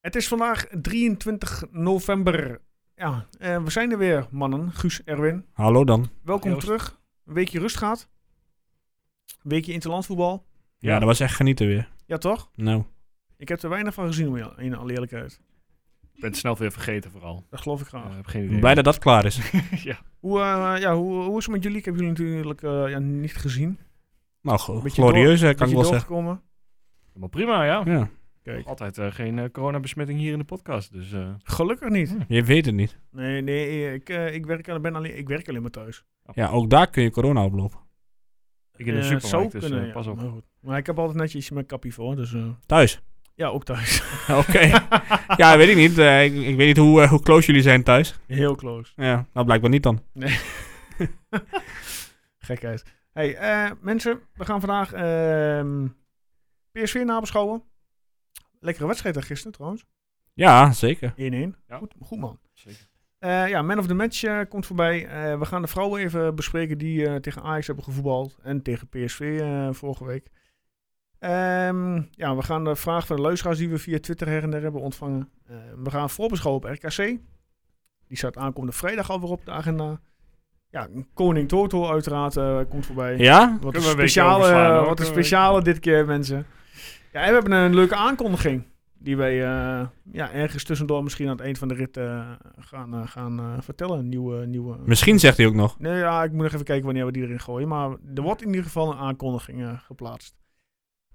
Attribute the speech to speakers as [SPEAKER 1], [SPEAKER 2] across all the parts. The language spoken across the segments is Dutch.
[SPEAKER 1] Het is vandaag 23 november. Ja, eh, we zijn er weer, mannen. Guus, Erwin.
[SPEAKER 2] Hallo dan.
[SPEAKER 1] Welkom
[SPEAKER 3] Joost.
[SPEAKER 1] terug. Een weekje rust gaat. Een weekje interlandvoetbal.
[SPEAKER 2] Ja,
[SPEAKER 3] Ja.
[SPEAKER 2] dat was echt genieten weer.
[SPEAKER 1] Ja, toch?
[SPEAKER 2] Nou,
[SPEAKER 1] Ik heb er weinig van gezien, om je- in alle eerlijkheid.
[SPEAKER 3] Ik ben het snel weer vergeten vooral.
[SPEAKER 1] Dat geloof ik graag.
[SPEAKER 3] Ik heb geen
[SPEAKER 2] ik
[SPEAKER 3] idee.
[SPEAKER 2] ben blij dat dat klaar is.
[SPEAKER 3] ja.
[SPEAKER 1] Hoe, eh, ja, hoe, hoe is het met jullie? Ik heb jullie natuurlijk eh, ja, niet gezien.
[SPEAKER 3] Oh,
[SPEAKER 2] Nou, glo-
[SPEAKER 1] Beetje
[SPEAKER 2] glorieus eh, kan ik
[SPEAKER 1] Beetje
[SPEAKER 2] wel zeggen.
[SPEAKER 1] doorgekomen.
[SPEAKER 3] Maar prima, ja.
[SPEAKER 2] Ja.
[SPEAKER 1] Kijk,
[SPEAKER 3] Altijd eh, geen eh, coronabesmetting hier in de podcast. Dus eh,
[SPEAKER 1] gelukkig niet.
[SPEAKER 2] Je weet het niet.
[SPEAKER 1] Nee, nee, ik, eh, ik, werk, aan- ben alleen, ik werk alleen maar thuis.
[SPEAKER 2] Ja, ook daar kun je corona oplopen.
[SPEAKER 3] ik in de
[SPEAKER 1] Eh, zou
[SPEAKER 3] supermarkt, dus
[SPEAKER 1] kunnen,
[SPEAKER 3] eh,
[SPEAKER 1] ja,
[SPEAKER 3] pas op.
[SPEAKER 1] Maar, goed. maar ik heb altijd netjes mijn kappie voor, dus eh,
[SPEAKER 2] Thuis.
[SPEAKER 1] ja, ook thuis.
[SPEAKER 2] Oké. ja, weet ik niet. Eh, ik, ik weet niet hoe, eh, hoe close jullie zijn thuis.
[SPEAKER 1] Heel close.
[SPEAKER 2] Ja, nou blijkbaar niet dan.
[SPEAKER 1] Gekheid. Hey, eh, mensen, we gaan vandaag ehm PSV nabeschouwen. Lekkere wedstrijd daar gisteren trouwens. 1-1.
[SPEAKER 2] Ja, zeker.
[SPEAKER 3] Ja.
[SPEAKER 1] Goed, goed man.
[SPEAKER 3] Zeker.
[SPEAKER 1] Eh, ja, Man of the Match eh, komt voorbij. Eh, we gaan de vrouwen even bespreken die eh, tegen Ajax hebben gevoetbald. En tegen PSV eh, vorige week. Ehm, ja, we gaan de vraag van de luisteraars die we via Twitter her en der hebben ontvangen. Eh, we gaan voorbeschouwen op RKC. Die staat aankomende vrijdag alweer op de agenda. Ja, Koning Toto uiteraard eh, komt voorbij.
[SPEAKER 2] Ja?
[SPEAKER 1] Wat een
[SPEAKER 3] Kunnen we een
[SPEAKER 1] speciale,
[SPEAKER 3] weekje overslaan, hoor.
[SPEAKER 1] wat een
[SPEAKER 3] Kunnen we een
[SPEAKER 1] speciale dit keer, mensen. Ja, en we hebben een leuke aankondiging. Die wij eh, ja, ergens tussendoor misschien aan het eind van de rit eh, gaan, eh, gaan eh, vertellen. Een Nieuwe, nieuwe...
[SPEAKER 2] Misschien zegt hij ook nog.
[SPEAKER 1] Nee, ja, ik moet nog even kijken wanneer we die erin gooien. Maar er wordt in ieder geval een aankondiging eh, geplaatst.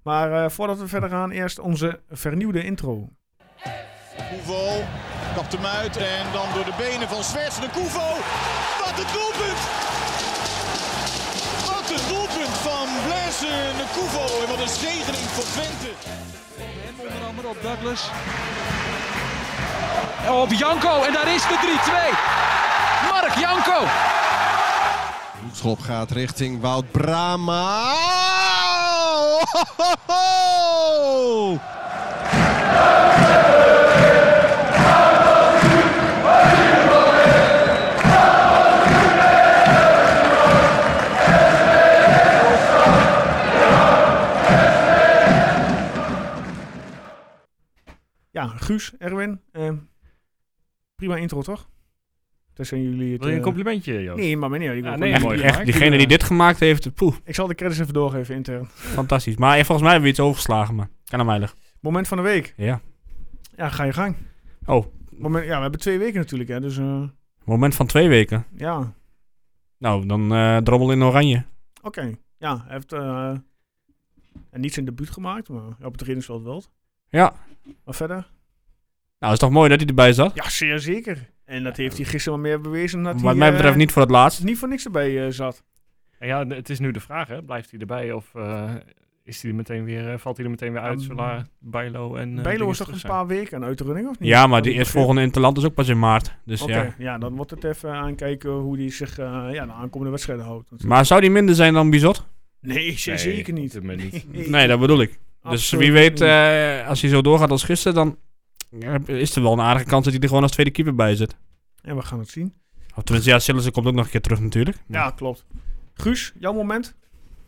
[SPEAKER 1] Maar eh, voordat we verder gaan, eerst onze vernieuwde intro.
[SPEAKER 4] Koevo kapt hem uit en dan door de benen van Zwerts de Koevo. Wat een doelpunt! Wat een doelpunt van Blaise de Koevo en wat een zegening voor Twente.
[SPEAKER 5] Hem onder andere op Douglas. Op Janko en daar is de 3-2. Mark Janko.
[SPEAKER 4] Schop gaat richting Wout Brama.
[SPEAKER 1] Ja, Guus, Erwin. eh, prima intro, toch? Tussen jullie het...
[SPEAKER 3] Wil je een
[SPEAKER 1] eh,
[SPEAKER 3] complimentje, Joost?
[SPEAKER 1] Nee, maar meneer, die
[SPEAKER 3] Ja,
[SPEAKER 1] wil-
[SPEAKER 3] nee,
[SPEAKER 2] Echt,
[SPEAKER 3] mooi
[SPEAKER 2] echt,
[SPEAKER 3] gemaakt.
[SPEAKER 2] diegene die dit gemaakt heeft, poeh,
[SPEAKER 1] Ik zal de credits even doorgeven intern.
[SPEAKER 2] fantastisch. Maar eh, volgens mij hebben we iets overgeslagen, maar kan hem heilig.
[SPEAKER 1] Moment van de week.
[SPEAKER 2] Ja.
[SPEAKER 1] Ja, ga je gang.
[SPEAKER 2] Oh,
[SPEAKER 1] Moment, ja, we hebben twee weken natuurlijk, hè. Dus eh,
[SPEAKER 2] moment van twee weken.
[SPEAKER 1] ja, oké.
[SPEAKER 2] Nou, dan eh drommel in oranje.
[SPEAKER 1] Ja, hij heeft eh, en niet zijn debuut gemaakt, maar op het reddingsveld wel.
[SPEAKER 2] Ja.
[SPEAKER 1] Maar verder?
[SPEAKER 2] Nou, is toch mooi dat hij erbij zat?
[SPEAKER 1] Ja, zeer zeker. En dat heeft hij gisteren wel meer bewezen. Dat
[SPEAKER 2] Wat
[SPEAKER 1] hij,
[SPEAKER 2] mij
[SPEAKER 1] eh,
[SPEAKER 2] betreft niet voor het laatst.
[SPEAKER 1] niet voor niks erbij eh, zat.
[SPEAKER 3] En ja, n- het is nu de vraag, hè. Blijft hij erbij of eh, is hij er meteen weer, eh, valt hij er meteen weer uit?
[SPEAKER 1] Ja,
[SPEAKER 3] Zola, Bijlo en... eh,
[SPEAKER 1] Ehm, Bijlo
[SPEAKER 3] dingen
[SPEAKER 1] is toch
[SPEAKER 3] terug
[SPEAKER 1] een
[SPEAKER 3] zijn?
[SPEAKER 1] paar weken aan de running, of niet?
[SPEAKER 2] Ja, maar
[SPEAKER 1] Heb
[SPEAKER 2] die
[SPEAKER 1] ik
[SPEAKER 2] eerst
[SPEAKER 1] begrepen.
[SPEAKER 2] volgende Interland is ook pas in maart. Dus
[SPEAKER 1] Oké,
[SPEAKER 2] ja.
[SPEAKER 1] ja. dan wordt het even aankijken hoe hij zich eh, ja, de aankomende wedstrijden houdt. natuurlijk.
[SPEAKER 2] Maar zou die minder zijn dan Bizot?
[SPEAKER 1] nee, zeer
[SPEAKER 3] Nee,
[SPEAKER 1] zeker
[SPEAKER 3] op
[SPEAKER 1] niet.
[SPEAKER 3] dit moment niet.
[SPEAKER 2] Nee, dat bedoel ik. Dus
[SPEAKER 1] Absoluut
[SPEAKER 2] wie weet,
[SPEAKER 1] niet.
[SPEAKER 2] eh, als hij zo doorgaat als gisteren, dan eh, is er wel een aardige kans dat hij er gewoon als tweede keeper bij zit.
[SPEAKER 1] En we gaan het zien.
[SPEAKER 2] Of tenminste, ja, Sillissen komt ook nog een keer terug natuurlijk.
[SPEAKER 1] Ja, klopt. Guus, jouw moment?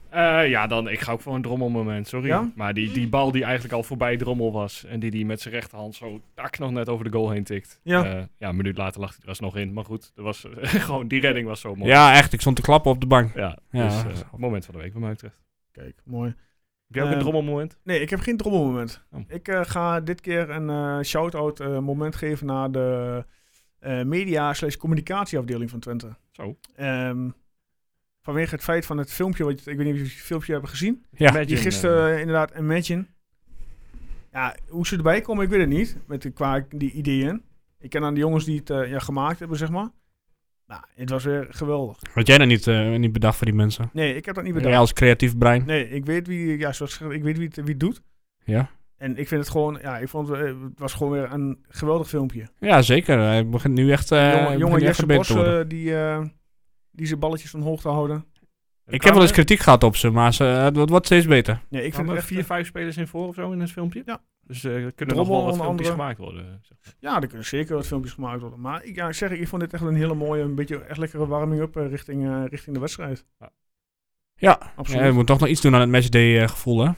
[SPEAKER 3] Eh, ja, dan, ik ga ook voor een drommelmoment, sorry.
[SPEAKER 1] Ja?
[SPEAKER 3] Maar die, die bal die eigenlijk al voorbij drommel was en die die met zijn rechterhand zo tak nog net over de goal heen tikt.
[SPEAKER 1] Ja.
[SPEAKER 3] Eh, ja, een minuut later lag hij er alsnog in. Maar goed, er was, gewoon, die redding was zo mooi.
[SPEAKER 2] Ja, echt. Ik stond te klappen op de bank.
[SPEAKER 3] Ja,
[SPEAKER 2] Ja.
[SPEAKER 3] dus eh, moment van de week, wat mij betreft.
[SPEAKER 1] Kijk, mooi.
[SPEAKER 3] Heb jij ook een
[SPEAKER 1] Ehm,
[SPEAKER 3] drommelmoment?
[SPEAKER 1] Nee, ik heb geen trommelmoment.
[SPEAKER 3] Oh.
[SPEAKER 1] Ik eh, ga dit keer een eh, shout-out eh, moment geven naar de eh, media slash communicatieafdeling van Twente.
[SPEAKER 3] Zo.
[SPEAKER 1] Ehm, vanwege het feit van het filmpje, wat, ik weet niet of jullie het filmpje hebben gezien.
[SPEAKER 2] Ja,
[SPEAKER 3] Met-
[SPEAKER 1] Die
[SPEAKER 3] Imagine,
[SPEAKER 1] gisteren eh, inderdaad, Imagine. Ja, hoe ze erbij komen, ik weet het niet. Met de, qua die ideeën. Ik ken aan de jongens die het eh, ja, gemaakt hebben, zeg maar. Nou, het was weer geweldig.
[SPEAKER 2] had jij dat niet, eh, niet bedacht voor die mensen?
[SPEAKER 1] Nee, ik heb dat niet bedacht.
[SPEAKER 2] Jij als creatief brein.
[SPEAKER 1] Nee, ik weet wie, ja, zoals gezegd, ik weet wie het, wie het doet.
[SPEAKER 2] Ja.
[SPEAKER 1] En ik vind het gewoon, ja, ik vond het, eh, het was gewoon weer een geweldig filmpje.
[SPEAKER 2] Ja, zeker. Hij begint nu echt, eh
[SPEAKER 1] jonge
[SPEAKER 2] begint
[SPEAKER 1] jonge
[SPEAKER 2] echt
[SPEAKER 1] Jesse
[SPEAKER 2] beter
[SPEAKER 1] Bos,
[SPEAKER 2] te worden.
[SPEAKER 1] eh, die, eh, die zijn balletjes van hoog te houden. eh,
[SPEAKER 2] ik heb wel eens kritiek gehad op ze, maar ze, eh, het wordt- wordt steeds beter.
[SPEAKER 1] Nee, ik
[SPEAKER 3] Ik vind
[SPEAKER 1] vind het
[SPEAKER 3] er
[SPEAKER 1] echt, eh,
[SPEAKER 3] vier, vijf spelers in voor of zo in het filmpje.
[SPEAKER 1] Ja.
[SPEAKER 3] Dus eh, er kunnen
[SPEAKER 1] Drommel
[SPEAKER 3] nog wel wat
[SPEAKER 1] onder
[SPEAKER 3] filmpjes
[SPEAKER 1] andere.
[SPEAKER 3] gemaakt worden. eh, zeg maar.
[SPEAKER 1] eh, ja, er kunnen zeker wat filmpjes gemaakt worden. Maar ik, ja, ik zeg, ik vond dit echt een hele mooie, een beetje echt lekkere warming-up eh, richting, eh, richting de wedstrijd.
[SPEAKER 2] Ja,
[SPEAKER 1] Absoluut.
[SPEAKER 2] ja je moet toch nog iets doen aan het matchday eh, gevoel, hè?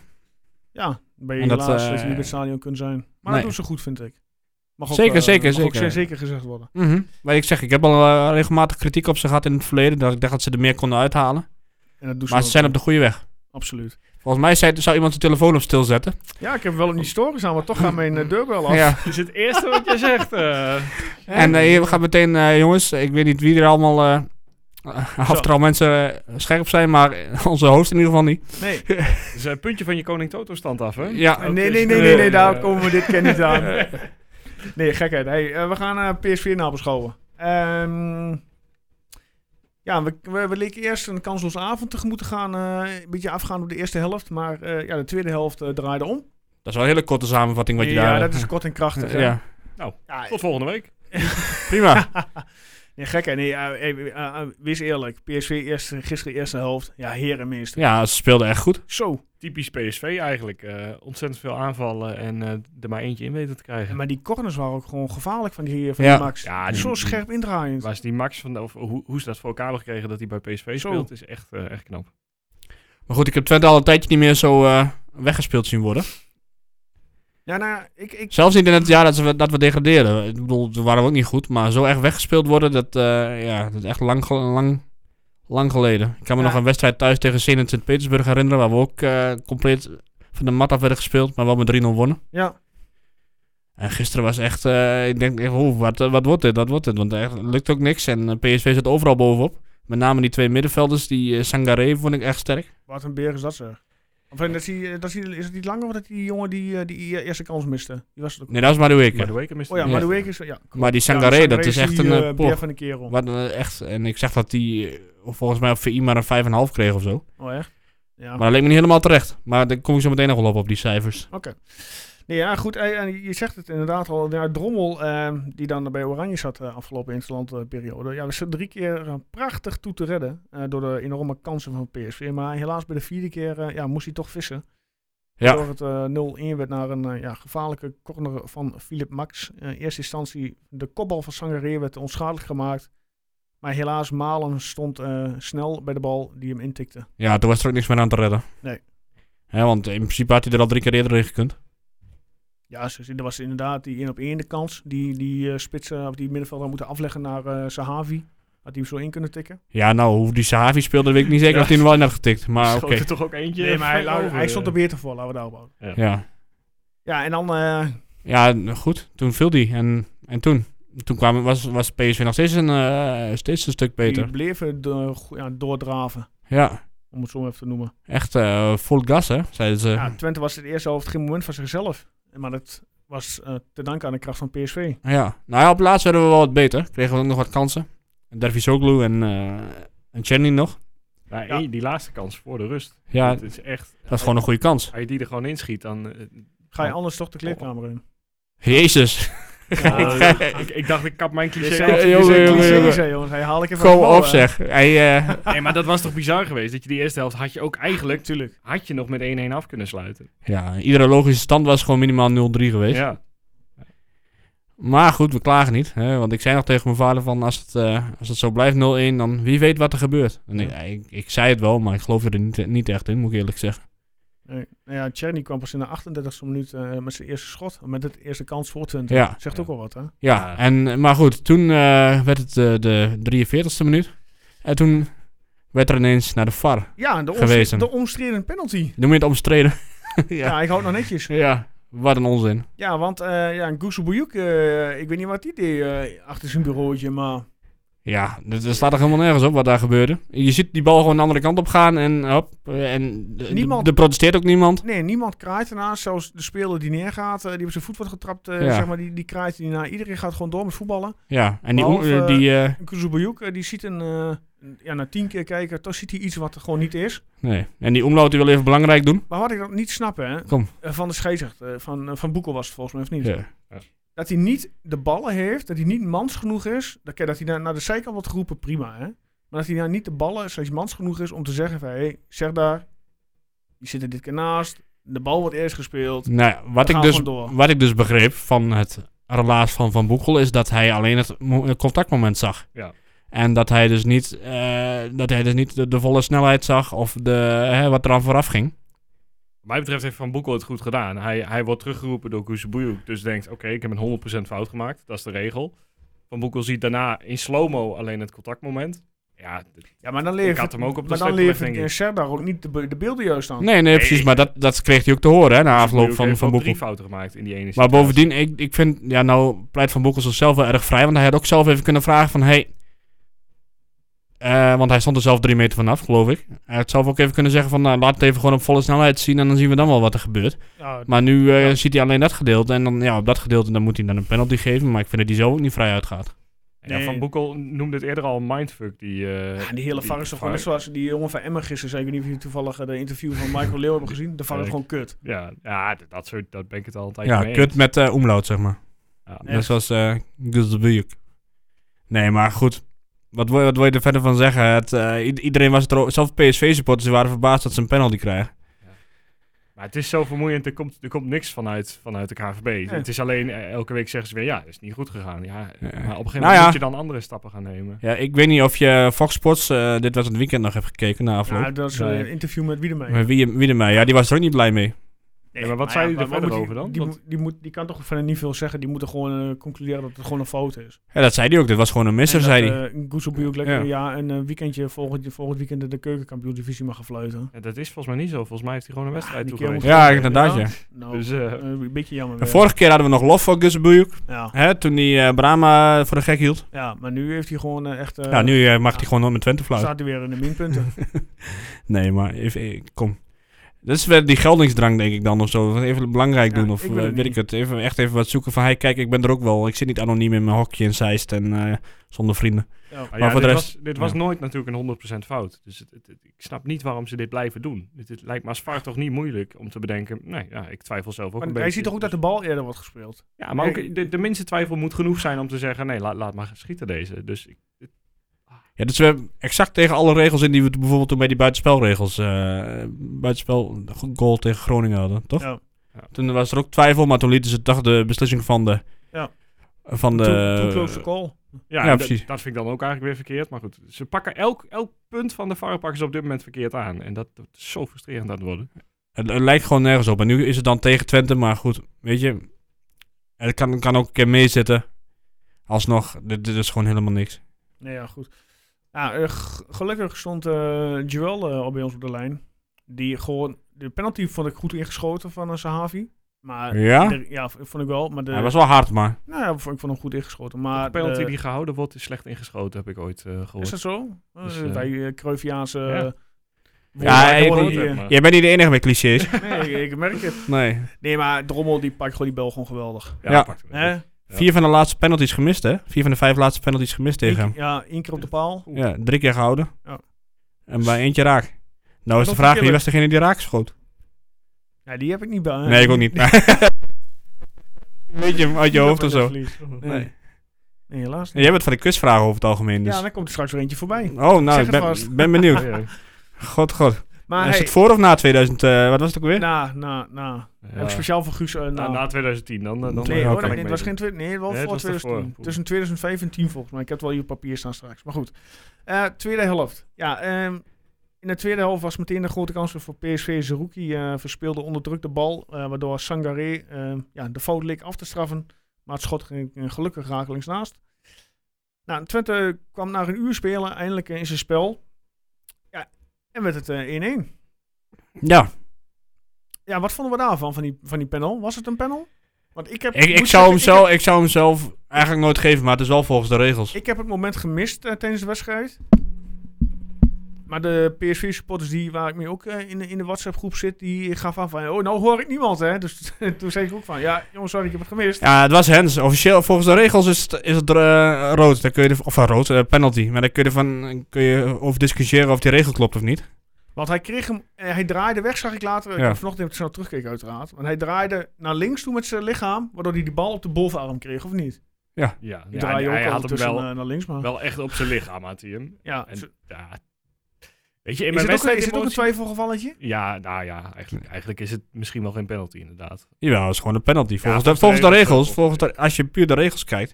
[SPEAKER 1] Ja, ben je
[SPEAKER 2] En dat,
[SPEAKER 1] helaas dat
[SPEAKER 2] eh,
[SPEAKER 1] je niet bij het stadion kunt zijn. Maar
[SPEAKER 2] nee.
[SPEAKER 1] dat doen ze goed, vind ik. Mag ook,
[SPEAKER 2] Zeker,
[SPEAKER 1] eh,
[SPEAKER 2] zeker,
[SPEAKER 1] mag ook
[SPEAKER 2] zeker.
[SPEAKER 1] zeker gezegd worden.
[SPEAKER 2] Mhm. Maar ik zeg, ik heb al eh, regelmatig kritiek op ze gehad in het verleden. Dat ik dacht dat ze er meer konden uithalen.
[SPEAKER 1] En dat doen
[SPEAKER 2] Maar
[SPEAKER 1] ook,
[SPEAKER 2] ze zijn
[SPEAKER 1] eh,
[SPEAKER 2] op de goede weg.
[SPEAKER 1] Absoluut.
[SPEAKER 2] Volgens mij zei, zou iemand zijn telefoon op stil zetten.
[SPEAKER 1] Ja, ik heb wel een historisch aan, maar toch gaan mijn eh, deurbel af.
[SPEAKER 2] Oh. Ja.
[SPEAKER 3] is Dus het eerste wat je zegt. eh.
[SPEAKER 2] En eh, je gaat meteen, eh, jongens, ik weet niet wie er allemaal. eh of er al mensen eh, scherp zijn, maar onze host in ieder geval niet.
[SPEAKER 1] Nee.
[SPEAKER 3] dus een puntje van je Koning Toto stand af, hè?
[SPEAKER 2] Ja,
[SPEAKER 1] Nee, nee, nee, nee, nee, nee, daar komen we dit keer niet aan. Nee, gekheid. Hey, eh, we gaan eh, PSV nabeschouwen. Ehm ja, we, we, we leken eerst een kansloze avond tegemoet te gaan. eh, een beetje afgaan op de eerste helft. Maar eh, ja, de tweede helft eh, draaide om.
[SPEAKER 2] dat is wel een hele korte samenvatting wat je
[SPEAKER 1] ja,
[SPEAKER 2] daar.
[SPEAKER 1] dat is kort en krachtig.
[SPEAKER 2] ja.
[SPEAKER 1] hè.
[SPEAKER 2] ja,
[SPEAKER 1] Ja,
[SPEAKER 3] Tot volgende week.
[SPEAKER 2] prima.
[SPEAKER 1] nee, gekheid. Nee, eh, eh, eh, eh, wees eerlijk. PSV eerste, eh, gisteren eerste helft. Ja, heren meester.
[SPEAKER 2] Ja, ze speelden echt goed.
[SPEAKER 1] Zo.
[SPEAKER 3] Typisch PSV eigenlijk. eh, ontzettend veel aanvallen en eh, er maar eentje in weten te krijgen.
[SPEAKER 1] Maar die corners waren ook gewoon gevaarlijk van die, eh, van
[SPEAKER 2] Ja.
[SPEAKER 1] die Max.
[SPEAKER 3] Ja, die-
[SPEAKER 1] Zo scherp indraaiend.
[SPEAKER 3] Waar ze die Max van, of hoe, hoe ze dat voor elkaar hebben gekregen dat hij bij PSV
[SPEAKER 1] Zo.
[SPEAKER 3] speelt, is echt, eh, echt knap.
[SPEAKER 2] Maar goed, ik heb Twente al een tijdje niet meer zo eh, weggespeeld zien worden.
[SPEAKER 1] Ja, nou, ik, ik,
[SPEAKER 2] Zelfs niet in het jaar dat, ze, dat we degradeerden. Ik bedoel, we waren ook niet goed, maar zo echt weggespeeld worden, dat, eh, ja, dat is echt lang, gel- lang, lang geleden. Ik kan me
[SPEAKER 1] Ja.
[SPEAKER 2] nog een wedstrijd thuis tegen Zenit Sint-Petersburg herinneren, waar we ook eh, compleet van de mat af werden gespeeld, maar wel met 3-0 wonnen.
[SPEAKER 1] ja.
[SPEAKER 2] En gisteren was echt, eh, ik denk, echt, oeh, wat, eh, wat wordt dit, wat wordt dit? Want echt, het lukt ook niks en eh, PSV zit overal bovenop. Met name die twee middenvelders, die eh, Sangaré vond ik echt sterk.
[SPEAKER 1] Wat een beer is dat zeg. Of eh, dat is, die, dat is, die- is het niet langer of dat die jongen die, eh, die eh, eerste kans miste? Die was het ook.
[SPEAKER 2] Nee, dat was Madueke.
[SPEAKER 3] Maar de week is
[SPEAKER 1] Oh ja,
[SPEAKER 2] Ja.
[SPEAKER 1] maar de week is... Ja,
[SPEAKER 2] Maar die Sangaré, dat is echt een...
[SPEAKER 1] eh,
[SPEAKER 2] eh, poch.
[SPEAKER 1] beer van een kerel.
[SPEAKER 2] Wat, eh, echt, en ik zag dat hij volgens mij op VI maar een 5,5 kreeg of zo.
[SPEAKER 1] Oh echt? Ja,
[SPEAKER 2] Maar dat leek me niet helemaal terecht. Maar daar kom ik zo meteen nog wel op, op die cijfers.
[SPEAKER 1] oké. Nee, ja, goed. eh, en je zegt het inderdaad al. Ja, Drommel, eh, die dan bij Oranje zat de afgelopen interlandperiode. Ja, we zitten drie keer eh, prachtig toe te redden eh, door de enorme kansen van PSV. Maar helaas bij de vierde keer eh, ja, moest hij toch vissen.
[SPEAKER 2] Ja,
[SPEAKER 1] Door het eh, 0-1 werd naar een eh, ja, gevaarlijke corner van Philip Max. Eh, in eerste instantie de kopbal van Sangaré werd onschadelijk gemaakt. Maar helaas Malen stond eh, snel bij de bal die hem intikte.
[SPEAKER 2] ja, toen was er ook niks meer aan te redden.
[SPEAKER 1] Nee.
[SPEAKER 2] Hè, want in principe had hij er al drie keer eerder in gekund.
[SPEAKER 1] Ja, ze- ze- er was inderdaad die 1 op 1 de kans. Die, die eh, spitsen of die middenvelder moeten afleggen naar eh, Sahavi. Had hij hem zo in kunnen tikken.
[SPEAKER 2] Ja, nou, hoe die Sahavi speelde, weet ik niet zeker
[SPEAKER 3] Ja.
[SPEAKER 2] of hij hem wel in had getikt. Maar oké.
[SPEAKER 3] Schoot er toch ook eentje.
[SPEAKER 1] Nee, maar hij,
[SPEAKER 3] ver over,
[SPEAKER 1] hij stond er
[SPEAKER 3] eh.
[SPEAKER 1] beter voor, laten we daarop houden.
[SPEAKER 2] Ja.
[SPEAKER 1] Ja, en dan eh,
[SPEAKER 2] ja, goed. Toen viel hij. En, en toen? Toen kwam, was, was PSV nog steeds een, eh, steeds een stuk
[SPEAKER 1] die
[SPEAKER 2] beter.
[SPEAKER 1] bleven do- ja, doordraven,
[SPEAKER 2] Ja,
[SPEAKER 1] om het zo maar even te noemen.
[SPEAKER 2] echt eh vol gas, hè, zeiden ze.
[SPEAKER 1] Ja, Twente was in de eerste helft geen moment van zichzelf. Maar dat was eh, te danken aan de kracht van PSV.
[SPEAKER 2] Ja, nou ja, op het laatst werden we wel wat beter. Kregen we ook nog wat kansen. Dervisoglu en, eh en Cherny nog.
[SPEAKER 3] Nou,
[SPEAKER 1] Ja.
[SPEAKER 3] één- Die laatste kans voor de rust.
[SPEAKER 2] Ja,
[SPEAKER 3] dat is echt.
[SPEAKER 2] Dat is gewoon een goede kans.
[SPEAKER 3] Als je die er gewoon inschiet, dan. eh,
[SPEAKER 1] Ga je anders toch de kleedkamer in?
[SPEAKER 2] Jezus.
[SPEAKER 3] ik, ik, ik dacht, ik kap mijn cliché.
[SPEAKER 1] Cliché,
[SPEAKER 3] af.
[SPEAKER 2] jongen,
[SPEAKER 1] cliché,
[SPEAKER 2] jongen,
[SPEAKER 1] cliché,
[SPEAKER 2] jongen.
[SPEAKER 1] zei, jongens. Hij haal ik even
[SPEAKER 2] Kom
[SPEAKER 1] van de bal,
[SPEAKER 2] op
[SPEAKER 1] hè.
[SPEAKER 2] zeg. Hij, eh,
[SPEAKER 3] Nee, maar dat was toch bizar geweest? Dat je die eerste helft had je ook eigenlijk.
[SPEAKER 1] Tuurlijk.
[SPEAKER 3] Had je nog met 1-1 af kunnen sluiten.
[SPEAKER 2] ja, iedere logische stand was gewoon minimaal 0-3 geweest.
[SPEAKER 3] Ja.
[SPEAKER 2] Maar goed, we klagen niet. Hè? Want ik zei nog tegen mijn vader van als het, eh, als het zo blijft 0-1, dan wie weet wat er gebeurt. En ik, eh, ik, ik zei het wel, maar ik geloof er niet, niet echt in, moet ik eerlijk zeggen.
[SPEAKER 1] Nee. Nou ja, Tjerni kwam pas in de 38e minuut eh, met zijn eerste schot. Met het eerste kans voor Twente.
[SPEAKER 2] Ja.
[SPEAKER 1] Zegt ook al wat, hè?
[SPEAKER 2] Ja, en, maar goed, toen eh, werd het eh, de 43ste minuut. En toen werd er ineens naar de VAR.
[SPEAKER 1] Ja, de, omstreden,
[SPEAKER 2] Gewezen.
[SPEAKER 1] de omstreden penalty.
[SPEAKER 2] Noem je het omstreden?
[SPEAKER 1] Ja. ik hou het nog netjes.
[SPEAKER 2] Ja, wat een onzin.
[SPEAKER 1] Ja, want eh ja, Guusu Bouyuk, eh, ik weet niet wat die deed eh, achter zijn bureautje, maar...
[SPEAKER 2] Ja, dat dat slaat toch helemaal nergens op wat daar gebeurde. Je ziet die bal gewoon de andere kant op gaan en hop. eh, En de-
[SPEAKER 1] Niemand.
[SPEAKER 2] er protesteert ook niemand.
[SPEAKER 1] Nee, niemand kraait ernaast. Zelfs de speler die neergaat, eh, die op zijn voet wordt getrapt, eh,
[SPEAKER 2] Ja.
[SPEAKER 1] zeg maar, die, die kraait die naar iedereen gaat gewoon door met voetballen.
[SPEAKER 2] Ja, en die...
[SPEAKER 1] Behalve,
[SPEAKER 2] eh, die eh,
[SPEAKER 1] Kuzubayuk, eh, die ziet een, eh, een- ja, na tien keer kijken, toch ziet hij iets wat er gewoon niet is.
[SPEAKER 2] nee. En die omlaut die wil even belangrijk doen.
[SPEAKER 1] Maar wat ik dat niet snap, hè,
[SPEAKER 2] Kom.
[SPEAKER 1] eh, van de scheidsrechter, eh, van, eh, van Boekel was het volgens mij, of niet?
[SPEAKER 2] Ja.
[SPEAKER 1] Dat hij niet de ballen heeft, dat hij niet mans genoeg is. Dat, kijk, dat hij naar, naar de zijkant wordt geroepen, prima, hè. Maar dat hij daar niet de ballen, slechts mans genoeg is om te zeggen van, hé, hey, zeg daar, je zit er dit keer naast, de bal wordt eerst gespeeld.
[SPEAKER 2] Nou ja, wat
[SPEAKER 1] We
[SPEAKER 2] ik,
[SPEAKER 1] gaan
[SPEAKER 2] dus,
[SPEAKER 1] gewoon door.
[SPEAKER 2] wat ik dus begreep van het relaas van Van Boekel... is dat hij alleen het mo- het contactmoment zag.
[SPEAKER 3] Ja.
[SPEAKER 2] En dat hij dus niet, eh, dat hij dus niet de, de volle snelheid zag of de, hè, wat er aan vooraf ging.
[SPEAKER 3] Wat mij betreft heeft Van Boekel het goed gedaan. Hij, hij wordt teruggeroepen door Kuzebuyuk. Dus denkt, oké, ik heb een 100% fout gemaakt. Dat is de regel. Van Boekel ziet daarna in slow-mo alleen het contactmoment. Ja, d-
[SPEAKER 1] Ja, maar dan
[SPEAKER 3] ik
[SPEAKER 1] levert,
[SPEAKER 3] had hem ook op de
[SPEAKER 1] maar dan
[SPEAKER 3] stip
[SPEAKER 1] levert
[SPEAKER 3] denk
[SPEAKER 1] eh,
[SPEAKER 3] ik.
[SPEAKER 1] Serdar ook niet de, be- de beelden juist aan.
[SPEAKER 2] Nee, nee, precies. Maar dat, dat kreeg hij ook te horen hè, na afloop
[SPEAKER 3] Kuzebuyuk
[SPEAKER 2] van,
[SPEAKER 3] heeft
[SPEAKER 2] van
[SPEAKER 3] wel
[SPEAKER 2] Boekel.
[SPEAKER 3] drie fouten gemaakt in die ene
[SPEAKER 2] Maar
[SPEAKER 3] situatie.
[SPEAKER 2] bovendien, ik, ik vind, ja, nou pleit Van Boekel zichzelf wel erg vrij. Want hij had ook zelf even kunnen vragen van, hey, eh, want hij stond er zelf drie meter vanaf, geloof ik. Hij had zelf ook even kunnen zeggen van, nou, laat het even gewoon op volle snelheid zien en dan zien we dan wel wat er gebeurt.
[SPEAKER 1] Ja,
[SPEAKER 2] Maar nu eh, ziet hij alleen dat gedeelte en dan, ja, op dat gedeelte dan moet hij dan een penalty geven. Maar ik vind dat hij zo ook niet vrij uitgaat.
[SPEAKER 3] Ja,
[SPEAKER 1] Nee.
[SPEAKER 3] Van Boekel noemde het eerder al een mindfuck. Die, eh,
[SPEAKER 1] Ja, die hele VAR is toch gewoon net
[SPEAKER 3] VAR.
[SPEAKER 1] zoals die jongen van Emmen gisteren zei. Ik weet niet of jullie toevallig eh, de interview van Michael Leeuw hebben gezien. De VAR is
[SPEAKER 3] Ik-
[SPEAKER 1] gewoon kut.
[SPEAKER 3] Ja, ja d- dat soort, dat ben ik het al een tijdje
[SPEAKER 2] Ja,
[SPEAKER 3] mee
[SPEAKER 2] kut
[SPEAKER 3] eens.
[SPEAKER 2] met eh omlaut, zeg maar.
[SPEAKER 3] Ja.
[SPEAKER 1] Nee.
[SPEAKER 2] Net zoals eh Guzdebuyuk. Nee, maar goed. Wat wil, wat wil je er verder van zeggen? Het, eh, i- iedereen was er, zelfs PSV-supporters waren verbaasd dat ze een penalty krijgen.
[SPEAKER 3] Maar het is zo vermoeiend, er komt, er komt niks vanuit, vanuit de KVB. Het is alleen, eh, elke week zeggen ze weer, ja, dat is niet goed gegaan. Ja,
[SPEAKER 2] Ja.
[SPEAKER 3] Maar op een gegeven moment
[SPEAKER 2] Nou ja.
[SPEAKER 3] moet je dan andere stappen gaan nemen.
[SPEAKER 2] Ja, ik weet niet of je Fox Sports eh, dit was het weekend nog hebt gekeken na afloop.
[SPEAKER 1] Ja, dat is eh,
[SPEAKER 3] Nee.
[SPEAKER 1] een interview met Wiedemey.
[SPEAKER 2] Maar wie, wie er mij? Ja, die was er ook niet blij mee.
[SPEAKER 1] Nee,
[SPEAKER 3] Ja, maar wat zei hij er
[SPEAKER 1] maar
[SPEAKER 3] verder
[SPEAKER 1] moet
[SPEAKER 3] over dan?
[SPEAKER 1] Die,
[SPEAKER 3] Want-
[SPEAKER 1] moet- die, moet, die kan toch verder niet veel zeggen. Die moeten gewoon eh, concluderen dat het gewoon een fout is.
[SPEAKER 2] Ja, dat zei hij ook. Dit was gewoon een misser,
[SPEAKER 1] En
[SPEAKER 2] zei
[SPEAKER 1] dat,
[SPEAKER 2] hij.
[SPEAKER 1] eh, Goezelbuur ook lekker
[SPEAKER 2] Ja.
[SPEAKER 1] ja. een eh, weekendje volgend, volgend weekend de keukenkampioen-divisie mag gaan fluiten.
[SPEAKER 3] Ja, dat is volgens mij niet zo. Volgens mij heeft hij gewoon een wedstrijd
[SPEAKER 1] die
[SPEAKER 3] toegewezen.
[SPEAKER 1] kerel moet
[SPEAKER 2] Ja,
[SPEAKER 1] gewoon-
[SPEAKER 2] inderdaad, ja.
[SPEAKER 1] Nou,
[SPEAKER 3] Dus eh,
[SPEAKER 1] eh, een beetje jammer.
[SPEAKER 2] En
[SPEAKER 1] weer.
[SPEAKER 2] vorige keer hadden we nog lof voor Gusbujuk,
[SPEAKER 1] Ja.
[SPEAKER 2] hè, toen hij eh, Brahma voor de gek hield.
[SPEAKER 1] ja, maar nu heeft hij gewoon eh, echt... eh,
[SPEAKER 2] ja, nu eh, mag
[SPEAKER 1] ja.
[SPEAKER 2] hij gewoon nooit met Twente fluiten.
[SPEAKER 1] staat hij weer in de minpunten.
[SPEAKER 2] Nee, maar even, eh, kom. Dat is weer die geldingsdrang, denk ik dan, of zo. Even belangrijk
[SPEAKER 1] Ja,
[SPEAKER 2] doen, of
[SPEAKER 1] ik
[SPEAKER 2] eh,
[SPEAKER 1] wil
[SPEAKER 2] weet
[SPEAKER 1] het
[SPEAKER 2] ik
[SPEAKER 1] niet.
[SPEAKER 2] het. Even, echt even wat zoeken van, hey, kijk, ik ben er ook wel. Ik zit niet anoniem in mijn hokje in Zeist en eh, zonder vrienden.
[SPEAKER 1] ja.
[SPEAKER 3] maar
[SPEAKER 2] maar
[SPEAKER 3] ja,
[SPEAKER 2] voor de
[SPEAKER 3] dit
[SPEAKER 2] rest-
[SPEAKER 3] was, dit was
[SPEAKER 2] ja.
[SPEAKER 3] nooit natuurlijk een 100% fout. Dus het, het- het- ik snap niet waarom ze dit blijven doen. Het, het lijkt me als VAR toch niet moeilijk om te bedenken. Nee, ja, ik twijfel zelf ook
[SPEAKER 1] Maar
[SPEAKER 3] een
[SPEAKER 1] hij
[SPEAKER 3] beetje.
[SPEAKER 1] ziet toch ook dat de bal eerder wordt gespeeld?
[SPEAKER 3] Ja, maar ook de, de minste twijfel moet genoeg zijn om te zeggen... nee, laat, laat maar schieten deze. Dus ik-
[SPEAKER 2] Ja, dus we hebben exact tegen alle regels in die we t- bijvoorbeeld toen bij die buitenspelregels, eh buitenspel goal tegen Groningen hadden, toch?
[SPEAKER 1] Ja.
[SPEAKER 3] Ja.
[SPEAKER 2] Toen was er ook twijfel, maar toen lieten ze toch de beslissing van de...
[SPEAKER 1] Ja.
[SPEAKER 2] Van de...
[SPEAKER 1] Too- too close to call.
[SPEAKER 3] Ja,
[SPEAKER 2] Ja,
[SPEAKER 3] dat-
[SPEAKER 2] precies.
[SPEAKER 3] Dat vind ik dan ook eigenlijk weer verkeerd. Maar goed, ze pakken elk, elk punt van de VAR pakken ze op dit moment verkeerd aan. En dat, dat is zo frustrerend aan het worden.
[SPEAKER 2] Het, het lijkt gewoon nergens op. En nu is het dan tegen Twente, maar goed, weet je. Het kan, kan ook een keer meezitten. Alsnog, dit, dit is gewoon helemaal niks.
[SPEAKER 1] Nee, ja, goed. Nou, eh, g- gelukkig stond eh Joel eh, al bij ons op de lijn. Die gewoon, de penalty vond ik goed ingeschoten van eh, Sahavi. Maar
[SPEAKER 2] Ja?
[SPEAKER 1] de- ja, v- vond ik wel. Maar de,
[SPEAKER 2] Hij was wel hard, maar.
[SPEAKER 1] Nou ja, v- ik vond hem goed ingeschoten. Maar
[SPEAKER 3] de penalty
[SPEAKER 1] de-
[SPEAKER 3] die gehouden wordt, is slecht ingeschoten, heb ik ooit eh, gehoord.
[SPEAKER 1] Is dat zo? Eh,
[SPEAKER 3] Dus, eh,
[SPEAKER 1] bij uh, Cruyffiaanse...
[SPEAKER 3] ja.
[SPEAKER 1] eh,
[SPEAKER 2] Ja,
[SPEAKER 1] woorden-
[SPEAKER 2] ik-
[SPEAKER 1] woorden
[SPEAKER 2] ik-
[SPEAKER 1] die, eh,
[SPEAKER 3] Maar-
[SPEAKER 2] Jij bent niet de enige met clichés.
[SPEAKER 1] Nee, ik, ik merk het.
[SPEAKER 2] nee.
[SPEAKER 1] Nee, maar Drommel die pakt gewoon die bel gewoon geweldig.
[SPEAKER 2] ja.
[SPEAKER 3] pakt hem
[SPEAKER 1] Hè?
[SPEAKER 3] goed. Ja.
[SPEAKER 2] Vier van de laatste penalties gemist, hè? Vier van de vijf laatste penalties gemist tegen
[SPEAKER 1] Eén
[SPEAKER 2] hem.
[SPEAKER 1] keer- Ja, één keer op de paal.
[SPEAKER 2] Ja, drie keer gehouden.
[SPEAKER 1] Ja.
[SPEAKER 2] En bij eentje raak. Nou is de
[SPEAKER 1] nog
[SPEAKER 2] vraag, wie
[SPEAKER 1] verkeerd.
[SPEAKER 2] was degene die raak schoot?
[SPEAKER 1] Ja, die heb ik niet bij.
[SPEAKER 2] Nee, ik ook niet. Weet je hem uit je hoofd of zo?
[SPEAKER 1] Nee.
[SPEAKER 2] Nee.
[SPEAKER 1] Nee, helaas niet.
[SPEAKER 2] Jij bent van de quizvragen over het algemeen, dus.
[SPEAKER 1] Ja, dan komt er straks weer eentje voorbij.
[SPEAKER 2] Oh, nou,
[SPEAKER 1] Zeg
[SPEAKER 2] ik
[SPEAKER 1] het
[SPEAKER 2] ben,
[SPEAKER 1] vast.
[SPEAKER 2] ben benieuwd.
[SPEAKER 3] Ja, ja.
[SPEAKER 2] God, god.
[SPEAKER 1] Maar
[SPEAKER 2] is
[SPEAKER 1] hey, Nou,
[SPEAKER 2] het voor of na 2000? eh, wat was het ook weer?
[SPEAKER 1] na, na, na. Heb ik speciaal voor Guus. eh,
[SPEAKER 3] Na,
[SPEAKER 1] na,
[SPEAKER 3] na 2010 dan. dan, dan
[SPEAKER 1] nee,
[SPEAKER 2] Ja,
[SPEAKER 1] hoor,
[SPEAKER 2] kan
[SPEAKER 1] nee, het was geen twi- nee, wel
[SPEAKER 3] Nee, het
[SPEAKER 1] voor
[SPEAKER 3] was daarvoor.
[SPEAKER 1] 2010.
[SPEAKER 3] Poeh.
[SPEAKER 1] Tussen 2005 en 10 volgens mij. Ik heb het wel hier op papier staan straks. Maar goed. Eh, tweede helft. Ja, ehm, in de tweede helft was meteen de grote kans voor PSV. Zerouki eh verspeelde onder druk de bal. eh, waardoor Sangaré ehm, ja, de fout leek af te straffen. Maar het schot ging eh, gelukkig rakelings naast. Nou, Twente kwam na een uur spelen eindelijk eh, in zijn spel. Ja, en werd het eh, 1-1.
[SPEAKER 2] Ja,
[SPEAKER 1] Ja, wat vonden we daarvan, van die, van die panel? Was het een panel? Want ik heb...
[SPEAKER 2] ik, ik,
[SPEAKER 1] moet
[SPEAKER 2] zou hem
[SPEAKER 1] zeggen, ik
[SPEAKER 2] zelf, ik zou hem zelf eigenlijk nooit geven, maar het is wel volgens de regels.
[SPEAKER 1] heb- Ik heb het moment gemist eh, tijdens de wedstrijd. Maar de PSV-supporters die, waar ik mee ook eh, in, de, in de WhatsApp-groep zit, die gaf aan van... Oh, nou hoor ik niemand, hè. Dus toen zei ik ook van... Ja, jongens, sorry, ik heb het gemist.
[SPEAKER 2] Ja, het was Hens. Officieel, volgens de regels is het, is het eh, rood. Dan kun je er, of eh, rood, eh, penalty. Maar daar kun je, ervan, kun je over discussiëren of die regel klopt of niet.
[SPEAKER 1] Want hij kreeg hem... eh, hij draaide weg, zag ik later. Ik
[SPEAKER 2] Ja.
[SPEAKER 1] heb vanochtend even snel terugkeken, uiteraard. Want hij draaide naar links toe met zijn lichaam, waardoor hij die bal op de bovenarm kreeg, of niet?
[SPEAKER 3] Ja,
[SPEAKER 1] Die
[SPEAKER 3] ja,
[SPEAKER 1] draaide
[SPEAKER 3] hij
[SPEAKER 1] ook
[SPEAKER 3] had hem
[SPEAKER 1] ondertussen
[SPEAKER 3] wel,
[SPEAKER 1] eh, naar links, maar...
[SPEAKER 3] wel echt op zijn lichaam, had hij hem.
[SPEAKER 1] ja,
[SPEAKER 3] En,
[SPEAKER 1] zo-
[SPEAKER 3] ja. Weet je, in
[SPEAKER 1] is,
[SPEAKER 3] mijn
[SPEAKER 1] het ook,
[SPEAKER 3] wedstrijd
[SPEAKER 1] is het ook een twijfelgevalletje?
[SPEAKER 3] Ja, nou ja, eigenlijk, eigenlijk is het misschien wel geen penalty inderdaad.
[SPEAKER 2] Jawel, het is gewoon een penalty. Volgens, de, volgens
[SPEAKER 3] volgens de
[SPEAKER 2] de
[SPEAKER 3] regels
[SPEAKER 2] regels,
[SPEAKER 3] wel.
[SPEAKER 2] volgens de, als je puur de regels kijkt,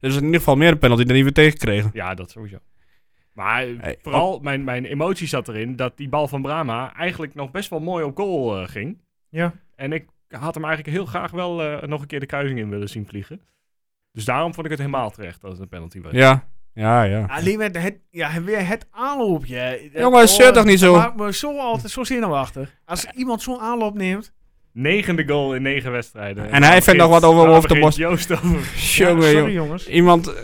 [SPEAKER 2] is het in ieder geval meer een penalty dan die we tegenkregen.
[SPEAKER 3] Ja, dat sowieso. Maar eh,
[SPEAKER 2] Hey, oh.
[SPEAKER 3] vooral mijn, mijn emotie zat erin dat die bal van Brama eigenlijk nog best wel mooi op goal eh, ging.
[SPEAKER 1] Ja.
[SPEAKER 3] En ik had hem eigenlijk heel graag wel eh, nog een keer de kruising in willen zien vliegen. Dus daarom vond ik het helemaal terecht dat het een penalty was.
[SPEAKER 2] Ja, ja, ja.
[SPEAKER 1] Alleen met het, ja, weer het aanloopje.
[SPEAKER 2] Jongens,
[SPEAKER 1] Oh,
[SPEAKER 2] zeur toch niet zo.
[SPEAKER 1] Maakt me zo altijd zo zenuwachtig. Als iemand zo'n aanloop neemt.
[SPEAKER 3] Negende goal in negen wedstrijden.
[SPEAKER 2] En hij vindt
[SPEAKER 3] begint-
[SPEAKER 2] nog wat over
[SPEAKER 3] daar
[SPEAKER 2] Wolf de
[SPEAKER 3] begint
[SPEAKER 2] Bos.
[SPEAKER 3] Joost
[SPEAKER 2] Jongen,
[SPEAKER 3] over.
[SPEAKER 1] ja,
[SPEAKER 2] jongen.
[SPEAKER 1] sorry jongens.
[SPEAKER 2] Iemand eh,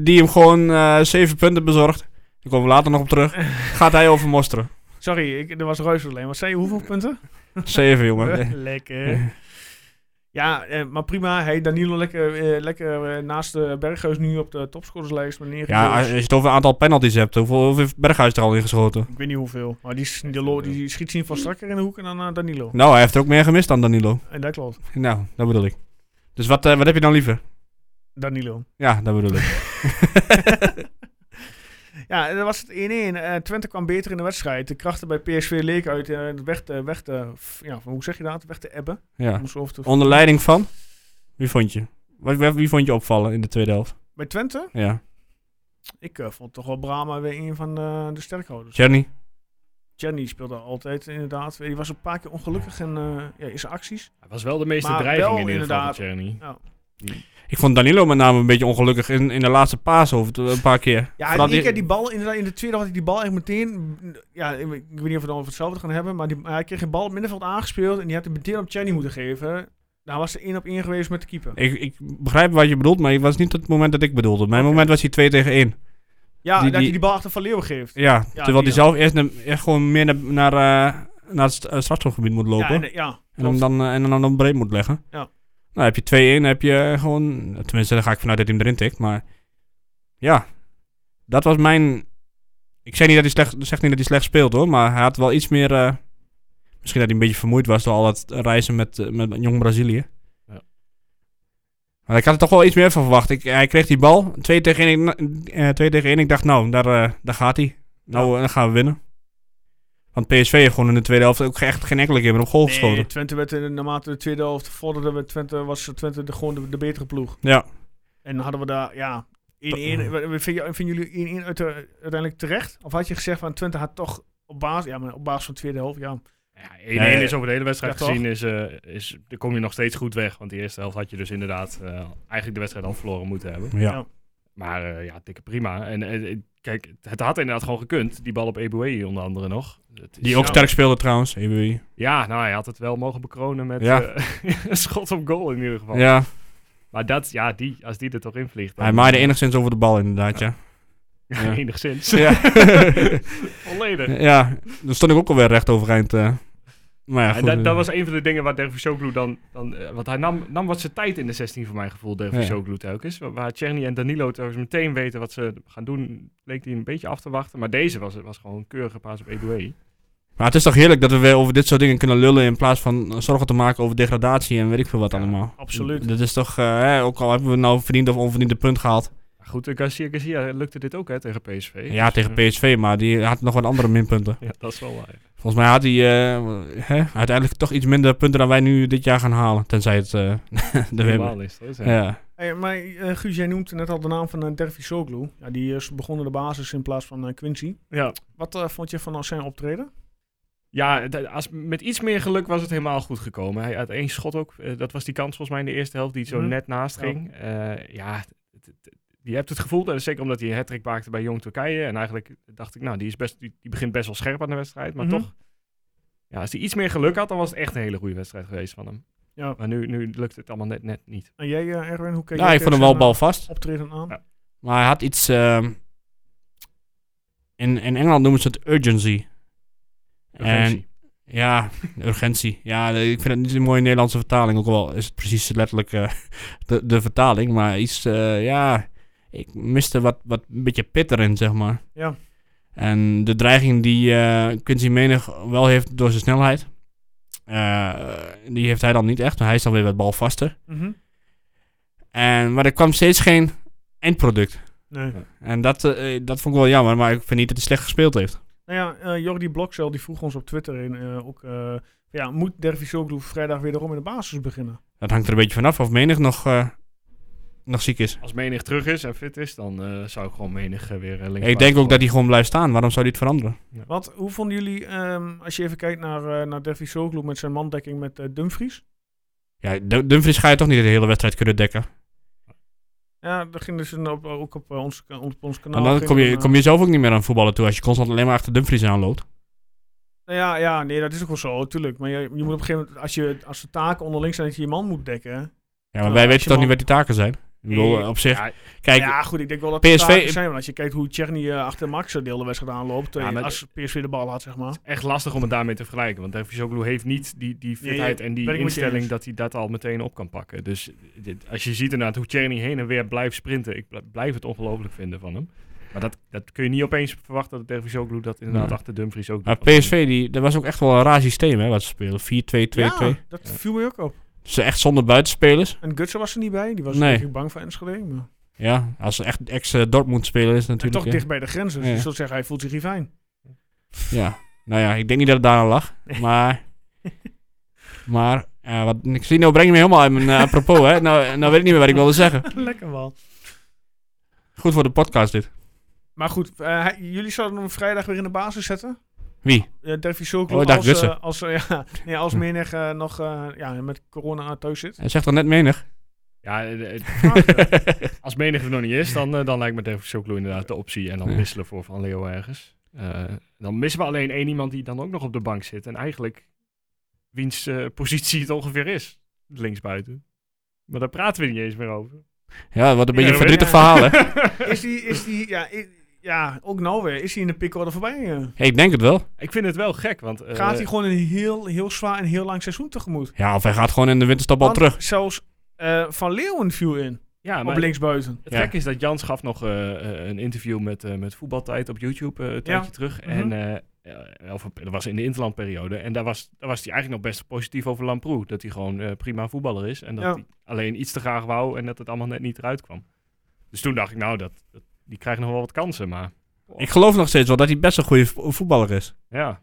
[SPEAKER 2] die hem gewoon eh, zeven punten bezorgt. Daar komen we later nog op terug. Gaat hij over mosteren.
[SPEAKER 1] Sorry, ik, er was reus alleen. Wat zei je, hoeveel punten? Eh,
[SPEAKER 2] Zeven, jongen.
[SPEAKER 1] lekker. Ja, eh, maar prima. Hey, Danilo lekker, eh, lekker eh, naast de Berghuis nu op de topscorerslijst. Maar
[SPEAKER 2] Ja, eh, als
[SPEAKER 1] neergezet.
[SPEAKER 2] als je het over een aantal penalties hebt, hoeveel, hoeveel heeft Berghuis er al in geschoten?
[SPEAKER 1] Ik weet niet hoeveel. Maar die, s- die, lo- die schiet zien van strakker in de hoeken dan eh, Danilo.
[SPEAKER 2] Nou, hij heeft er ook meer gemist dan Danilo.
[SPEAKER 1] En dat klopt.
[SPEAKER 2] Nou, dat bedoel ik. Dus wat, eh, wat heb je dan liever?
[SPEAKER 1] Danilo.
[SPEAKER 2] Ja, dat bedoel ik.
[SPEAKER 1] Ja, en dan was het 1-1. Eh, Twente kwam beter in de wedstrijd. De krachten bij PSV leken uit eh, weg te, weg te f- ja, hoe zeg je dat? Weg te ebben.
[SPEAKER 2] Ja.
[SPEAKER 1] Om zo over te-
[SPEAKER 2] Onder leiding van? Wie vond je? Wat- wat- Wie vond je opvallen in de tweede helft?
[SPEAKER 1] Bij Twente?
[SPEAKER 2] Ja.
[SPEAKER 1] Ik eh, vond toch wel Brahma weer een van de, de sterkhouders.
[SPEAKER 2] Johnny?
[SPEAKER 1] Jenny speelde altijd inderdaad. Die was een paar keer ongelukkig in, eh, ja, in zijn acties.
[SPEAKER 3] Hij was wel de meeste
[SPEAKER 1] Maar
[SPEAKER 3] dreiging
[SPEAKER 1] wel
[SPEAKER 3] in ieder geval
[SPEAKER 1] inderdaad.
[SPEAKER 3] van Tjerni.
[SPEAKER 2] Ik vond Danilo met name een beetje ongelukkig in, in de laatste paas over het- een paar keer.
[SPEAKER 1] Ja,
[SPEAKER 2] Vooral
[SPEAKER 1] en één keer die bal, inderdaad, in de tweede had hij die bal echt meteen... Ja, ik weet niet of we het dan over hetzelfde gaan hebben, maar die, hij kreeg een bal op het middenveld aangespeeld en die had hem meteen op Jenny moeten geven. Daar was er één op één geweest met de keeper.
[SPEAKER 2] ik, ik begrijp wat je bedoelt, maar het was niet het moment dat ik bedoelde. Mijn
[SPEAKER 1] Oké.
[SPEAKER 2] moment was hij 2 tegen 1.
[SPEAKER 1] Ja,
[SPEAKER 2] Die-
[SPEAKER 1] dat hij
[SPEAKER 2] die-
[SPEAKER 1] die bal achter Van Leeuwen geeft.
[SPEAKER 2] Ja, terwijl
[SPEAKER 1] die
[SPEAKER 2] hij
[SPEAKER 1] dan.
[SPEAKER 2] zelf eerst, naar- echt gewoon meer naar, naar, eh, naar het st- eh, strafschopgebied moet lopen.
[SPEAKER 1] Ja,
[SPEAKER 2] en,
[SPEAKER 1] en, ja,
[SPEAKER 2] hem
[SPEAKER 1] klopt.
[SPEAKER 2] dan, eh, en dan, dan breed moet leggen.
[SPEAKER 1] Ja.
[SPEAKER 2] Nou, heb je 2-1, dan heb je eh, gewoon... Tenminste, daar ga ik vanuit dat hij hem erin tikt, maar... Ja, dat was mijn... Ik zeg niet dat hij slecht, zeg niet dat hij slecht speelt, hoor. Maar hij had wel iets meer... eh, misschien dat hij een beetje vermoeid was door al dat reizen met, eh, met jong Brazilië.
[SPEAKER 3] Ja.
[SPEAKER 2] Maar ik had er toch wel iets meer van verwacht. Ik, hij kreeg die bal, 2 tegen 1. tegen één. ik dacht, nou, daar, eh, daar gaat hij. Nou, eh, dan gaan we winnen. Want PSV heeft gewoon in de tweede helft ook echt geen enkele keer meer op goal
[SPEAKER 1] Nee,
[SPEAKER 2] geschoten.
[SPEAKER 1] Twente werd in, naarmate de tweede helft vorderde, werd Twente, was Twente de, gewoon de, de betere ploeg.
[SPEAKER 2] Ja,
[SPEAKER 1] En hadden we daar, ja, 1-1.
[SPEAKER 2] Ja.
[SPEAKER 1] Wat- wat Vind je- vinden jullie 1-1 uit- uiteindelijk terecht? Of had je gezegd van Twente had toch op basis, ja, maar op basis van de tweede helft, ja.
[SPEAKER 3] Ja, 1-1
[SPEAKER 2] Ja, ja.
[SPEAKER 3] is over de hele wedstrijd
[SPEAKER 1] Ja, toch?
[SPEAKER 3] gezien. Is, eh, is, daar kom je nog steeds goed weg. Want die eerste helft had je dus inderdaad eh, eigenlijk de wedstrijd al verloren moeten hebben.
[SPEAKER 2] ja.
[SPEAKER 1] Ja.
[SPEAKER 3] Maar eh, ja, dikke prima. En eh, kijk, het had inderdaad gewoon gekund. Die bal op Eboué onder andere nog. Het is-
[SPEAKER 2] Die ook
[SPEAKER 3] nou,
[SPEAKER 2] sterk speelde trouwens, EBW.
[SPEAKER 3] Ja, nou hij had het wel mogen bekronen met
[SPEAKER 2] Ja.
[SPEAKER 3] eh, een schot op goal in ieder geval.
[SPEAKER 2] Ja,
[SPEAKER 3] Maar dat, ja, die, als die er toch in vliegt. dan-
[SPEAKER 2] hij maaide enigszins over de bal inderdaad, ja. ja.
[SPEAKER 3] enigszins.
[SPEAKER 2] Ja,
[SPEAKER 3] Volledig.
[SPEAKER 2] ja. daar stond ik ook alweer recht overeind. eh. Maar ja,
[SPEAKER 3] en
[SPEAKER 2] goed. eh.
[SPEAKER 3] dat, dat was een van de dingen waar Dervis Soglu dan... dan eh, want hij nam, nam wat zijn tijd in de 16 voor mijn gevoel, Dervis
[SPEAKER 2] Ja.
[SPEAKER 3] Soglu telkens. Waar- Waar Czerny en Danilo telkens meteen weten wat ze gaan doen, leek hij een beetje af te wachten. Maar deze was, was gewoon een keurige paas op Edoué.
[SPEAKER 2] Maar het is toch heerlijk dat we weer over dit soort dingen kunnen lullen. In plaats van eh, zorgen te maken over degradatie en weet ik veel wat
[SPEAKER 1] Ja,
[SPEAKER 2] allemaal.
[SPEAKER 1] absoluut.
[SPEAKER 2] Dat is toch, eh, hè, ook al hebben we nou verdiend of onverdiend een punt gehaald.
[SPEAKER 3] Maar Goed, eh, Garcia Garcia lukte dit ook hè, tegen PSV.
[SPEAKER 2] Ja,
[SPEAKER 3] Dus,
[SPEAKER 2] tegen
[SPEAKER 3] eh,
[SPEAKER 2] PSV, maar die had nog wat andere minpunten.
[SPEAKER 3] Ja, dat is wel waar.
[SPEAKER 2] Volgens mij had hij eh, hè, uiteindelijk toch iets minder punten dan wij nu dit jaar gaan halen. Tenzij het eh de
[SPEAKER 3] Normaal is dat. hè.
[SPEAKER 2] Ja.
[SPEAKER 1] Hey, maar eh, Guus, jij noemt net al de naam van uh, Dervis Soglu. Ja, die is begonnen de basis in plaats van eh, Quincy.
[SPEAKER 3] ja.
[SPEAKER 1] Wat eh, vond je van zijn optreden?
[SPEAKER 3] Ja, d- als, met iets meer geluk was het helemaal goed gekomen. Hij had één schot ook. eh, dat was die kans volgens mij in de eerste helft die zo
[SPEAKER 1] Mhm.
[SPEAKER 3] net naast
[SPEAKER 1] Ja.
[SPEAKER 3] ging. Eh, ja, t- t- t- je hebt het gevoel, en zeker omdat hij een hat maakte bij Jong Turkije. En eigenlijk dacht ik, nou, die, is best, die, die begint best wel scherp aan de wedstrijd. Maar
[SPEAKER 1] Mhm.
[SPEAKER 3] toch, ja, als hij iets meer geluk had, dan was het echt een hele goede wedstrijd geweest van hem.
[SPEAKER 1] Ja.
[SPEAKER 3] Maar nu, nu lukt het allemaal net, net niet.
[SPEAKER 1] En jij, eh, Erwin, hoe keek jij
[SPEAKER 2] ja, Nou, ik vond
[SPEAKER 1] tegen
[SPEAKER 2] hem wel
[SPEAKER 1] zijn, eh,
[SPEAKER 2] balvast.
[SPEAKER 1] optreden aan?
[SPEAKER 3] Ja.
[SPEAKER 2] Maar hij had iets... ehm, in, in Engeland noemen ze het urgency.
[SPEAKER 3] Urgentie.
[SPEAKER 2] En, ja, urgentie. Ja, eh, ik vind het niet een mooie Nederlandse vertaling. Ook al is het precies letterlijk eh, de, de vertaling. Maar iets, eh, ja... Ik miste wat, wat een beetje pit erin, zeg maar.
[SPEAKER 1] Ja.
[SPEAKER 2] En de dreiging die eh Quincy Menig wel heeft door zijn snelheid... eh, die heeft hij dan niet echt. Hij is dan weer wat balvaster.
[SPEAKER 1] Mhm.
[SPEAKER 2] En, maar er kwam steeds geen eindproduct.
[SPEAKER 1] Nee.
[SPEAKER 2] En dat, eh, dat vond ik wel jammer, maar ik vind niet dat hij slecht gespeeld heeft.
[SPEAKER 1] Nou ja, eh, Jordi Blokzel die vroeg ons op Twitter in, eh, ook, eh, ja, moet Dervis Soglu vrijdag weer erom in de basis beginnen?
[SPEAKER 2] Dat hangt er een beetje vanaf of menig nog eh, nog ziek is.
[SPEAKER 3] Als menig terug is en fit is, dan eh, zou ik gewoon menig eh, weer eh, links.
[SPEAKER 2] Ik denk ook dat hij gewoon blijft staan. Waarom zou hij het veranderen?
[SPEAKER 1] Wat, hoe vonden jullie, ehm, als je even kijkt naar, eh naar Davy Soglu met zijn mandekking met eh, Dumfries?
[SPEAKER 2] Ja, Dum- Dumfries ga je toch niet de hele wedstrijd kunnen dekken.
[SPEAKER 1] Nou, Ja, dat ging dus een, op, ook op, eh, ons, op ons kanaal.
[SPEAKER 2] Want Nou, dan
[SPEAKER 1] ging
[SPEAKER 2] kom
[SPEAKER 1] een,
[SPEAKER 2] je,
[SPEAKER 1] eh,
[SPEAKER 2] kom je zelf ook niet meer aan voetballen toe als je constant alleen maar achter Dumfries aanloopt.
[SPEAKER 1] Nou ja, ja, nee, dat is ook wel zo, natuurlijk. Maar je, je moet op een gegeven moment, als, je, als de taken onderling zijn dat je je man moet dekken.
[SPEAKER 2] Ja, maar
[SPEAKER 1] Nou,
[SPEAKER 2] wij
[SPEAKER 1] als
[SPEAKER 2] weten
[SPEAKER 1] je
[SPEAKER 2] toch
[SPEAKER 1] man-
[SPEAKER 2] niet wat die taken zijn? Ik bedoel,
[SPEAKER 1] Nee.
[SPEAKER 2] op zich.
[SPEAKER 3] Ja,
[SPEAKER 2] Kijk,
[SPEAKER 1] ja, goed, ik denk wel dat
[SPEAKER 2] PSV
[SPEAKER 1] de taken zijn. Want als je kijkt hoe Tjerni eh, achter Max de hele wedstrijd aanloopt, eh,
[SPEAKER 3] Ja, maar-
[SPEAKER 1] als PSV de bal had, zeg maar.
[SPEAKER 3] Echt lastig om het daarmee te vergelijken. Want Dervisoglu heeft niet die, die
[SPEAKER 1] Nee,
[SPEAKER 3] fitheid en die
[SPEAKER 1] ben ik met je
[SPEAKER 3] instelling
[SPEAKER 1] eens.
[SPEAKER 3] dat hij dat al meteen op kan pakken. Dus dit- als je ziet inderdaad hoe Tjerni heen en weer blijft sprinten. Ik bl- blijf het ongelooflijk vinden van hem. Maar dat, dat kun je niet opeens verwachten dat Dervisoglu dat inderdaad
[SPEAKER 2] Nee.
[SPEAKER 3] achter Dumfries ook
[SPEAKER 2] maar
[SPEAKER 3] doet. Want-
[SPEAKER 2] PSV, die, dat was ook echt wel een raar systeem hè, wat ze spelen. 4-2-2-2.
[SPEAKER 1] Ja, dat viel mij ook op.
[SPEAKER 2] Ze echt zonder buitenspelers.
[SPEAKER 1] En Gutsen was er niet bij, die was
[SPEAKER 2] Nee.
[SPEAKER 1] denk ik bang voor Enschede. Maar...
[SPEAKER 2] Ja, als ze echt ex-Dortmund spelen is
[SPEAKER 1] En
[SPEAKER 2] natuurlijk... eh,
[SPEAKER 1] toch
[SPEAKER 2] ja.
[SPEAKER 1] dicht bij de grens, dus
[SPEAKER 2] Ja.
[SPEAKER 1] je zult zeggen, hij voelt zich hier fijn.
[SPEAKER 2] Ja, nou ja, ik denk niet dat het daar aan lag. Maar. maar. eh wat, ik zie, nou breng je me helemaal uit mijn eh, apropos, hè? Nou, nou weet ik niet meer wat ik wilde zeggen.
[SPEAKER 1] Lekker wel.
[SPEAKER 2] Goed voor de podcast, dit.
[SPEAKER 1] Maar goed, eh, hij- jullie zouden hem vrijdag weer in de basis zetten?
[SPEAKER 2] Wie?
[SPEAKER 1] Ja, Davy
[SPEAKER 2] Oh,
[SPEAKER 1] Zulko
[SPEAKER 2] ik dacht
[SPEAKER 1] als,
[SPEAKER 2] Gutsen.
[SPEAKER 1] eh, als, eh, ja, nee, als menig eh, nog eh, ja, met corona thuis zit.
[SPEAKER 2] Hij zegt al net menig.
[SPEAKER 3] Ja, eh, eh,
[SPEAKER 1] Ah,
[SPEAKER 3] als menig er nog niet is, dan, eh, dan lijkt me Dervisoglu inderdaad de optie. En dan
[SPEAKER 2] Ja.
[SPEAKER 3] wisselen voor Van Leeuw ergens. Eh, dan missen we alleen één iemand die dan ook nog op de bank zit. En eigenlijk wiens eh, positie het ongeveer is. Linksbuiten. Maar daar praten we niet eens meer over.
[SPEAKER 2] Ja, wat een beetje
[SPEAKER 3] Ja,
[SPEAKER 2] een
[SPEAKER 3] dat
[SPEAKER 2] verdrietig
[SPEAKER 3] weet
[SPEAKER 1] ik.
[SPEAKER 2] verhaal, hè?
[SPEAKER 1] is die, is die, ja, i- ja, ook nou weer, is hij in de pickorde voorbij? eh?
[SPEAKER 2] Hey, ik denk het wel.
[SPEAKER 3] Ik vind het wel gek, want... eh,
[SPEAKER 1] Gaat hij gewoon een heel, heel zwaar en heel lang seizoen tegemoet?
[SPEAKER 2] Ja, of hij gaat gewoon in de winterstop al
[SPEAKER 1] Want
[SPEAKER 2] terug.
[SPEAKER 1] Zelfs eh, Van Leeuwen viel in,
[SPEAKER 3] Ja, maar
[SPEAKER 1] op linksbuiten.
[SPEAKER 3] het
[SPEAKER 2] Ja.
[SPEAKER 3] gek is dat Jans gaf nog eh, eh, een interview met, eh, met Voetbaltijd op YouTube eh, een tijdje terug.
[SPEAKER 1] Mhm.
[SPEAKER 3] En eh, eh, of, dat was in de interlandperiode. En daar was, daar was hij eigenlijk nog best positief over Lamproe. Dat hij gewoon eh, prima voetballer is. En dat
[SPEAKER 1] Ja.
[SPEAKER 3] hij alleen iets te graag wou en dat het allemaal net niet eruit kwam. Dus toen dacht ik, nou, dat, dat- die krijgt nog wel wat kansen. Maar
[SPEAKER 2] Ik geloof nog steeds wel dat hij best een goede vo- voetballer is.
[SPEAKER 3] ja,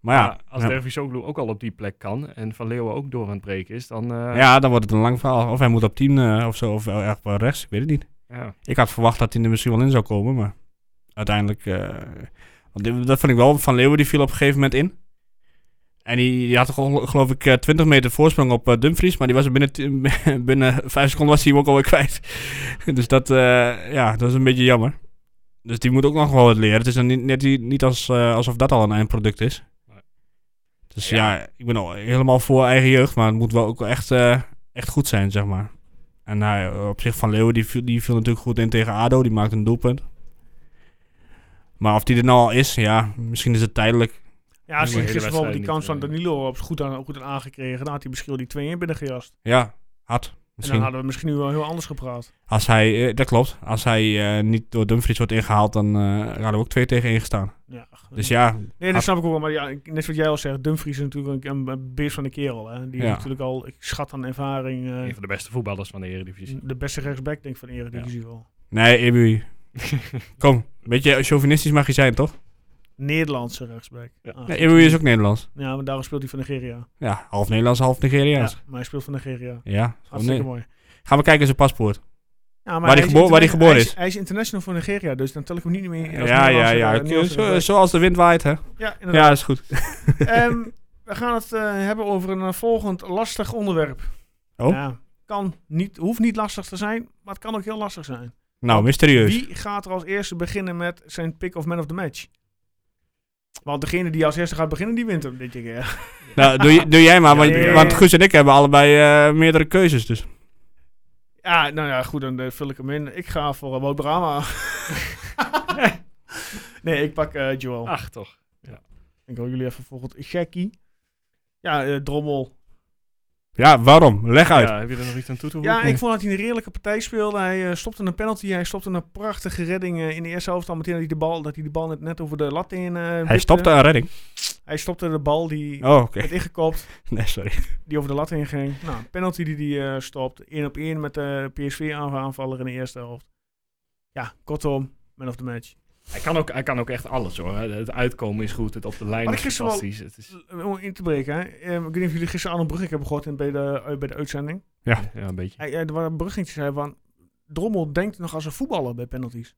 [SPEAKER 2] Maar ja,
[SPEAKER 3] Maar als
[SPEAKER 2] ja.
[SPEAKER 3] Dervisoglu ook al op die plek kan en Van Leeuwen ook door aan het breken is, dan... eh,
[SPEAKER 2] Ja, dan wordt het een lang verhaal. Of hij moet op 10 eh, of zo, of eh, echt wel rechts. Ik weet het niet.
[SPEAKER 3] ja.
[SPEAKER 2] Ik had verwacht dat hij er misschien wel in zou komen, maar uiteindelijk. eh, want dit- dat vond ik wel. Van Leeuwen die viel op een gegeven moment in. En die, die had toch al, geloof ik eh, 20 meter voorsprong op eh, Dumfries, maar die was er binnen, t- binnen 5 seconden was hij hem ook alweer kwijt. dus dat, eh, ja, dat is een beetje jammer. Dus die moet ook nog wel wat leren. Het is dan niet, net die- niet als, eh, alsof dat al een eindproduct is.
[SPEAKER 3] Nee.
[SPEAKER 2] Dus ja. ik ben al helemaal voor eigen jeugd, maar het moet wel ook wel echt, eh, echt goed zijn, zeg maar. En nou, op zich Van Leeuwen, die viel, die viel natuurlijk goed in tegen ADO. Die maakt een doelpunt. Maar of die er nou al is, ja, misschien is het tijdelijk.
[SPEAKER 1] Ja, als
[SPEAKER 3] de
[SPEAKER 1] hij
[SPEAKER 3] hele
[SPEAKER 1] gisteren bijvoorbeeld die
[SPEAKER 3] wedstrijd
[SPEAKER 1] kans
[SPEAKER 3] niet,
[SPEAKER 1] van
[SPEAKER 3] eh.
[SPEAKER 1] Danilo op goed aan, goed aan aangekregen, dan Nou, had hij misschien wel die 2-1 binnengejast.
[SPEAKER 2] Ja, had.
[SPEAKER 1] En dan
[SPEAKER 2] Misschien.
[SPEAKER 1] hadden we misschien nu wel heel anders gepraat.
[SPEAKER 2] Als hij, eh, dat klopt. Als hij eh, niet door Dumfries wordt ingehaald, dan eh hadden we ook twee tegen één gestaan.
[SPEAKER 1] Ja,
[SPEAKER 2] Dus ja,
[SPEAKER 1] Nee, dat
[SPEAKER 2] Had-
[SPEAKER 1] snap ik ook wel. Maar ja, ik- net wat jij al zegt, Dumfries is natuurlijk een, een, een beest van de kerel. Hè? Die
[SPEAKER 2] Ja.
[SPEAKER 1] heeft natuurlijk al, ik schat aan ervaring, eh,
[SPEAKER 3] Een van de beste voetballers van de Eredivisie.
[SPEAKER 1] de beste rechtsback denk ik van de Eredivisie wel.
[SPEAKER 2] nee, Ebu. Kom, een beetje chauvinistisch mag je zijn, toch?
[SPEAKER 1] Nederlandse rechtsback.
[SPEAKER 3] Ja.
[SPEAKER 1] Ah,
[SPEAKER 2] Nee, Ebu is ook Nederlands.
[SPEAKER 1] Ja, maar daarom speelt hij van Nigeria.
[SPEAKER 2] Ja, half Nederlands, half
[SPEAKER 1] Ja,
[SPEAKER 2] Nigeriaans.
[SPEAKER 1] maar hij speelt van Nigeria.
[SPEAKER 2] Ja, gewoon
[SPEAKER 1] Hartstikke
[SPEAKER 2] Oh, nee.
[SPEAKER 1] mooi.
[SPEAKER 2] Gaan we kijken zijn paspoort.
[SPEAKER 1] Ja, maar
[SPEAKER 2] Waar die gebo- waar
[SPEAKER 1] interna-
[SPEAKER 2] die geboren
[SPEAKER 1] hij
[SPEAKER 2] is.
[SPEAKER 1] Hij is international voor Nigeria, dus dan tel ik hem niet meer in als
[SPEAKER 2] Ja, ja,
[SPEAKER 1] Nederlandse-
[SPEAKER 2] ja. eh,
[SPEAKER 1] Nederlandse
[SPEAKER 2] Zo-
[SPEAKER 1] rechtsback.
[SPEAKER 2] Zoals de wind waait, hè?
[SPEAKER 1] Ja, inderdaad.
[SPEAKER 2] Ja, is goed.
[SPEAKER 1] Ehm, we gaan het eh, hebben over een eh, volgend lastig onderwerp.
[SPEAKER 2] Oh.
[SPEAKER 1] Ja, kan niet, hoeft niet lastig te zijn, maar het kan ook heel lastig zijn.
[SPEAKER 2] Nou, mysterieus.
[SPEAKER 1] Wie gaat er als eerste beginnen met zijn pick of man of the match? Want degene die als eerste gaat beginnen, die wint hem dit keer.
[SPEAKER 2] Nou, doe, j- doe jij maar,
[SPEAKER 1] Ja,
[SPEAKER 2] want,
[SPEAKER 1] ja, ja,
[SPEAKER 2] want
[SPEAKER 1] ja.
[SPEAKER 2] Guus en ik hebben allebei eh, meerdere keuzes. Dus.
[SPEAKER 1] Ja, nou ja, goed, dan eh, vul ik hem in. Ik ga voor uh, Brahma. nee, ik pak eh, Joel.
[SPEAKER 3] Ach, toch.
[SPEAKER 1] Ik wil jullie even volgend Gekkie. Ja, eh, Drommel.
[SPEAKER 2] Ja, waarom? Leg uit.
[SPEAKER 3] Ja, heb je er nog iets aan toe te voegen?
[SPEAKER 1] Ja, ik vond dat hij een redelijke partij speelde. Hij eh, stopte een penalty. Hij stopte een prachtige redding eh, in de eerste helft. Al meteen dat hij de bal, dat hij de bal net, net over de lat in. eh,
[SPEAKER 2] Hij
[SPEAKER 1] wipte.
[SPEAKER 2] stopte een redding.
[SPEAKER 1] Hij stopte de bal die
[SPEAKER 2] Oh, oké.
[SPEAKER 1] werd ingekopt.
[SPEAKER 2] Nee, sorry.
[SPEAKER 1] Die over de lat heen ging. Nou, een penalty die hij eh, stopt. 1 op 1 met eh, de PSV-aanvaller in de eerste helft. Ja, kortom, man of the match.
[SPEAKER 3] Hij kan, ook, hij kan ook echt alles hoor. Het uitkomen is goed, het op de lijn
[SPEAKER 1] Maar
[SPEAKER 3] is
[SPEAKER 1] ik gisteren wel-
[SPEAKER 3] fantastisch. Het is,
[SPEAKER 1] L- Eh, Om in te breken, hè. Ehm, ik weet niet of jullie gisteren Arno Brugge hebben gehoord in, bij, de, bij de eh, uitzending. eh,
[SPEAKER 3] ja, een beetje.
[SPEAKER 1] Hij, hij, er waren Brugge die zei van... Drommel denkt nog als een voetballer bij penalties.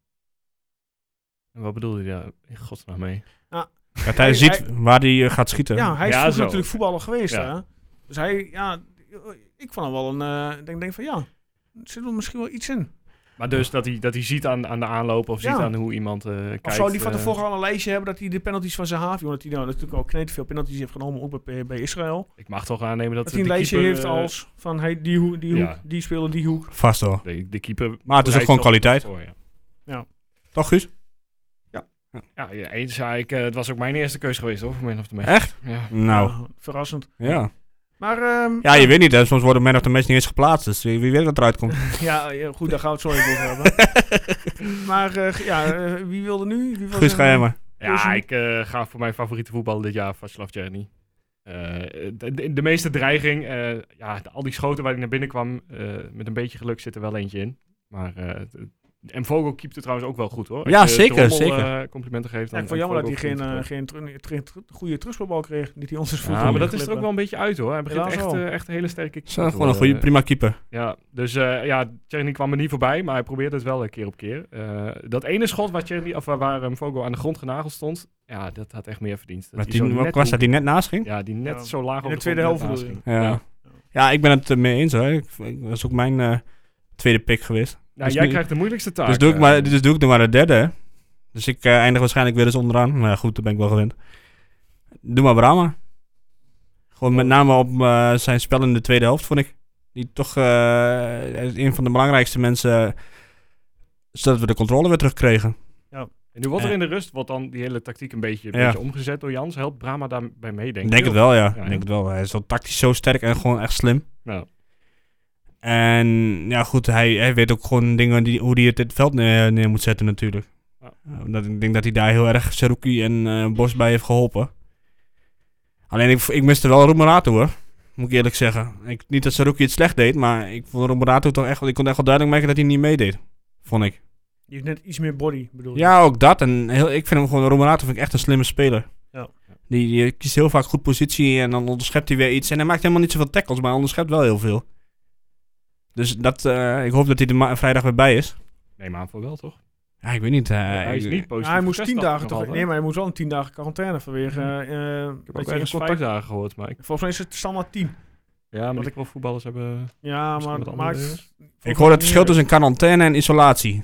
[SPEAKER 3] En wat bedoelde hij daar in godsnaam mee?
[SPEAKER 2] Dat hij
[SPEAKER 1] Hij-
[SPEAKER 2] ziet
[SPEAKER 1] hij-
[SPEAKER 2] waar hij eh, gaat schieten.
[SPEAKER 1] Ja, hij is
[SPEAKER 3] Ja,
[SPEAKER 1] vroeger
[SPEAKER 3] zo.
[SPEAKER 1] natuurlijk voetballer geweest.
[SPEAKER 3] Ja.
[SPEAKER 1] Hè? Dus hij, ja, ik vond hem wel een. eh, Ik denk, denk van ja, er zit er misschien wel iets in.
[SPEAKER 3] Maar dus dat hij, dat hij ziet aan, aan de aanloop of
[SPEAKER 1] Ja.
[SPEAKER 3] ziet aan hoe iemand eh kijkt.
[SPEAKER 1] Of zou die van
[SPEAKER 3] eh,
[SPEAKER 1] tevoren al een lijstje hebben dat hij de penalties van zijn haven, omdat hij nou natuurlijk al kneed veel penalties heeft genomen, ook bij, bij Israël.
[SPEAKER 3] ik mag toch aannemen dat,
[SPEAKER 1] Dat hij een
[SPEAKER 3] de
[SPEAKER 1] lijstje
[SPEAKER 3] keeper,
[SPEAKER 1] heeft
[SPEAKER 3] eh,
[SPEAKER 1] als van hey, die, hoek, die, hoek,
[SPEAKER 3] Ja.
[SPEAKER 1] die speler, die hoek.
[SPEAKER 2] Vast wel.
[SPEAKER 3] de, de keeper.
[SPEAKER 2] Maar het is ook
[SPEAKER 3] bereidt
[SPEAKER 2] gewoon kwaliteit.
[SPEAKER 3] toch- Oh, ja.
[SPEAKER 2] Toch, Guus?
[SPEAKER 3] Ja, ja, eens zei ik, eh, het was ook mijn eerste keus geweest hoor, voor Man of the Match.
[SPEAKER 2] Echt?
[SPEAKER 3] Ja.
[SPEAKER 2] Nou,
[SPEAKER 1] Ja, verrassend.
[SPEAKER 2] ja.
[SPEAKER 1] Maar ehm,
[SPEAKER 2] Ja, je weet niet. Hè. Soms worden men of de match niet eens geplaatst. Dus wie wie weet wat eruit komt.
[SPEAKER 1] ja, ja, goed, daar gaan we het zo even over hebben. maar eh, ja, eh, wie wilde nu? Wie wilde
[SPEAKER 2] Guus, ga jij maar.
[SPEAKER 3] Ja, ik eh, ga voor mijn favoriete voetballer dit jaar, Václav Czerny. de, de- de meeste dreiging, eh, ja, de- al die schoten waar hij naar binnen kwam, eh, met een beetje geluk zit er wel eentje in. Maar eh, de- en Vogel keepte trouwens ook wel goed hoor. Als
[SPEAKER 2] Ja,
[SPEAKER 3] je
[SPEAKER 2] zeker,
[SPEAKER 3] Drommel,
[SPEAKER 2] zeker.
[SPEAKER 3] eh, complimenten
[SPEAKER 1] Ja,
[SPEAKER 3] geeft. dan
[SPEAKER 1] ik vond jammer dat hij geen,
[SPEAKER 3] keepte
[SPEAKER 1] eh,
[SPEAKER 3] het
[SPEAKER 1] geen, tru- geen tru- goede terugspelbal kreeg. Niet die ons is
[SPEAKER 3] goed. Ja, maar dat is er ook
[SPEAKER 1] eh.
[SPEAKER 3] wel een beetje uit hoor. Hij begint
[SPEAKER 1] Helaas
[SPEAKER 3] echt,
[SPEAKER 1] wel.
[SPEAKER 3] eh, echt een hele sterke
[SPEAKER 2] Is,
[SPEAKER 3] keeper.
[SPEAKER 2] eh,
[SPEAKER 3] te
[SPEAKER 2] gewoon een goede,
[SPEAKER 3] worden.
[SPEAKER 2] prima keeper.
[SPEAKER 3] Ja, dus eh ja, Tjerni kwam er niet voorbij, maar hij probeerde het wel eh, keer op keer. Eh, dat ene schot waar, Tjerni, of waar, waar eh, Vogel aan de grond genageld stond, ja, dat had echt meer verdiend. Dat
[SPEAKER 2] Met
[SPEAKER 3] hij
[SPEAKER 2] die,
[SPEAKER 3] zo net
[SPEAKER 2] wat was
[SPEAKER 3] hoe-
[SPEAKER 2] dat die net naast ging?
[SPEAKER 3] Ja, die net
[SPEAKER 1] Ja.
[SPEAKER 3] zo laag
[SPEAKER 1] In
[SPEAKER 3] op
[SPEAKER 1] de
[SPEAKER 3] grond
[SPEAKER 1] tweede
[SPEAKER 3] net
[SPEAKER 1] helft bedoel
[SPEAKER 3] naast
[SPEAKER 2] je?
[SPEAKER 3] ging.
[SPEAKER 2] Ja. Ja, ik ben het eh, mee eens hoor. Ik, ik- dat is ook mijn eh, tweede pick geweest.
[SPEAKER 3] Nou,
[SPEAKER 2] Dus
[SPEAKER 3] jij
[SPEAKER 2] nu-
[SPEAKER 3] krijgt de moeilijkste taak.
[SPEAKER 2] dus, doe ik
[SPEAKER 3] eh.
[SPEAKER 2] maar, dus doe ik er maar de derde. hè. Dus ik eh, eindig waarschijnlijk weer eens onderaan. Maar goed, daar ben ik wel gewend. Doe maar Brahma. Gewoon met name op eh, zijn spel in de tweede helft, vond ik. Die toch eh, een van de belangrijkste mensen... eh, zodat we de controle weer terugkregen.
[SPEAKER 3] En nu wordt er
[SPEAKER 2] Ja.
[SPEAKER 3] in de rust wordt dan die hele tactiek een beetje, een
[SPEAKER 2] Ja.
[SPEAKER 3] beetje omgezet door Jans. Helpt Brahma daarbij mee, denk
[SPEAKER 2] Ik
[SPEAKER 3] ik.
[SPEAKER 2] denk het wel, ja.
[SPEAKER 3] Ja,
[SPEAKER 2] Ik
[SPEAKER 3] ja.
[SPEAKER 2] denk het wel. Hij is zo tactisch zo sterk en gewoon echt slim.
[SPEAKER 3] Nou,
[SPEAKER 2] En ja, goed, hij, hij weet ook gewoon dingen die, hoe hij het, het veld neer, neer moet zetten natuurlijk.
[SPEAKER 3] Ja.
[SPEAKER 2] Uh, Dat, ik denk dat hij daar heel erg Seruki en eh, Bos bij heeft geholpen. Alleen ik, ik miste wel Romerato hoor. Moet ik eerlijk zeggen. Ik, niet dat Seruki het slecht deed, maar ik vond Romerato toch echt... wel- Ik kon echt wel duidelijk merken dat hij niet meedeed. Vond ik.
[SPEAKER 1] Je heeft net iets meer body, bedoel je?
[SPEAKER 2] Ja, ook dat. En heel, ik vind hem gewoon, Romerato vind ik echt een slimme speler.
[SPEAKER 1] Ja.
[SPEAKER 2] Die, die kiest heel vaak goed positie en dan onderschept hij weer iets. En hij maakt helemaal niet zoveel tackles, maar hij onderschept wel heel veel. Dus dat, eh, ik hoop dat hij er ma- vrijdag weer bij is.
[SPEAKER 3] neem aan voor wel, toch?
[SPEAKER 2] Ja, ik weet niet. eh,
[SPEAKER 3] hij Oh, is
[SPEAKER 2] ik-
[SPEAKER 3] niet positief.
[SPEAKER 1] Ja, hij moest
[SPEAKER 3] getest,
[SPEAKER 1] tien
[SPEAKER 3] dacht
[SPEAKER 1] dagen
[SPEAKER 3] ik nog
[SPEAKER 1] toch?
[SPEAKER 3] altijd.
[SPEAKER 1] Nee, maar hij moest wel een tien dagen quarantaine vanwege. eh, eh,
[SPEAKER 3] Ik heb
[SPEAKER 1] dat
[SPEAKER 3] ook
[SPEAKER 1] je in
[SPEAKER 3] ergens vijf
[SPEAKER 1] contact.
[SPEAKER 3] dagen gehoord, maar ik,
[SPEAKER 1] Volgens mij is het standaard tien.
[SPEAKER 3] ja, maar
[SPEAKER 1] Want
[SPEAKER 3] die profvoetballers hebben... eh,
[SPEAKER 1] Ja,
[SPEAKER 3] Misschien wat
[SPEAKER 1] maar.
[SPEAKER 3] andere
[SPEAKER 1] maar
[SPEAKER 3] dingen.
[SPEAKER 2] Ik hoor het verschil tussen quarantaine en isolatie.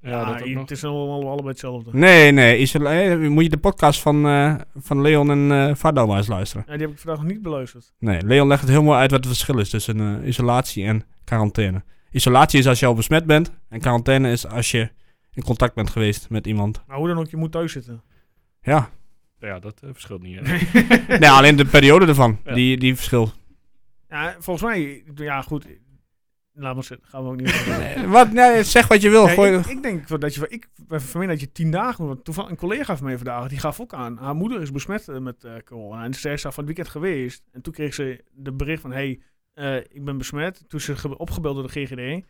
[SPEAKER 3] dus Ja,
[SPEAKER 1] Ja,
[SPEAKER 3] dat ook nog.
[SPEAKER 1] Ah, het is allemaal allebei hetzelfde.
[SPEAKER 2] Nee, nee. Isola eh, moet je de podcast van, eh, van Leon en eh Vardal maar eens luisteren.
[SPEAKER 1] Ja, die heb ik vandaag nog niet beluisterd.
[SPEAKER 2] Nee, Leon legt het heel mooi uit wat het verschil is tussen eh, isolatie en quarantaine. Isolatie is als je al besmet bent en quarantaine is als je in contact bent geweest met iemand.
[SPEAKER 1] Maar hoe dan ook, je moet thuis zitten.
[SPEAKER 2] Ja,
[SPEAKER 3] Ja, dat eh, verschilt niet. hè.
[SPEAKER 2] nee, alleen de periode ervan,
[SPEAKER 3] Ja.
[SPEAKER 2] die, die verschilt.
[SPEAKER 1] Ja, volgens mij, ja goed. Laat maar zitten, gaan we ook niet. over.
[SPEAKER 2] Eh, Wat, nee, zeg wat je wil.
[SPEAKER 1] Nee,
[SPEAKER 2] gooi-
[SPEAKER 1] ik, ik denk wel dat je, ik ben van mening dat je tien dagen, moet, want toevallig een collega van mij vandaag, die gaf ook aan, haar moeder is besmet eh, met eh, corona. En zij is daar van het weekend geweest. En toen kreeg ze de bericht van, hey, eh, ik ben besmet. Toen is ze ge- opgebeld door de GGD.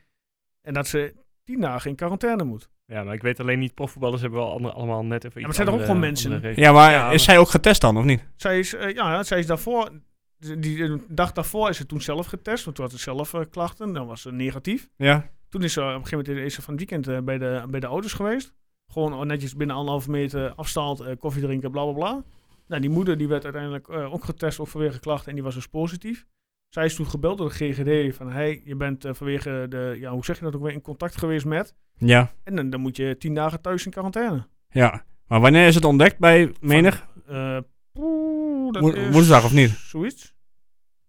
[SPEAKER 1] En dat ze tien dagen in quarantaine moet.
[SPEAKER 3] Ja, maar ik weet alleen niet, profvoetballers hebben wel ander- allemaal net even
[SPEAKER 1] Ja,
[SPEAKER 3] iets
[SPEAKER 1] maar het zijn toch ook
[SPEAKER 3] andere-
[SPEAKER 1] gewoon mensen?
[SPEAKER 3] andere regels.
[SPEAKER 2] ja, maar
[SPEAKER 3] Ja, maar-
[SPEAKER 2] is zij ook getest dan, of niet?
[SPEAKER 1] Zij is, eh, ja, zij is daarvoor, die, de dag daarvoor is ze toen zelf getest, want toen had ze zelf eh, klachten. Dan was ze negatief.
[SPEAKER 2] Ja.
[SPEAKER 1] Toen is ze op een gegeven moment is ze van het weekend eh, bij, de, bij de ouders geweest. Gewoon netjes binnen anderhalve meter afstand, eh, koffie drinken, bla bla bla. Nou, die moeder die werd uiteindelijk eh, ook getest, ook vanwege klachten, en die was dus positief. Zij is toen gebeld door de GGD van, hey, je bent eh, vanwege de, ja, hoe zeg je dat ook weer, in contact geweest met.
[SPEAKER 2] Ja,
[SPEAKER 1] En dan, dan moet je tien dagen thuis in quarantaine.
[SPEAKER 2] ja. Maar wanneer is het ontdekt bij menig?
[SPEAKER 1] Eh, poeh, dat
[SPEAKER 2] Wo-
[SPEAKER 1] is
[SPEAKER 2] woensdag of niet?
[SPEAKER 1] Zoiets.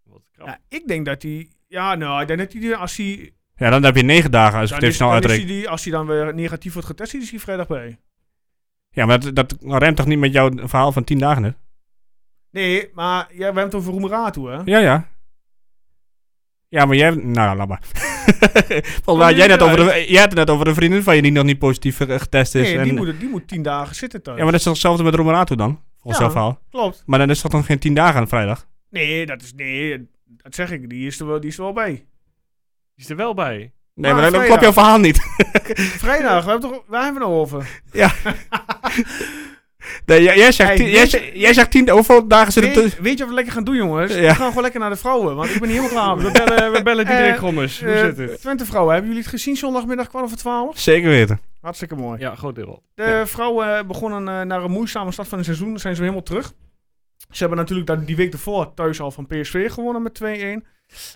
[SPEAKER 3] Wat krap.
[SPEAKER 1] Ja, ik denk dat die, ja, nou, ik denk dat die, als hij,
[SPEAKER 2] Ja, dan heb je negen dagen, als ik
[SPEAKER 1] dan
[SPEAKER 2] het even
[SPEAKER 1] is-
[SPEAKER 2] snel
[SPEAKER 1] dan is
[SPEAKER 2] uitreken.
[SPEAKER 1] die, die- als hij dan weer negatief wordt getest, die is hij vrijdag bij.
[SPEAKER 2] Ja, maar dat, dat remt toch niet met jouw verhaal van tien dagen, hè?
[SPEAKER 1] Nee, maar ja, we hebben het over Roemerato, hè?
[SPEAKER 2] Ja, ja. Ja, maar jij... Nou, laat maar. Volgens mij
[SPEAKER 1] Maar
[SPEAKER 2] had jij,
[SPEAKER 1] nu
[SPEAKER 2] net over de, jij had het net over een vriendin van je die nog niet positief eh, getest is.
[SPEAKER 1] Nee,
[SPEAKER 2] en,
[SPEAKER 1] die moet, die moet tien dagen zitten thuis.
[SPEAKER 2] Ja, maar dat is toch hetzelfde met Romerato dan? Volgens
[SPEAKER 1] Ja.
[SPEAKER 2] jouw verhaal.
[SPEAKER 1] Klopt.
[SPEAKER 2] Maar dan is dat dan geen tien dagen aan vrijdag?
[SPEAKER 1] Nee, dat is... Nee, dat zeg ik. Die is er wel, die is er wel bij.
[SPEAKER 3] Die is er wel bij.
[SPEAKER 2] Nee,
[SPEAKER 1] Maar
[SPEAKER 2] maar dan
[SPEAKER 1] vrijdag.
[SPEAKER 2] klopt jouw verhaal niet.
[SPEAKER 1] Vrijdag, we hebben toch... Waar hebben we nou over?
[SPEAKER 2] Ja. Nee, jij, jij zegt
[SPEAKER 1] Hey,
[SPEAKER 2] tien, jij,
[SPEAKER 1] weet
[SPEAKER 2] zegt- jij zegt tien, hoeveel dagen zit het
[SPEAKER 1] Weet,
[SPEAKER 2] tussen?
[SPEAKER 1] weet je wat we lekker gaan doen, jongens?
[SPEAKER 2] Ja.
[SPEAKER 1] We gaan gewoon lekker naar de vrouwen, want ik ben niet helemaal klaar
[SPEAKER 3] We
[SPEAKER 1] mee.
[SPEAKER 3] bellen, we bellen Diederik
[SPEAKER 1] Eh,
[SPEAKER 3] Gommers. Hoe
[SPEAKER 1] Eh,
[SPEAKER 3] zit het?
[SPEAKER 1] Twente vrouwen, hebben jullie het gezien zondagmiddag kwart over twaalf?
[SPEAKER 2] Zeker weten.
[SPEAKER 1] Hartstikke mooi.
[SPEAKER 3] Ja, groot deel wel.
[SPEAKER 1] De vrouwen begonnen eh, naar een moeizame start van het seizoen. Zijn ze weer helemaal terug. Ze hebben natuurlijk daar- die week ervoor thuis al van PSV gewonnen met 2-1.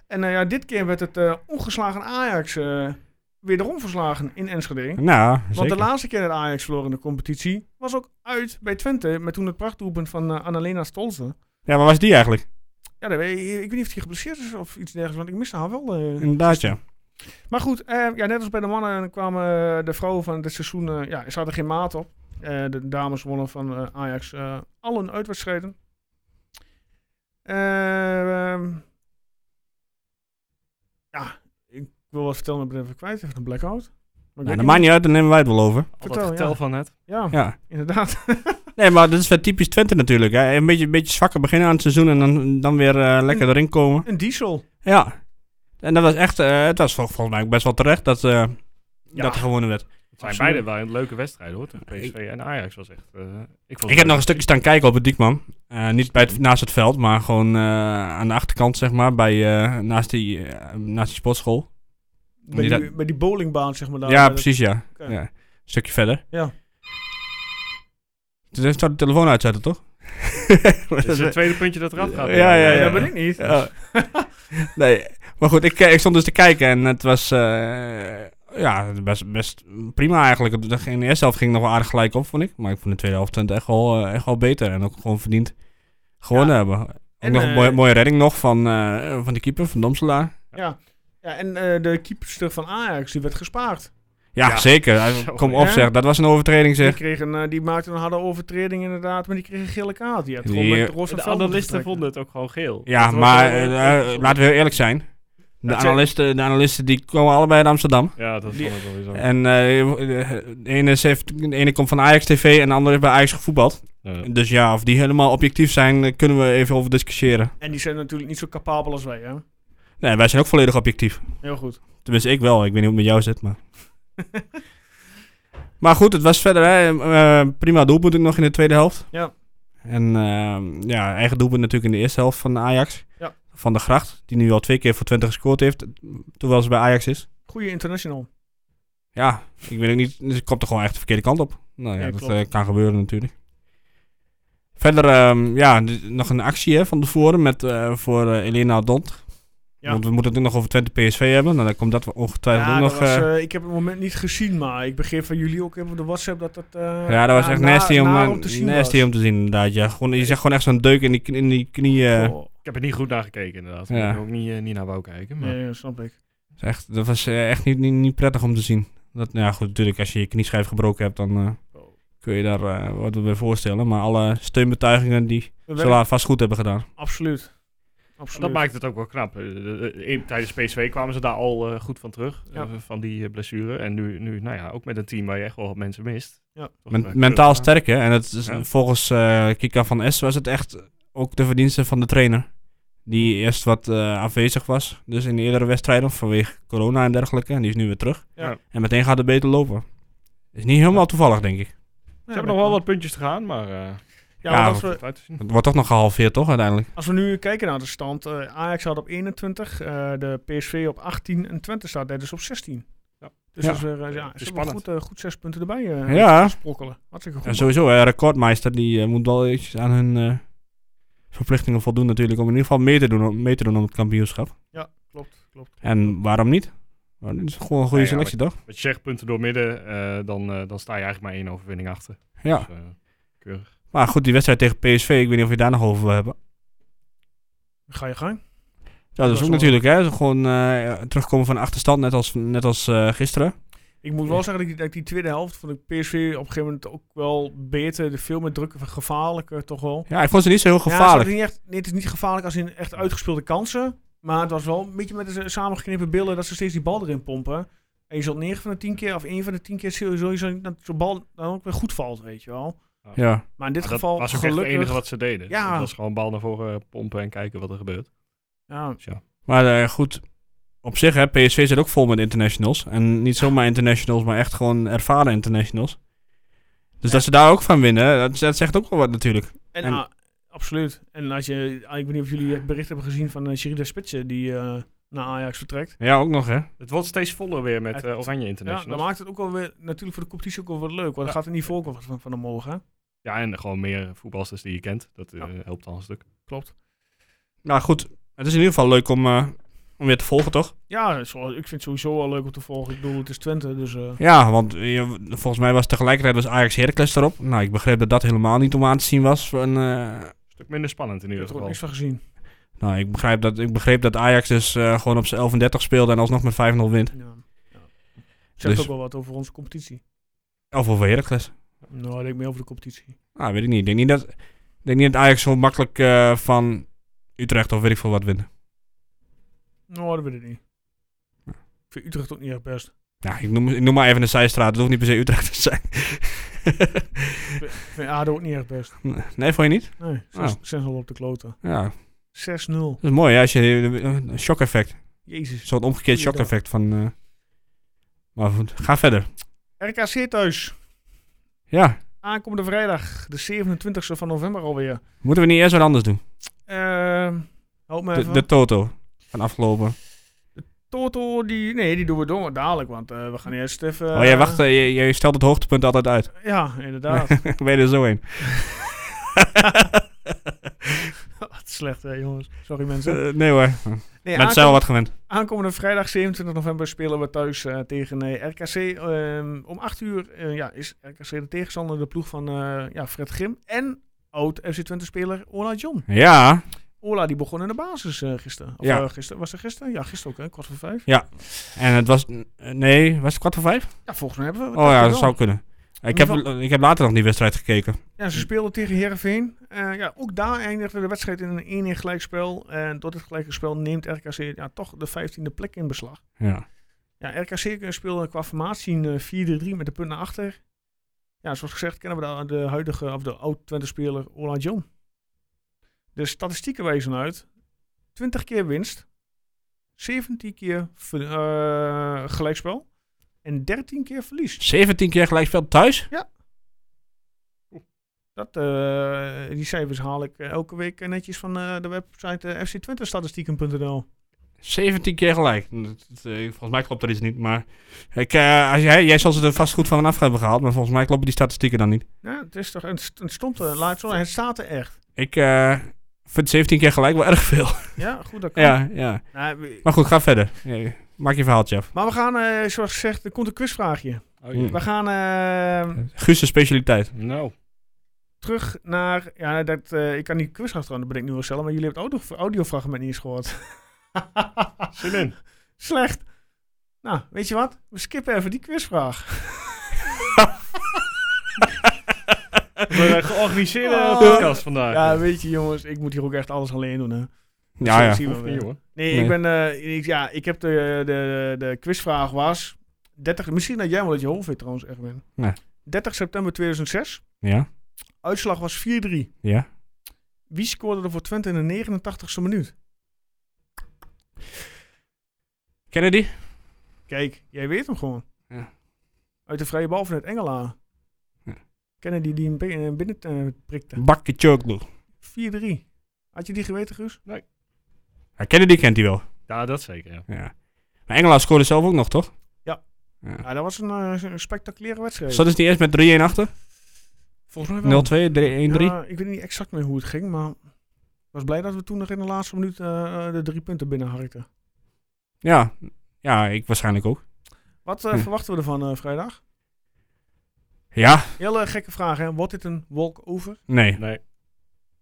[SPEAKER 1] En eh, ja, dit keer werd het eh, ongeslagen Ajax weer wederom verslagen in Enschede.
[SPEAKER 2] Nou, zeker.
[SPEAKER 1] Want de laatste keer dat Ajax verloor in de competitie was ook uit bij Twente. Met toen het prachtdoelpunt van eh, Annalena Stolze.
[SPEAKER 2] Ja, waar was die eigenlijk?
[SPEAKER 1] Ja, dat weet ik, ik weet niet of hij geblesseerd is of iets dergelijks. Want ik miste haar wel. eh.
[SPEAKER 2] Inderdaad, ja.
[SPEAKER 1] Maar goed, eh, ja, net als bij de mannen kwamen eh, de vrouwen van dit seizoen, eh, ja, ze hadden geen maat op. Eh, de dames wonnen van eh, Ajax eh al hun uitwedstrijden. Eh, ehm, ja, ik wil wat vertellen, maar ik ben even kwijt, even een blackout. Maar ik
[SPEAKER 2] Nou,
[SPEAKER 1] weet
[SPEAKER 2] dat
[SPEAKER 1] niet-
[SPEAKER 2] maakt niet uit, daar nemen wij het wel over.
[SPEAKER 3] Al dat
[SPEAKER 1] Vertel,
[SPEAKER 3] getel
[SPEAKER 1] ja.
[SPEAKER 3] van net.
[SPEAKER 1] Ja,
[SPEAKER 2] Ja.
[SPEAKER 1] inderdaad.
[SPEAKER 2] Nee, maar dat is wel typisch Twente natuurlijk. Hè. Een beetje, een beetje zwakker beginnen aan het seizoen en dan, dan weer eh, lekker
[SPEAKER 1] Mm.
[SPEAKER 2] erin komen.
[SPEAKER 1] Een diesel.
[SPEAKER 2] Ja. En dat was echt, eh, het was vol- volgens mij ook best wel terecht dat, eh
[SPEAKER 1] Ja.
[SPEAKER 2] dat er gewonnen werd.
[SPEAKER 3] Het zijn
[SPEAKER 1] Absoluut.
[SPEAKER 3] beide wel een leuke wedstrijden hoor. tegen PSV en Ajax was echt... eh, ik, vond
[SPEAKER 2] Ik heb nog een stukje staan kijken op het Diekman. Eh, niet bij het, naast het veld, maar gewoon eh, aan de achterkant, zeg maar, bij, eh, naast, die, eh, naast die sportschool.
[SPEAKER 1] Bij
[SPEAKER 2] Die
[SPEAKER 1] die, bij die bowlingbaan, zeg maar. Daar,
[SPEAKER 2] ja,
[SPEAKER 1] bij dat-
[SPEAKER 2] precies, ja.
[SPEAKER 1] Oké.
[SPEAKER 2] ja. Een stukje verder.
[SPEAKER 1] Ja.
[SPEAKER 2] Toen zou de telefoon uitzetten, toch?
[SPEAKER 3] Het is het tweede puntje dat eraf gaat.
[SPEAKER 2] Ja, ja,
[SPEAKER 1] Nee,
[SPEAKER 2] ja.
[SPEAKER 1] dat ben ik niet.
[SPEAKER 2] Ja. nee, maar goed, ik, ik stond dus te kijken en het was eh, ja, best, best prima eigenlijk. Het- In de eerste helft ging het nog wel aardig gelijk op, vond ik. Maar ik vond de tweede helft Twente echt wel, eh, echt wel beter en ook gewoon verdiend gewonnen hebben. Ook
[SPEAKER 1] En,
[SPEAKER 2] nog een
[SPEAKER 1] eh,
[SPEAKER 2] mooie, mooie redding nog van, eh, van de keeper, van Domselaar.
[SPEAKER 1] Ja. ja, en eh, de keeper van Ajax, die werd gespaard.
[SPEAKER 2] Ja,
[SPEAKER 3] Ja.
[SPEAKER 2] zeker. Hij-
[SPEAKER 3] Zo,
[SPEAKER 2] Kom op
[SPEAKER 1] ja.
[SPEAKER 2] zeg, dat was een overtreding
[SPEAKER 1] Die,
[SPEAKER 2] zeg.
[SPEAKER 1] kreeg een, eh, die maakte een harde overtreding inderdaad, maar die kreeg een gele kaart. Die had
[SPEAKER 2] Die-
[SPEAKER 1] gewoon met roze
[SPEAKER 3] De
[SPEAKER 1] veld moeten
[SPEAKER 3] analisten
[SPEAKER 1] vertrekken.
[SPEAKER 3] vonden het ook gewoon geel.
[SPEAKER 2] Ja,
[SPEAKER 3] Dat was
[SPEAKER 2] maar
[SPEAKER 3] wel, eh,
[SPEAKER 2] eh, eh, laten we heel eerlijk zijn. De
[SPEAKER 1] Dat zijn-
[SPEAKER 2] analisten, de analisten die komen allebei uit Amsterdam.
[SPEAKER 3] Ja, dat vond ik wel weer zo.
[SPEAKER 2] En eh, de, ene is heeft, de ene komt van Ajax TV en de andere heeft bij Ajax gevoetbald.
[SPEAKER 3] Ja.
[SPEAKER 2] Dus ja, of die helemaal objectief zijn, eh, kunnen we even over discussiëren.
[SPEAKER 1] En die zijn natuurlijk niet zo capabel als wij, hè?
[SPEAKER 2] Nee, wij zijn ook volledig objectief.
[SPEAKER 1] Heel goed.
[SPEAKER 2] Tenminste, ik wel. Ik weet niet hoe het met jou zit, maar... maar goed, het was verder... Hè, eh, prima doelpunt ook nog in de tweede helft.
[SPEAKER 1] Ja.
[SPEAKER 2] En eh, ja, eigen doelpunt natuurlijk in de eerste helft van Ajax.
[SPEAKER 1] Ja.
[SPEAKER 2] Van de Gracht, die nu al twee keer voor Twente gescoord heeft. Terwijl ze bij Ajax is.
[SPEAKER 1] Goeie international.
[SPEAKER 2] Ja, ik weet ook niet. Dus ik komt er gewoon echt de verkeerde kant op. Nou ja,
[SPEAKER 1] Ja,
[SPEAKER 2] dat
[SPEAKER 1] klopt.
[SPEAKER 2] eh, kan gebeuren natuurlijk. Verder, ehm, ja, d- nog een actie hè, van tevoren met, eh, voor eh, Elena Dont.
[SPEAKER 1] Ja.
[SPEAKER 2] Want we moeten het ook nog over Twente PSV hebben. Nou, dan komt dat ongetwijfeld ook nog.
[SPEAKER 1] dat was,
[SPEAKER 2] eh,
[SPEAKER 1] eh, ik heb het moment niet gezien, maar ik begreep van jullie ook even op de WhatsApp dat dat... eh,
[SPEAKER 2] ja, dat was
[SPEAKER 1] na-
[SPEAKER 2] echt
[SPEAKER 1] na-
[SPEAKER 2] nasty, om,
[SPEAKER 1] naar
[SPEAKER 2] eh,
[SPEAKER 1] te zien
[SPEAKER 2] nasty
[SPEAKER 1] was.
[SPEAKER 2] om te zien, inderdaad. Ja. Gewoon, je zegt gewoon echt zo'n deuk in die, knie- in die knie. eh.
[SPEAKER 1] Oh,
[SPEAKER 3] Ik heb er niet goed naar gekeken inderdaad.
[SPEAKER 2] Ja.
[SPEAKER 3] Ik heb ook niet, eh, niet naar wou kijken. Maar...
[SPEAKER 1] nee, snap ik.
[SPEAKER 2] Dat is echt, dat was eh, echt niet, niet, niet prettig om te zien. Dat, nou ja, goed, natuurlijk, als je je knieschijf gebroken hebt, dan eh,
[SPEAKER 1] Oh.
[SPEAKER 2] kun je daar eh, wat bij voorstellen. Maar alle steunbetuigingen die
[SPEAKER 1] We
[SPEAKER 2] Ze
[SPEAKER 1] werden-
[SPEAKER 2] laat vast goed hebben gedaan.
[SPEAKER 1] Absoluut. Absoluut.
[SPEAKER 3] Dat maakt het ook wel knap. Eh, eh, eh, in- Tijdens PSV kwamen ze daar al eh, goed van terug.
[SPEAKER 1] Ja.
[SPEAKER 3] eh, van die eh, blessure. En nu, nu, nou ja, ook met een team waar je echt wel wat mensen mist.
[SPEAKER 1] Ja.
[SPEAKER 3] Toch,
[SPEAKER 2] Men-
[SPEAKER 3] eh,
[SPEAKER 2] mentaal
[SPEAKER 3] knap.
[SPEAKER 2] sterk, hè? En het is,
[SPEAKER 3] Ja.
[SPEAKER 2] volgens eh, Kika van S was het echt ook de verdienste van de trainer. Die eerst wat eh, afwezig was. Dus in de eerdere wedstrijden vanwege corona en dergelijke. En die is nu weer terug.
[SPEAKER 1] Ja.
[SPEAKER 2] En meteen gaat het beter lopen. Is niet helemaal toevallig, denk ik.
[SPEAKER 3] Ze hebben nog wel wat puntjes te gaan, maar... eh
[SPEAKER 1] Ja,
[SPEAKER 2] Ja,
[SPEAKER 1] want als
[SPEAKER 2] want-
[SPEAKER 1] we,
[SPEAKER 3] goed uit te zien.
[SPEAKER 2] Het wordt toch nog gehalveerd, toch, uiteindelijk?
[SPEAKER 1] Als we nu kijken naar de stand, eh, Ajax staat op 21, eh, de PSV op 18 en Twente staat daar dus op 16.
[SPEAKER 3] Ja.
[SPEAKER 1] Dus
[SPEAKER 2] Ja.
[SPEAKER 1] dat is weer, eh, ja,
[SPEAKER 3] Het
[SPEAKER 1] ze
[SPEAKER 3] is
[SPEAKER 1] hebben
[SPEAKER 3] spannend.
[SPEAKER 1] goed, eh, goed zes punten erbij eh,
[SPEAKER 2] Ja.
[SPEAKER 1] sprokkelen. Hartstikke goed.
[SPEAKER 2] En sowieso, hè, recordmeister, die eh, moet wel iets aan hun eh, verplichtingen voldoen natuurlijk. Om in ieder geval mee te doen, om- mee te doen om het kampioenschap.
[SPEAKER 1] klopt, klopt.
[SPEAKER 2] En waarom niet? Nou, dit is gewoon een goede
[SPEAKER 3] Ja, ja,
[SPEAKER 2] selectie, toch?
[SPEAKER 3] Wat je zegt, punten door midden, dan, eh, dan sta je eigenlijk maar één overwinning achter.
[SPEAKER 2] Ja.
[SPEAKER 3] Dus, eh, keurig.
[SPEAKER 2] Maar goed, die wedstrijd tegen PSV, ik weet niet of je daar nog over wil hebben.
[SPEAKER 1] Ga je gang.
[SPEAKER 2] Ja, dat
[SPEAKER 1] Dat
[SPEAKER 2] is
[SPEAKER 1] was
[SPEAKER 2] ook natuurlijk, hè. Gewoon eh, terugkomen van achterstand, net als, net als eh, gisteren.
[SPEAKER 1] Ik moet wel zeggen dat ik, dat ik die tweede helft vond ik PSV op een gegeven moment ook wel beter. De veel meer drukker, gevaarlijker toch wel.
[SPEAKER 2] Ja, ik vond ze niet zo heel
[SPEAKER 1] Ja, ze hadden
[SPEAKER 2] gevaarlijk.
[SPEAKER 1] niet echt, nee, het is niet gevaarlijk als in echt uitgespeelde kansen. Maar het was wel een beetje met de samengeknippen billen dat ze steeds die bal erin pompen. En je zult 9 van de 10 keer of 1 van de 10 keer sowieso niet dat zo'n bal dan ook weer goed valt, weet je wel.
[SPEAKER 2] ja.
[SPEAKER 1] Maar in dit
[SPEAKER 3] Maar dat
[SPEAKER 1] geval
[SPEAKER 3] was ook echt
[SPEAKER 1] gelukkig.
[SPEAKER 3] het enige wat ze deden.
[SPEAKER 1] Ja.
[SPEAKER 3] Dat was gewoon bal naar voren pompen en kijken wat er gebeurt.
[SPEAKER 1] ja,
[SPEAKER 3] Dus ja.
[SPEAKER 2] Maar eh, goed, op zich, hè, PSV zit ook vol met internationals. En niet zomaar internationals, maar echt gewoon ervaren internationals. Dus dat ze daar ook van winnen, dat, dat zegt ook wel wat natuurlijk.
[SPEAKER 1] En,
[SPEAKER 2] En-
[SPEAKER 1] ah, absoluut. En als je, ah, ik weet niet of jullie het bericht hebben gezien van eh Sherida Spitsen die eh, naar Ajax vertrekt.
[SPEAKER 2] Ja, ook nog hè.
[SPEAKER 3] Het wordt steeds voller weer met
[SPEAKER 1] Het-
[SPEAKER 3] eh, Oranje
[SPEAKER 1] Ja, dat
[SPEAKER 3] International. Ja,
[SPEAKER 1] maakt het ook wel weer natuurlijk voor de competitie ook wel wat leuk. Want
[SPEAKER 3] Ja.
[SPEAKER 1] er gaat een niveau ook wel van, van omhoog, hè?
[SPEAKER 3] en gewoon meer voetballers die je kent. Dat eh,
[SPEAKER 1] Ja.
[SPEAKER 3] helpt al een stuk.
[SPEAKER 1] Klopt.
[SPEAKER 2] Nou goed, het is in ieder geval leuk om, eh, om weer te volgen toch?
[SPEAKER 1] Ja, zo- ik vind het sowieso wel leuk om te volgen. Ik bedoel, het is Twente, dus... eh,
[SPEAKER 2] Ja, want eh, volgens mij was tegelijkertijd was Ajax Heracles erop. Nou, ik begreep dat dat helemaal niet om aan te zien was. En, eh,
[SPEAKER 3] Een stuk minder spannend in
[SPEAKER 1] ik
[SPEAKER 3] ieder
[SPEAKER 1] heb er ook
[SPEAKER 3] geval.
[SPEAKER 1] niks van gezien.
[SPEAKER 2] nou, ik, begrijp dat, ik begreep dat Ajax dus eh, gewoon op zijn 11 en 30 speelde en alsnog met 5-0 wint.
[SPEAKER 1] Ja. Ja. Zegt
[SPEAKER 2] Dus-
[SPEAKER 1] ook wel wat over onze competitie.
[SPEAKER 2] Of over Heracles.
[SPEAKER 1] Nou, ik denk meer over de competitie.
[SPEAKER 2] Nou, weet ik niet. Ik denk niet dat, ik denk niet dat Ajax zo makkelijk eh, van Utrecht of weet ik veel wat winnen.
[SPEAKER 1] Nou, dat weet ik niet. Ik vind Utrecht ook niet echt best.
[SPEAKER 2] Ja, ik noem, ik noem maar even een zijstraat. Het hoeft niet per se Utrecht te zijn.
[SPEAKER 1] Ik vind ADO ook niet echt best.
[SPEAKER 2] nee, vond je niet?
[SPEAKER 1] Nee,
[SPEAKER 2] Oh.
[SPEAKER 1] 6 0 op de kloten.
[SPEAKER 2] Ja,
[SPEAKER 1] 6-0.
[SPEAKER 2] dat is mooi. hè, Als je, een shock effect.
[SPEAKER 1] Jezus.
[SPEAKER 2] Zo'n omgekeerd shock effect van... eh, maar goed, ga verder.
[SPEAKER 1] RKC thuis.
[SPEAKER 2] Ja,
[SPEAKER 1] Aankomende vrijdag, de 27e van november alweer.
[SPEAKER 2] moeten we niet eerst wat anders doen?
[SPEAKER 1] Ehm help me
[SPEAKER 2] De,
[SPEAKER 1] even.
[SPEAKER 2] de Toto van afgelopen.
[SPEAKER 1] Toto, die... Nee, die doen we door, dadelijk, want eh, we gaan eerst even...
[SPEAKER 2] oh, jij
[SPEAKER 1] eh,
[SPEAKER 2] wacht, eh, je, je stelt het hoogtepunt altijd uit.
[SPEAKER 1] Ja, inderdaad.
[SPEAKER 2] Ik ben je er zo in.
[SPEAKER 1] Wat slecht, hè, jongens. Sorry, mensen.
[SPEAKER 2] Eh, nee hoor,
[SPEAKER 1] Nee,
[SPEAKER 2] mensen zijn wel wat gewend.
[SPEAKER 1] Aankomende vrijdag 27 november spelen we thuis eh, tegen eh, RKC. Ehm, om 8 uur eh, ja, is RKC de tegenstander, de ploeg van eh, ja, Fred Grim en oud FC Twente speler Ola John.
[SPEAKER 2] Ja,
[SPEAKER 1] Ola die begon in de basis eh, gisteren. Of
[SPEAKER 2] Ja.
[SPEAKER 1] eh, gisteren, was er gisteren? Ja, gisteren ook, hè? kwart voor vijf.
[SPEAKER 2] en het was... eh, Nee, was het kwart voor vijf?
[SPEAKER 1] Ja, volgens mij hebben we.
[SPEAKER 2] oh ja,
[SPEAKER 1] wel.
[SPEAKER 2] dat zou kunnen. Ik heb,
[SPEAKER 1] ieder
[SPEAKER 2] ik heb later nog die wedstrijd gekeken.
[SPEAKER 1] Ja, ze speelden tegen Herenveen. ja, ook daar eindigde de wedstrijd in een 1-1 gelijkspel. En door dit gelijkspel neemt RKC ja, toch de 15e plek in beslag.
[SPEAKER 2] Ja.
[SPEAKER 1] Ja, RKC speelde qua formatie een eh, 4-3-3 met de punt naar achter. Ja, zoals gezegd kennen we de, de huidige, of de oud-Twente-speler Ola John. De statistieken wijzen uit. 20 keer winst. 17 keer ver- eh, gelijkspel. En 13 keer verlies.
[SPEAKER 2] 17 keer gelijkspel thuis?
[SPEAKER 1] Dat, eh, die cijfers haal ik eh, elke week eh, netjes van eh, de website eh, fctwentestatistieken.nl.
[SPEAKER 2] 17 keer gelijk. Dat- dat, eh, volgens mij klopt er iets niet, maar... Ik, eh, als jij, jij zal ze er vast goed van af hebben gehaald, maar volgens mij kloppen die statistieken dan niet.
[SPEAKER 1] Ja, het is toch, het, st- het stond er, laat het zo, het staat er echt.
[SPEAKER 2] Ik eh, vind 17 keer gelijk wel erg veel.
[SPEAKER 1] Ja, goed, dat kan.
[SPEAKER 2] ja, ja.
[SPEAKER 1] Nou, we-
[SPEAKER 2] Maar goed, ga verder. Eh, Maak je verhaaltje af.
[SPEAKER 1] maar we gaan, eh, zoals gezegd, er komt een quizvraagje.
[SPEAKER 3] Oh,
[SPEAKER 2] jee.
[SPEAKER 1] We gaan eh,
[SPEAKER 2] Guus' de specialiteit.
[SPEAKER 3] Nou,
[SPEAKER 1] terug naar. Ja, dat, eh, ik kan niet quiz achteraan, dat ben ik nu wel zelf, maar jullie hebben het audio, audiofragment niet eens gehoord.
[SPEAKER 3] zin in.
[SPEAKER 1] Slecht. Nou, weet je wat? We skippen even die quizvraag.
[SPEAKER 3] We eh, georganiseerde
[SPEAKER 1] Oh.
[SPEAKER 3] podcast vandaag.
[SPEAKER 1] Ja, weet je jongens, ik moet hier ook echt alles alleen doen. Hè.
[SPEAKER 2] Ja, ja.
[SPEAKER 1] Zien we
[SPEAKER 3] Of
[SPEAKER 1] wel.
[SPEAKER 3] niet, hoor.
[SPEAKER 1] Nee,
[SPEAKER 2] Nee.
[SPEAKER 1] ik ben. eh, ik, ja, ik heb de, de, de quizvraag was. 30, misschien dat jij wel dat je hoofd weet trouwens, Erwin.
[SPEAKER 2] Nee.
[SPEAKER 1] 30 september 2006.
[SPEAKER 2] Ja,
[SPEAKER 1] Uitslag was 4-3.
[SPEAKER 2] ja.
[SPEAKER 1] Wie scoorde er voor Twente in de 89ste minuut?
[SPEAKER 2] Kennedy?
[SPEAKER 1] Kijk, jij weet hem gewoon.
[SPEAKER 2] Ja.
[SPEAKER 1] Uit de vrije bal van het Engelaar.
[SPEAKER 2] Ja.
[SPEAKER 1] Kennedy die hem bi- eh, binnen eh, prikte.
[SPEAKER 2] Bakje Choklo.
[SPEAKER 1] 4-3. Had je die geweten, Guus?
[SPEAKER 2] Ja, Kennedy kent hij wel.
[SPEAKER 3] Ja, dat zeker. Ja.
[SPEAKER 2] Ja. Maar Engelaar scoorde zelf ook nog, toch?
[SPEAKER 1] Ja, dat was een, eh, een spectaculaire wedstrijd.
[SPEAKER 2] Zat dus niet eerst met 3-1 achter? 0-2, 3-1-3?
[SPEAKER 1] Volgens mij wel.
[SPEAKER 2] Ja,
[SPEAKER 1] Ja, Eh, ik weet niet exact meer hoe het ging, maar... Ik was blij dat we toen nog in de laatste minuut eh, eh, de drie punten binnenharkten.
[SPEAKER 2] ja. ik waarschijnlijk ook.
[SPEAKER 1] Wat eh,
[SPEAKER 2] Hm.
[SPEAKER 1] verwachten we ervan eh, vrijdag?
[SPEAKER 2] Ja,
[SPEAKER 1] Hele gekke vraag, hè? Wordt dit een walk-over?
[SPEAKER 2] nee.
[SPEAKER 3] Nee.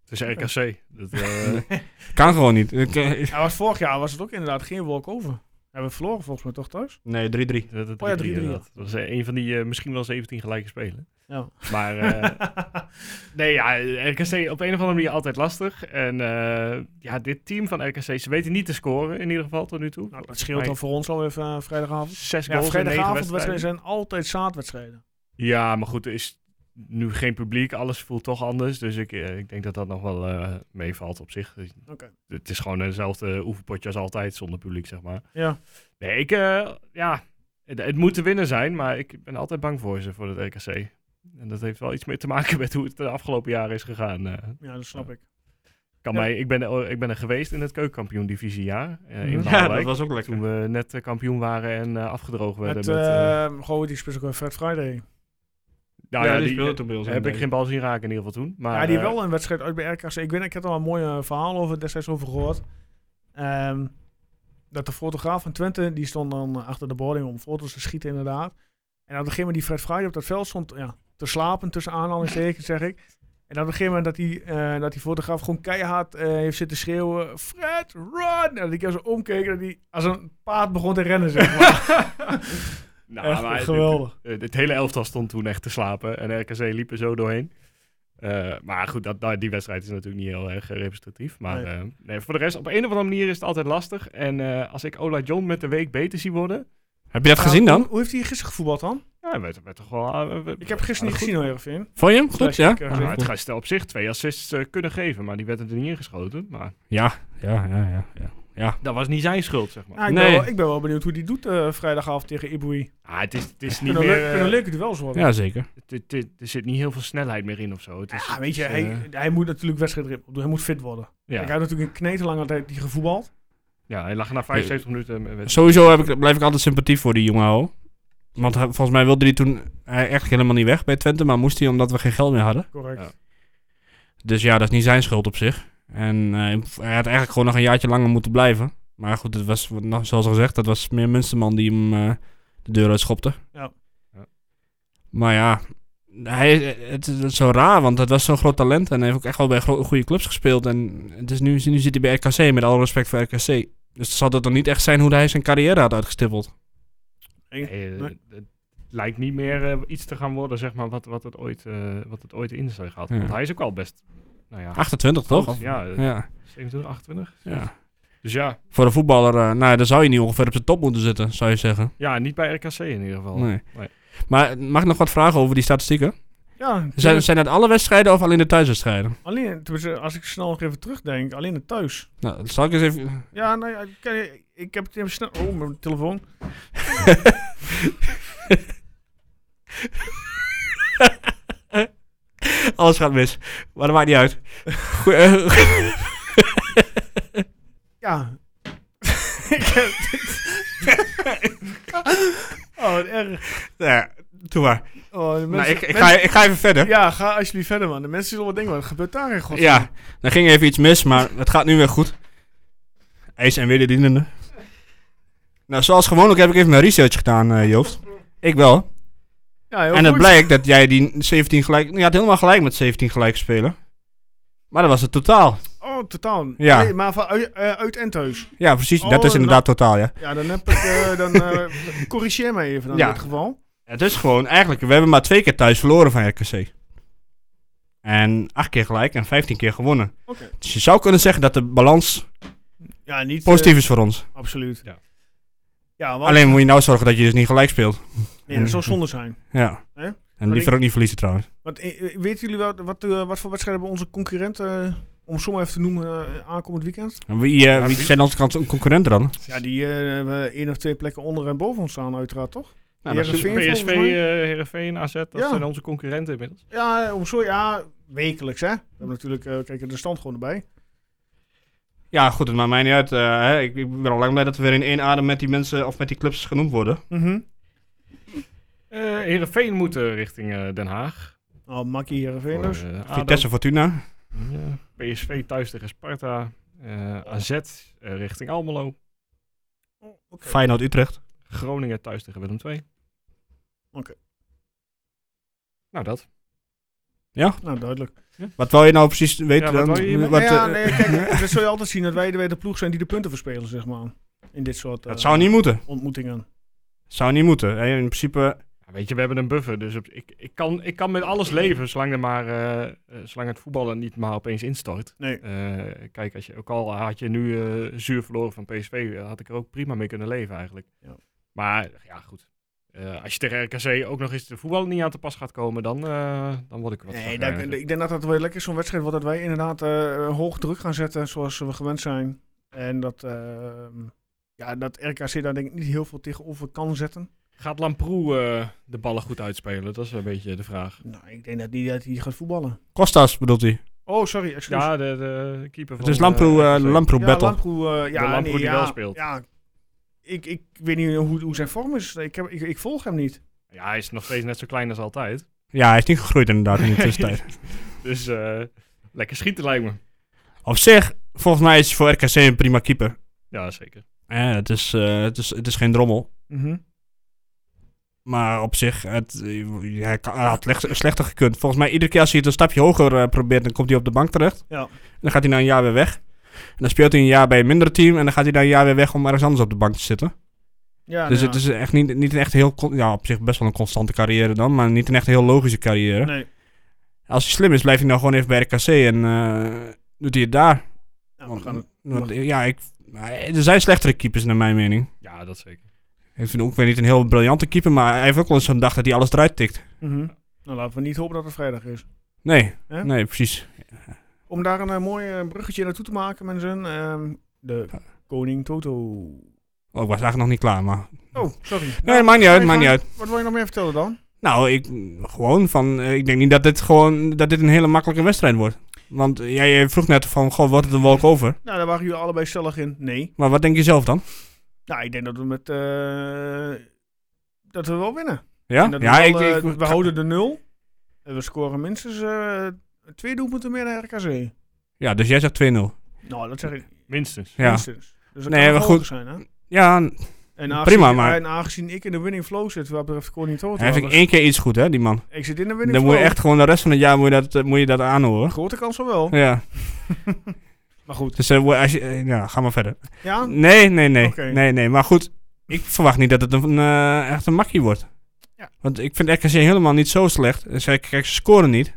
[SPEAKER 3] Het is RKC. Dat, eh,
[SPEAKER 2] Kan gewoon niet. Ik, eh,
[SPEAKER 1] Ja, was vorig jaar was het ook inderdaad geen walk-over. Hebben we verloren volgens mij toch thuis?
[SPEAKER 2] Nee, 3-3.
[SPEAKER 3] dat, dat,
[SPEAKER 1] Oh ja,
[SPEAKER 3] 3-3
[SPEAKER 1] 3-3, ja.
[SPEAKER 3] Dat was eh, een van die eh, misschien wel 17 gelijke spelen.
[SPEAKER 1] Ja.
[SPEAKER 3] Maar eh, nee, ja, RKC op een of andere manier altijd lastig. En eh, ja, dit team van RKC, ze weten niet te scoren in ieder geval tot nu toe.
[SPEAKER 1] Nou, dat scheelt dan voor ons al even eh, vrijdagavond.
[SPEAKER 3] Zes
[SPEAKER 1] Ja,
[SPEAKER 3] goals in negen
[SPEAKER 1] vrijdagavondwedstrijden
[SPEAKER 3] wedstrijden.
[SPEAKER 1] zijn altijd zaadwedstrijden.
[SPEAKER 3] Ja, maar goed, er is nu geen publiek. Alles voelt toch anders. Dus ik, eh, ik denk dat dat nog wel eh, meevalt op zich.
[SPEAKER 1] Oké.
[SPEAKER 3] Het is gewoon eenzelfde oefenpotje als altijd zonder publiek, zeg maar.
[SPEAKER 1] Ja.
[SPEAKER 3] Nee, ik, eh, ja, het, het moet te winnen zijn, maar ik ben altijd bang voor ze, voor het RKC. En dat heeft wel iets mee te maken met hoe het de afgelopen jaren is gegaan. eh.
[SPEAKER 1] Ja, dat snap ik.
[SPEAKER 3] kan
[SPEAKER 1] Ja.
[SPEAKER 3] mij, ik, ben, er- ik ben er geweest in het keukenkampioen divisiejaar. eh, in
[SPEAKER 1] Ja,
[SPEAKER 2] Ja,
[SPEAKER 3] Waalwijk,
[SPEAKER 2] dat was ook lekker.
[SPEAKER 3] Toen we net eh, kampioen waren en eh, afgedroogd werden.
[SPEAKER 1] Met,
[SPEAKER 3] met, eh,
[SPEAKER 1] eh, gewoon die speelt ook wel Fred Friday.
[SPEAKER 3] nou ja,
[SPEAKER 2] Ah, die
[SPEAKER 3] die,
[SPEAKER 2] speelde toen bij ons. in eh,
[SPEAKER 3] heb
[SPEAKER 2] de-
[SPEAKER 3] ik geen bal zien raken in ieder geval toen. Maar,
[SPEAKER 1] ja, die
[SPEAKER 3] eh,
[SPEAKER 1] wel een wedstrijd uit bij RKC. Ik weet, ik heb er al een mooi eh, verhaal over destijds over gehoord. Ehm, dat de fotograaf van Twente, die stond dan eh, achter de boarding om foto's te schieten inderdaad. En op een gegeven moment die Fred Friday op dat veld stond ja, te slapen, tussen aanhalingstekens zeg ik. En op een gegeven moment dat die, eh, dat die fotograaf gewoon keihard eh, heeft zitten schreeuwen, Fred, run! En dat ik zo omkeek, dat hij als een paard begon te rennen, zeg maar.
[SPEAKER 3] nou,
[SPEAKER 1] echt
[SPEAKER 3] maar dit-
[SPEAKER 1] geweldig.
[SPEAKER 3] eh, Het, hele elftal stond toen echt te slapen en RKC liep er zo doorheen. Eh, maar goed, dat, nou, die wedstrijd is natuurlijk niet heel erg eh, representatief. Maar
[SPEAKER 1] Nee.
[SPEAKER 3] eh, nee, voor de rest, op een of andere manier is het altijd lastig. En eh, als ik Ola John met de week beter zie worden...
[SPEAKER 2] Heb
[SPEAKER 3] Ah,
[SPEAKER 2] je dat gezien
[SPEAKER 1] Nou,
[SPEAKER 2] dan?
[SPEAKER 1] Hoe, hoe heeft hij gisteren gevoetbald dan?
[SPEAKER 3] Ja, hij werd, werd toch wel... ah, we- we-
[SPEAKER 1] Ik heb gisteren
[SPEAKER 3] ah,
[SPEAKER 1] niet
[SPEAKER 3] goed.
[SPEAKER 1] gezien hoor, Ervin.
[SPEAKER 2] Vond je hem? Goed, ja?
[SPEAKER 1] Klassiek, eh,
[SPEAKER 3] Nou,
[SPEAKER 2] Ah,
[SPEAKER 3] het
[SPEAKER 2] goed.
[SPEAKER 3] gaat op zich twee assists eh, kunnen geven, maar die werd er niet ingeschoten. Maar
[SPEAKER 2] Ja, ja, ja, ja. ja.
[SPEAKER 3] dat was niet zijn schuld, zeg maar.
[SPEAKER 1] Ja, Ah, ik,
[SPEAKER 2] Nee.
[SPEAKER 1] ben wel, ik ben wel benieuwd hoe die doet eh, vrijdagavond tegen Ibui.
[SPEAKER 3] Ah, het, is, het is niet
[SPEAKER 1] Kunnen
[SPEAKER 3] meer...
[SPEAKER 1] leuk-
[SPEAKER 3] eh,
[SPEAKER 1] kunnen leuke duels worden.
[SPEAKER 2] Ja, zeker.
[SPEAKER 3] het- het- het- er zit niet heel veel snelheid meer in of zo. Het is,
[SPEAKER 1] Ja, weet je,
[SPEAKER 2] Dus,
[SPEAKER 3] het is, eh,
[SPEAKER 1] hij, hij moet natuurlijk wedstrijdritme opdoen. Hij moet fit worden.
[SPEAKER 3] ja.
[SPEAKER 1] Ik heb natuurlijk een knetelange tijd die gevoetbald.
[SPEAKER 3] ja, hij lag na 75 minuten... eh, werd-
[SPEAKER 2] Sowieso heb ik, blijf ik altijd sympathie voor die jongen houden. Want hij- volgens mij wilde hij toen hij echt helemaal niet weg bij Twente, maar moest hij omdat we geen geld meer hadden.
[SPEAKER 1] Correct.
[SPEAKER 3] Ja.
[SPEAKER 2] Dus ja, dat is niet zijn schuld op zich. En eh, hij had eigenlijk gewoon nog een jaartje langer moeten blijven. Maar goed, het was, wat- nou, zoals al gezegd, dat was meer Munsterman die hem eh, de deur uit schopte.
[SPEAKER 1] Ja.
[SPEAKER 3] Ja.
[SPEAKER 2] Maar ja, hij, het, is- het is zo raar, want het was zo'n groot talent. En hij heeft ook echt wel bij gro- goede clubs gespeeld. En het is nu, nu zit hij bij RKC, met alle respect voor RKC. Dus zal dat dan niet echt zijn hoe hij zijn carrière had uitgestippeld?
[SPEAKER 3] Nee, eh,
[SPEAKER 1] Nee.
[SPEAKER 3] Het lijkt niet meer eh, iets te gaan worden, zeg maar, wat, wat, het, ooit, eh, wat het ooit in zich had.
[SPEAKER 2] Ja.
[SPEAKER 3] Want hij is ook al best, nou ja,
[SPEAKER 2] 28 toch?
[SPEAKER 3] ja, eh,
[SPEAKER 2] Ja,
[SPEAKER 3] 27, 28.
[SPEAKER 2] ja.
[SPEAKER 3] Dus ja,
[SPEAKER 2] Voor een voetballer, eh, nou, dan zou je niet ongeveer op zijn top moeten zitten, zou je zeggen.
[SPEAKER 3] ja, niet bij RKC in ieder geval.
[SPEAKER 2] Nee.
[SPEAKER 3] Nee.
[SPEAKER 2] Maar mag ik nog wat vragen over die statistieken?
[SPEAKER 1] Ja,
[SPEAKER 2] Zijn,
[SPEAKER 1] tuurlijk.
[SPEAKER 2] zijn dat alle wedstrijden of alleen de thuiswedstrijden?
[SPEAKER 1] alleen, tenminste, als ik snel nog even terugdenk, alleen het thuis.
[SPEAKER 2] Nou, zal ik eens even...
[SPEAKER 1] Ja, nou ja, ik, eh, ik heb het even snel... Oh, mijn telefoon.
[SPEAKER 2] Alles gaat mis. Maar dat maakt niet uit. Goe- eh,
[SPEAKER 1] Ja. ik heb oh, wat erg.
[SPEAKER 2] nou ja, doe maar.
[SPEAKER 1] Oh, de mensen,
[SPEAKER 2] Nou, ik, ik,
[SPEAKER 1] mensen-
[SPEAKER 2] ga, ik ga even verder. Ja.
[SPEAKER 1] Ja, ga alsjeblieft verder, man. De mensen zullen wel denken, wat gebeurt daar in godsnaam?
[SPEAKER 2] dan ging even iets mis, maar het gaat nu weer goed. IJs en wederdienende. Nou, zoals gewoonlijk heb ik even mijn research gedaan, eh, Joost. Ik wel.
[SPEAKER 1] Ja, heel
[SPEAKER 2] en het
[SPEAKER 1] goed.
[SPEAKER 2] blijkt dat jij die 17 gelijk... nou, Je had helemaal gelijk met 17 gelijk spelen. Maar dat was het totaal.
[SPEAKER 1] Oh, totaal.
[SPEAKER 2] Ja.
[SPEAKER 1] Nee, maar van uit, eh, uit en thuis.
[SPEAKER 2] Ja, precies.
[SPEAKER 1] Oh,
[SPEAKER 2] dat is
[SPEAKER 1] nou-
[SPEAKER 2] inderdaad totaal, ja.
[SPEAKER 1] Ja, dan heb ik... eh, dan, eh, corrigeer mij even dan
[SPEAKER 2] Ja.
[SPEAKER 1] in dit geval.
[SPEAKER 2] Het is gewoon... Eigenlijk, we hebben maar twee keer thuis verloren van RKC. En acht keer gelijk en 15 keer gewonnen.
[SPEAKER 1] Oké.
[SPEAKER 2] Dus je zou kunnen zeggen dat de balans
[SPEAKER 1] Ja, niet... eh,
[SPEAKER 2] positief is voor ons.
[SPEAKER 1] Absoluut.
[SPEAKER 3] Ja.
[SPEAKER 1] Ja, want,
[SPEAKER 2] Alleen moet je nou zorgen dat je dus niet gelijk speelt.
[SPEAKER 1] nee, dat zou zonde zijn.
[SPEAKER 2] Ja.
[SPEAKER 1] Hè?
[SPEAKER 2] En liever ook niet verliezen trouwens.
[SPEAKER 1] Want eh, eh, weten jullie wel wat, eh, wat voor wedstrijden bij onze concurrenten, eh, om sommigen even te noemen, eh, aankomend weekend?
[SPEAKER 2] En Wie, eh, wie zijn onze kant concurrenten dan?
[SPEAKER 1] Ja, die eh, hebben één of twee plekken onder en boven ons staan uiteraard, toch?
[SPEAKER 2] Nou,
[SPEAKER 1] dat
[SPEAKER 3] PSV,
[SPEAKER 1] is- volgens mij.
[SPEAKER 3] eh, Heerenveen, AZ, dat
[SPEAKER 1] Ja.
[SPEAKER 3] zijn onze concurrenten inmiddels.
[SPEAKER 1] Ja, eh, om zo, ja, wekelijks hè. We hebben natuurlijk, eh, kijk, de stand gewoon erbij.
[SPEAKER 2] Ja, goed, het maakt mij niet uit. eh, hè. ik, ik ben al lang blij dat we weer in één adem met die mensen of met die clubs genoemd worden.
[SPEAKER 3] Eh Heerenveen moet eh, richting eh, Den Haag.
[SPEAKER 1] Nou, Makkie Heerenveen
[SPEAKER 3] Voor,
[SPEAKER 1] dus.
[SPEAKER 3] eh, ADO.
[SPEAKER 2] Vitesse Fortuna.
[SPEAKER 3] Ja. PSV thuis tegen Sparta. Eh, AZ eh, richting Almelo.
[SPEAKER 1] Oh, oké.
[SPEAKER 2] Feyenoord Utrecht.
[SPEAKER 3] Groningen thuis tegen Willem II.
[SPEAKER 1] Oké.
[SPEAKER 3] Nou, dat.
[SPEAKER 1] Nou, duidelijk.
[SPEAKER 2] Wat wil je nou precies weten
[SPEAKER 3] Ja,
[SPEAKER 2] dan?
[SPEAKER 3] wat wou je hiermee-
[SPEAKER 2] Wat,
[SPEAKER 1] Nou ja,
[SPEAKER 2] eh,
[SPEAKER 1] nee, kijk, dat zul je altijd zien dat wij de, wij de ploeg zijn die de punten verspelen, zeg maar. In dit soort eh,
[SPEAKER 2] Dat zou niet moeten.
[SPEAKER 1] ontmoetingen.
[SPEAKER 2] Zou niet moeten. Hè, In principe,
[SPEAKER 3] Ja, weet je, we hebben een buffer, dus op- ik, ik, kan, ik kan met alles leven, zolang, er maar, eh, eh, zolang het voetballen niet maar opeens instort.
[SPEAKER 1] Nee.
[SPEAKER 3] Eh, kijk, als je, ook al had je nu eh, zuur verloren van PSV, eh, had ik er ook prima mee kunnen leven eigenlijk.
[SPEAKER 1] Ja.
[SPEAKER 3] Maar ja, goed. Eh, als je tegen RKC ook nog eens de voetbal niet aan te pas gaat komen, dan, eh, dan word ik er wat
[SPEAKER 1] Nee,
[SPEAKER 3] chagrijnig.
[SPEAKER 1] dat- ik denk dat dat wel lekker is, zo'n wedstrijd wordt. Dat wij inderdaad eh, hoog druk gaan zetten zoals we gewend zijn. En dat, ehm, ja, dat RKC daar denk ik niet heel veel tegenover kan zetten.
[SPEAKER 3] Gaat Lamproe eh, de ballen goed uitspelen? Dat is een beetje de vraag.
[SPEAKER 1] Nou, ik denk dat niet dat hij gaat voetballen.
[SPEAKER 2] Kostas bedoelt hij.
[SPEAKER 1] Oh, sorry, excuus.
[SPEAKER 3] Ja, de, de keeper van...
[SPEAKER 2] Het is Lamproe,
[SPEAKER 3] eh,
[SPEAKER 2] eh,
[SPEAKER 3] RKC.
[SPEAKER 2] Lamproe Battle.
[SPEAKER 1] Lamproe, eh, ja,
[SPEAKER 3] De Lamproe
[SPEAKER 1] nee,
[SPEAKER 3] die
[SPEAKER 1] ja,
[SPEAKER 3] wel speelt.
[SPEAKER 1] Ja, ik, ik weet niet hoe, hoe zijn vorm is. Ik, heb, ik, ik volg hem niet.
[SPEAKER 3] Ja, hij is nog steeds net zo klein als altijd.
[SPEAKER 2] Ja, hij is niet gegroeid inderdaad in de tussentijd.
[SPEAKER 3] Dus eh, lekker schieten lijkt me.
[SPEAKER 2] Op zich, volgens mij is hij voor RKC een prima keeper.
[SPEAKER 3] Ja, zeker.
[SPEAKER 2] Eh, het, is, eh, het, is, het is geen drommel.
[SPEAKER 1] Mhm.
[SPEAKER 2] Maar op zich, het, eh, hij, kan- hij had slecht- slechter gekund. Volgens mij, iedere keer als hij het een stapje hoger eh, probeert, dan komt hij op de bank terecht.
[SPEAKER 1] Ja.
[SPEAKER 2] Dan gaat hij na een jaar weer weg. En dan speelt hij een jaar bij een minder team. En dan gaat hij na een jaar weer weg om ergens anders op de bank te zitten.
[SPEAKER 1] Ja,
[SPEAKER 2] dus
[SPEAKER 1] nou
[SPEAKER 2] het
[SPEAKER 1] ja.
[SPEAKER 2] is echt niet, niet een echt heel... con- Ja, op zich best wel een constante carrière dan. Maar niet een echt heel logische carrière.
[SPEAKER 1] Nee.
[SPEAKER 2] Als hij slim is, blijft hij nou gewoon even bij RKC. En eh, doet hij het daar.
[SPEAKER 1] Nou, we
[SPEAKER 2] Want-
[SPEAKER 1] gaan het-
[SPEAKER 2] want, ja, ik, er zijn slechtere keepers naar mijn mening.
[SPEAKER 3] Ja, dat zeker.
[SPEAKER 2] Ik vind ook weer niet een heel briljante keeper, maar hij heeft ook wel eens zo'n dag dat hij alles eruit tikt.
[SPEAKER 1] Mhm. Nou, laten we niet hopen dat het vrijdag is.
[SPEAKER 2] Nee,
[SPEAKER 1] Hè?
[SPEAKER 2] nee, precies.
[SPEAKER 1] Om daar een eh, mooi eh, bruggetje naartoe te maken, mensen. ehm, de Koning Toto.
[SPEAKER 2] Oh, ik was eigenlijk nog niet klaar, maar...
[SPEAKER 1] Oh, sorry.
[SPEAKER 2] Nee,
[SPEAKER 1] Nou,
[SPEAKER 2] maakt niet uit,
[SPEAKER 1] nee,
[SPEAKER 2] maakt niet
[SPEAKER 1] ga-
[SPEAKER 2] uit.
[SPEAKER 1] Wat wil je nog meer vertellen dan?
[SPEAKER 2] Nou, ik, gewoon van... eh, Ik denk niet dat dit gewoon... Dat dit een hele makkelijke wedstrijd wordt. Want eh, jij vroeg net van, goh, wordt het een walkover?
[SPEAKER 1] Nou, daar waren jullie allebei stellig in. Nee.
[SPEAKER 2] Maar wat denk je zelf dan?
[SPEAKER 1] Nou, ik denk dat we met... eh, dat we wel winnen.
[SPEAKER 2] Ja?
[SPEAKER 1] En dat
[SPEAKER 2] Ja,
[SPEAKER 1] we,
[SPEAKER 2] ik...
[SPEAKER 1] wel, eh,
[SPEAKER 2] ik-
[SPEAKER 1] we houden de nul. En we scoren minstens eh, twee doelpunten meer dan RKC.
[SPEAKER 2] Ja, dus jij zegt 2-0.
[SPEAKER 1] Nou, dat zeg ik
[SPEAKER 3] Minstens.
[SPEAKER 2] Ja.
[SPEAKER 1] minstens. Dus dat
[SPEAKER 2] Nee,
[SPEAKER 1] kan
[SPEAKER 2] maar
[SPEAKER 1] wel
[SPEAKER 2] goed.
[SPEAKER 1] hoger zijn, hè?
[SPEAKER 2] Ja,
[SPEAKER 1] En
[SPEAKER 2] Prima,
[SPEAKER 1] aangezien,
[SPEAKER 2] maar-
[SPEAKER 1] En aangezien ik in de winning flow zit, wat betreft Koning Toto...
[SPEAKER 2] hij heeft
[SPEAKER 1] was-
[SPEAKER 2] één keer iets goed, hè, die man.
[SPEAKER 1] ik zit in de winning
[SPEAKER 2] Dan moet
[SPEAKER 1] flow.
[SPEAKER 2] je echt gewoon de rest van het jaar moet je dat, eh, moet je dat aanhoren.
[SPEAKER 1] Grote kans van wel.
[SPEAKER 2] Ja,
[SPEAKER 1] Maar goed.
[SPEAKER 2] dus eh, als je, eh, ja, ga maar verder.
[SPEAKER 1] Ja,
[SPEAKER 2] Nee, nee, nee.
[SPEAKER 1] Oké.
[SPEAKER 2] Nee, nee. Maar goed, ik verwacht niet dat het een, eh, echt een makkie wordt.
[SPEAKER 1] Ja.
[SPEAKER 2] Want ik vind RKC helemaal niet zo slecht. Ze, kijk, ze scoren niet.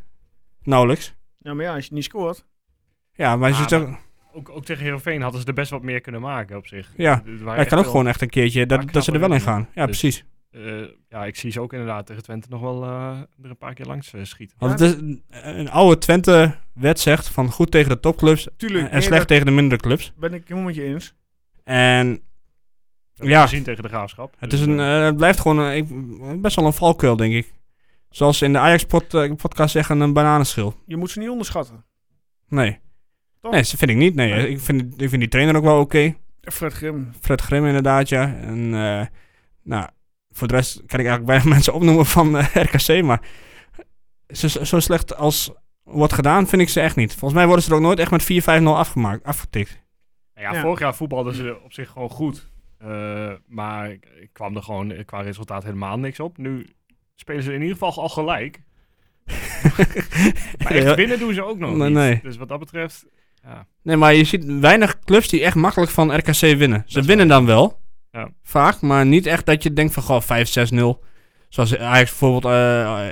[SPEAKER 2] Nauwelijks.
[SPEAKER 1] ja maar ja, als je niet scoort.
[SPEAKER 2] Ja, maar ze
[SPEAKER 3] Ah,
[SPEAKER 2] toch,
[SPEAKER 3] Ook, ook tegen Heerenveen hadden ze er best wat meer kunnen maken op zich.
[SPEAKER 2] ja.
[SPEAKER 3] Er waren
[SPEAKER 2] Hij
[SPEAKER 3] echt
[SPEAKER 2] kan ook
[SPEAKER 3] wel-
[SPEAKER 2] gewoon echt een keertje
[SPEAKER 3] maar
[SPEAKER 2] dat, dat ze er wel in
[SPEAKER 3] knapper
[SPEAKER 2] gaan. Ja,
[SPEAKER 3] Dus-
[SPEAKER 2] precies.
[SPEAKER 3] eh, ja, ik zie ze ook inderdaad tegen Twente nog wel eh, er een paar keer langs eh, schieten.
[SPEAKER 2] Want het is een, een oude Twente-wet zegt van goed tegen de topclubs
[SPEAKER 1] Tuurlijk.
[SPEAKER 2] en slecht tegen de mindere clubs.
[SPEAKER 1] ben ik helemaal met je eens.
[SPEAKER 2] En
[SPEAKER 3] Dat
[SPEAKER 2] Ja.
[SPEAKER 3] hebben we gezien tegen de graafschap.
[SPEAKER 2] het,
[SPEAKER 3] Dus,
[SPEAKER 2] is een,
[SPEAKER 3] eh,
[SPEAKER 2] eh, het blijft gewoon een- ik- best wel een valkuil, denk ik. Zoals ze in de Ajax-podcast zeggen, een bananenschil.
[SPEAKER 1] Je moet ze niet onderschatten.
[SPEAKER 2] Nee.
[SPEAKER 1] Toch?
[SPEAKER 2] Nee, dat vind ik niet. Nee,
[SPEAKER 1] Nee.
[SPEAKER 2] Ik, vind, ik vind die trainer ook wel oké.
[SPEAKER 1] Fred Grim.
[SPEAKER 2] Fred Grim inderdaad, ja. En eh, nou, voor de rest kan ik eigenlijk bijna mensen opnoemen van eh, RKC, maar zo, zo slecht als wordt gedaan vind ik ze echt niet. Volgens mij worden ze er ook nooit echt met 4-5-0 afgemaakt, afgetikt.
[SPEAKER 3] nou ja,
[SPEAKER 1] ja.
[SPEAKER 3] vorig jaar voetbalden ze op zich gewoon goed. Eh, maar ik- ik kwam er gewoon eh, qua resultaat helemaal niks op. Nu spelen ze in ieder geval al gelijk. Maar echt winnen doen ze ook nog
[SPEAKER 2] Nee,
[SPEAKER 3] niet.
[SPEAKER 2] nee.
[SPEAKER 3] Dus wat dat betreft... Ja.
[SPEAKER 2] Nee, maar je ziet weinig clubs die echt makkelijk van RKC winnen. Ze
[SPEAKER 3] is
[SPEAKER 2] winnen dan wel,
[SPEAKER 3] Ja.
[SPEAKER 2] vaak, maar niet echt dat je denkt van goh, 5-6-0. Zoals Ajax bijvoorbeeld, eh,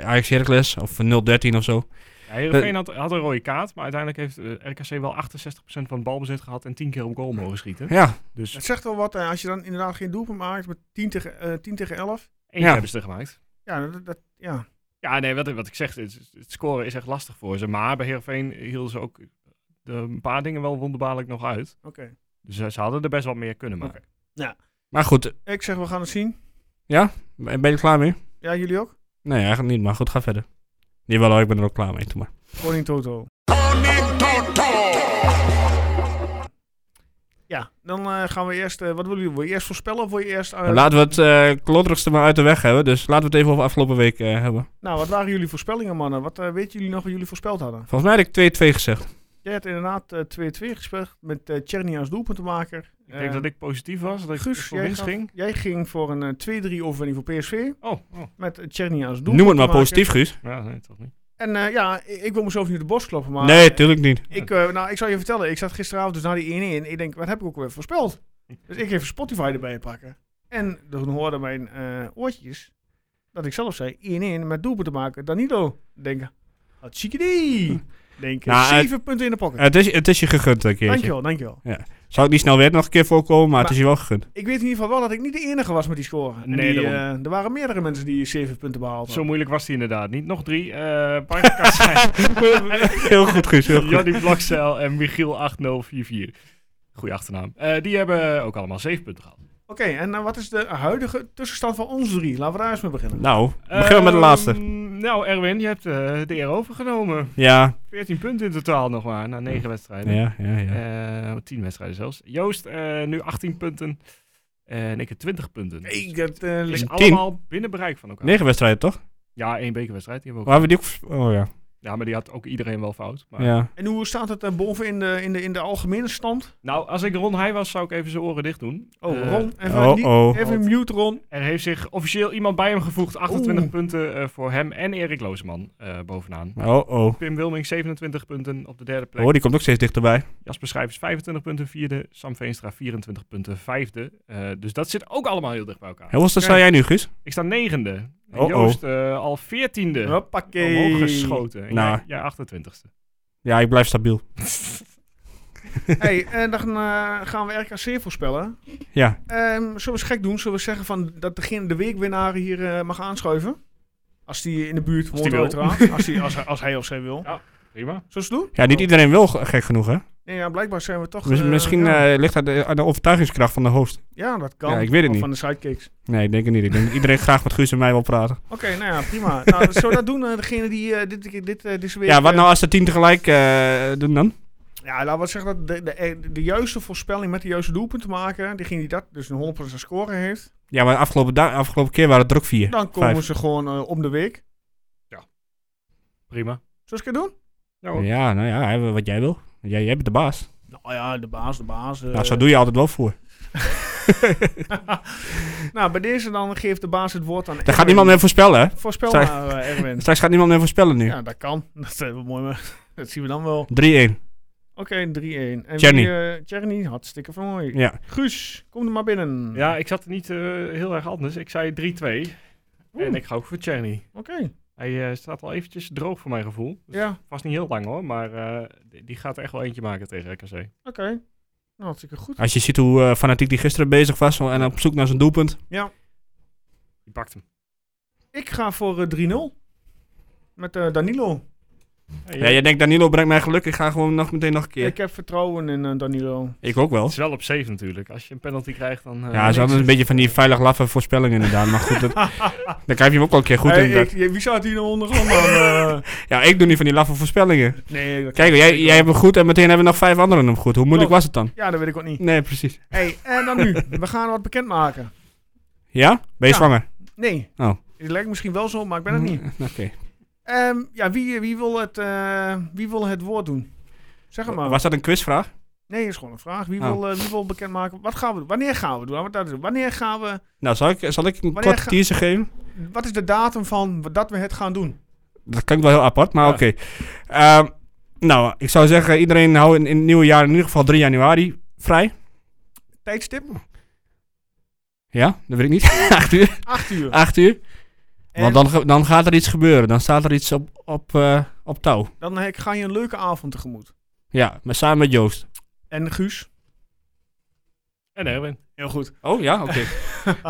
[SPEAKER 2] Ajax Heracles of 0-13 of zo. Eh,
[SPEAKER 3] Ja, Heerenveen had, had een rode kaart, maar uiteindelijk heeft eh, RKC wel 68% van het balbezit gehad en 10 keer op goal mogen schieten.
[SPEAKER 2] Ja,
[SPEAKER 3] Dus
[SPEAKER 1] Het zegt wel wat, eh, als je dan inderdaad geen doelpunt maakt met 10 tegen, eh 10 tegen 11.
[SPEAKER 3] één
[SPEAKER 2] Ja.
[SPEAKER 3] hebben ze er gemaakt.
[SPEAKER 1] Ja, dat, dat- ja.
[SPEAKER 3] Ja, nee, wat, wat ik zeg, het, het scoren is echt lastig voor ze. Maar bij Heerenveen hielden ze ook de, een paar dingen wel wonderbaarlijk nog uit.
[SPEAKER 1] Oké.
[SPEAKER 3] Dus eh, ze hadden er best wat meer kunnen maken.
[SPEAKER 2] maar goed,
[SPEAKER 1] ik zeg we gaan het zien.
[SPEAKER 2] ben je er klaar mee?
[SPEAKER 1] Ja, jullie ook?
[SPEAKER 2] Nee, eigenlijk niet, maar goed, ga verder. Jawel, hoor, ik ben er ook klaar mee, doe maar.
[SPEAKER 1] Koning Toto. Ja, dan eh, gaan we eerst, eh, wat willen jullie, wil je eerst voorspellen of wil je eerst... eh,
[SPEAKER 2] Nou, laten we het eh klodderigste maar uit de weg hebben, dus laten we het even over afgelopen week eh, hebben.
[SPEAKER 1] nou, wat waren jullie voorspellingen mannen? Wat eh, weten jullie nog wat jullie voorspeld hadden?
[SPEAKER 2] Volgens mij had ik 2-2 gezegd.
[SPEAKER 1] Jij had inderdaad eh, 2-2 gespeeld met eh Tjerni als doelpuntenmaker.
[SPEAKER 3] Ik
[SPEAKER 2] eh,
[SPEAKER 3] denk dat ik positief was, dat ik
[SPEAKER 1] Guus,
[SPEAKER 3] voor
[SPEAKER 1] jij
[SPEAKER 3] winst
[SPEAKER 1] gaf-
[SPEAKER 3] ging.
[SPEAKER 1] Jij ging voor een eh, 2-3 overwinning voor PSV
[SPEAKER 3] Oh, oh.
[SPEAKER 1] met eh, Tjerni als doelpuntenmaker.
[SPEAKER 2] Noem het maar positief, Guus.
[SPEAKER 3] Ja, nee, toch niet.
[SPEAKER 1] En eh, ja, ik, ik wil mezelf niet op de borst kloppen, maar...
[SPEAKER 2] nee, tuurlijk niet.
[SPEAKER 1] Ik, eh, nou, ik zal je vertellen, ik zat gisteravond dus na die 1-1 en ik denk, wat heb ik ook weer voorspeld? Dus ik even Spotify erbij pakken. En toen hoorden mijn eh, oortjes dat ik zelf zei 1-1 met doelpunt te maken. Danilo, denken, had die. Denk,
[SPEAKER 2] Nou, het-
[SPEAKER 1] zeven punten in de pocket.
[SPEAKER 2] Het is, het is je gegund een keertje.
[SPEAKER 1] dankjewel, dankjewel.
[SPEAKER 2] Zou het niet snel weer nog een keer voorkomen, maar, het is je wel gegund.
[SPEAKER 1] Ik weet in ieder geval wel dat ik niet de enige was met die score. En
[SPEAKER 3] Nee,
[SPEAKER 1] die,
[SPEAKER 3] daarom.
[SPEAKER 1] eh, er waren meerdere mensen die zeven punten behaald
[SPEAKER 2] Oh.
[SPEAKER 3] Zo
[SPEAKER 1] hadden.
[SPEAKER 3] moeilijk was die inderdaad niet. Nog drie. eh Barca Kassijn,
[SPEAKER 2] Heel goed, Guus, heel goed.
[SPEAKER 3] Johnny Blokcel en Michiel 8044. Goeie achternaam. Eh, die hebben ook allemaal zeven punten gehad.
[SPEAKER 1] Oké, en eh, wat is de huidige tussenstand van ons drie? Laten we daar eens mee beginnen.
[SPEAKER 2] Nou, beginnen we met de laatste.
[SPEAKER 3] Ehm, Nou, Erwin, je hebt eh, de eer overgenomen.
[SPEAKER 1] Ehm,
[SPEAKER 2] Ja,
[SPEAKER 3] 14 punten in totaal nog maar, na 9 wedstrijden.
[SPEAKER 2] ja, ja. ja.
[SPEAKER 3] Eh, 10 wedstrijden zelfs. Joost, eh, nu 18 punten. Eh, En ik heb 20 punten.
[SPEAKER 1] Nee,
[SPEAKER 3] Dus
[SPEAKER 1] dat, eh,
[SPEAKER 3] het is
[SPEAKER 1] ligt-
[SPEAKER 3] allemaal binnen bereik van elkaar.
[SPEAKER 2] Negen wedstrijden, toch?
[SPEAKER 3] Ja, één bekerwedstrijd. Die hebben we
[SPEAKER 2] Waar
[SPEAKER 3] ook.
[SPEAKER 2] hebben we die ook... vers- Oh ja.
[SPEAKER 3] Ja, maar die had ook iedereen wel fout. Maar...
[SPEAKER 2] ja.
[SPEAKER 1] en hoe staat het eh, boven in de, in, de, in de algemene stand?
[SPEAKER 3] Nou, als ik Ron Heij was, zou ik even zijn oren dicht doen.
[SPEAKER 1] Oh,
[SPEAKER 3] Eh,
[SPEAKER 1] Ron, even,
[SPEAKER 2] oh,
[SPEAKER 1] niet-
[SPEAKER 2] oh.
[SPEAKER 1] even mute Ron.
[SPEAKER 3] Er heeft zich officieel iemand bij hem gevoegd. 28
[SPEAKER 1] Oeh.
[SPEAKER 3] punten eh, voor hem en Erik Looseman eh, bovenaan.
[SPEAKER 2] Oh, oh.
[SPEAKER 3] Pim Wilming 27 punten op de derde plek.
[SPEAKER 2] Oh, die komt ook steeds dichterbij.
[SPEAKER 3] Jasper Schrijvers 25 punten vierde. Sam Veenstra 24 punten vijfde. Eh, dus dat zit ook allemaal heel dicht bij elkaar.
[SPEAKER 2] Hoe was dat sta jij nu, Guus?
[SPEAKER 3] Ik sta negende. En
[SPEAKER 2] Oh, oh.
[SPEAKER 3] Joost eh, al veertiende.
[SPEAKER 1] Hoppakee.
[SPEAKER 3] Omhoog geschoten. En
[SPEAKER 2] Nou.
[SPEAKER 3] jij, jij 28ste.
[SPEAKER 2] Ja, ik blijf stabiel.
[SPEAKER 1] hey, en dan eh, gaan we RKC voorspellen.
[SPEAKER 2] Ja.
[SPEAKER 1] Ehm, zullen we eens gek doen? Zullen we zeggen van dat degene, de weekwinnaar hier eh, mag aanschuiven? Als die in de buurt
[SPEAKER 3] die
[SPEAKER 1] woont,
[SPEAKER 3] wil.
[SPEAKER 1] uiteraard. als, die, als, hij- als hij of zij wil.
[SPEAKER 3] Ja. Prima.
[SPEAKER 1] Zullen we het doen?
[SPEAKER 2] Ja, niet iedereen wil g- gek genoeg, hè?
[SPEAKER 1] Nee, ja, blijkbaar zijn we Oh. toch...
[SPEAKER 2] Miss-
[SPEAKER 1] eh,
[SPEAKER 2] Misschien
[SPEAKER 1] ja.
[SPEAKER 2] eh, ligt dat eh, aan de overtuigingskracht van de host.
[SPEAKER 1] Ja, dat kan.
[SPEAKER 2] Ja, ik weet het
[SPEAKER 1] Of
[SPEAKER 2] niet.
[SPEAKER 1] Van de sidekicks.
[SPEAKER 2] Nee, ik denk het niet. Ik denk dat iedereen graag met Guus en mij wil praten.
[SPEAKER 1] Oké, nou ja, prima. nou, zullen we dat doen? eh, degene die eh, dit, dit, eh, deze week...
[SPEAKER 2] Ja, wat
[SPEAKER 1] eh,
[SPEAKER 2] nou als de tien tegelijk eh, doen dan?
[SPEAKER 1] Ja, laten we zeggen dat de, de, eh, de juiste voorspelling met de juiste doelpunt te maken, degene die dat dus een 100% score heeft,
[SPEAKER 2] Ja, maar afgelopen, da- afgelopen keer waren het er ook vier.
[SPEAKER 1] dan komen
[SPEAKER 2] Vijf.
[SPEAKER 1] ze gewoon eh, om de week.
[SPEAKER 3] Prima.
[SPEAKER 1] Zullen we het doen?
[SPEAKER 3] Nou,
[SPEAKER 2] Ja, nou ja, hè, wat jij wil. Jij, jij bent de baas.
[SPEAKER 1] Nou ja, de baas, de baas. eh.
[SPEAKER 2] nou, zo doe je altijd wel voor.
[SPEAKER 1] nou, bij deze dan geeft de baas het woord aan
[SPEAKER 2] Daar gaat niemand meer voorspellen, hè?
[SPEAKER 1] Voorspel
[SPEAKER 2] Zij-
[SPEAKER 1] maar, eh, Erwin.
[SPEAKER 2] Straks gaat niemand meer voorspellen nu.
[SPEAKER 1] Ja, dat kan. Dat, eh, mooi, maar dat zien we dan wel.
[SPEAKER 2] 3-1.
[SPEAKER 1] Oké, 3-1. En
[SPEAKER 2] Tjerny.
[SPEAKER 1] wie, eh, Tjerny, hartstikke mooi.
[SPEAKER 2] Ja.
[SPEAKER 1] Guus, kom er maar binnen.
[SPEAKER 3] ja, ik zat er niet eh, heel erg anders. Ik zei 3-2. En ik ga ook voor Czerny.
[SPEAKER 1] Oké,
[SPEAKER 3] Hij eh, staat al eventjes droog voor mijn gevoel. Dus
[SPEAKER 1] ja,
[SPEAKER 3] Was niet heel lang hoor, maar eh, die- die gaat er echt wel eentje maken tegen RKC.
[SPEAKER 1] oké. Nou, hartstikke goed.
[SPEAKER 2] Als je ziet hoe eh, fanatiek die gisteren bezig was en op zoek naar zijn doelpunt.
[SPEAKER 3] Die pakt hem.
[SPEAKER 1] Ik ga voor eh, 3-0. Met eh, Danilo.
[SPEAKER 3] Hey,
[SPEAKER 2] Ja, jij denkt Danilo brengt mij geluk. Ik ga gewoon nog meteen nog een keer.
[SPEAKER 1] Ik heb vertrouwen in eh, Danilo.
[SPEAKER 2] Ik ook wel.
[SPEAKER 3] Het is wel op safe natuurlijk. Als je een penalty krijgt, dan... eh,
[SPEAKER 2] Ja, ze hadden een beetje van die veilig laffe voorspellingen inderdaad. Maar goed, dat, dan krijg je hem ook wel een keer goed
[SPEAKER 1] Hey,
[SPEAKER 2] inderdaad.
[SPEAKER 1] ik- je- wie staat hier nou ondergrond dan? eh?
[SPEAKER 2] Ja, ik doe niet van die laffe voorspellingen.
[SPEAKER 1] nee, dat
[SPEAKER 2] Kijk, jij,
[SPEAKER 1] ik
[SPEAKER 2] jij hebt hem goed en meteen hebben nog vijf anderen hem goed. Hoe moeilijk was het dan?
[SPEAKER 1] Ja, dat weet ik ook niet.
[SPEAKER 2] Nee, precies.
[SPEAKER 1] hey, en dan nu. We gaan wat bekendmaken.
[SPEAKER 2] Ja? Ben
[SPEAKER 1] Ja.
[SPEAKER 2] je zwanger?
[SPEAKER 1] Nee.
[SPEAKER 2] Oh. Mm.
[SPEAKER 1] Het lijkt misschien wel zo, maar ik ben het niet.
[SPEAKER 2] Oké.
[SPEAKER 1] Ehm, ja, wie, wie, wil het, eh, wie wil het woord doen? Zeg het maar.
[SPEAKER 2] Was dat een quizvraag?
[SPEAKER 1] Nee, is gewoon een vraag. Wie,
[SPEAKER 2] Oh.
[SPEAKER 1] wil, eh, wie wil bekendmaken? Wat gaan we doen? Wanneer gaan we doen? Laten we dat doen. Wanneer gaan we...
[SPEAKER 2] Nou, zal ik, zal ik een
[SPEAKER 1] Wanneer
[SPEAKER 2] korte
[SPEAKER 1] ga-
[SPEAKER 2] teaser geven?
[SPEAKER 1] Wat is de datum van dat we het gaan doen?
[SPEAKER 2] Dat klinkt wel heel apart, maar
[SPEAKER 3] Ja.
[SPEAKER 2] oké. Ehm, nou, ik zou zeggen, iedereen houdt in, in het nieuwe jaar in ieder geval 3 januari vrij.
[SPEAKER 1] Tijdstip?
[SPEAKER 2] Ja, dat weet ik niet. 8 uur.
[SPEAKER 1] 8 uur.
[SPEAKER 2] 8 uur.
[SPEAKER 1] En
[SPEAKER 2] Want dan, ge- dan gaat er iets gebeuren. Dan staat er iets op, op, eh, op touw.
[SPEAKER 1] dan eh, ga je een leuke avond tegemoet.
[SPEAKER 2] Ja, maar samen met Joost.
[SPEAKER 1] En Guus?
[SPEAKER 3] En Erwin.
[SPEAKER 1] Heel goed.
[SPEAKER 2] Oh ja, oké.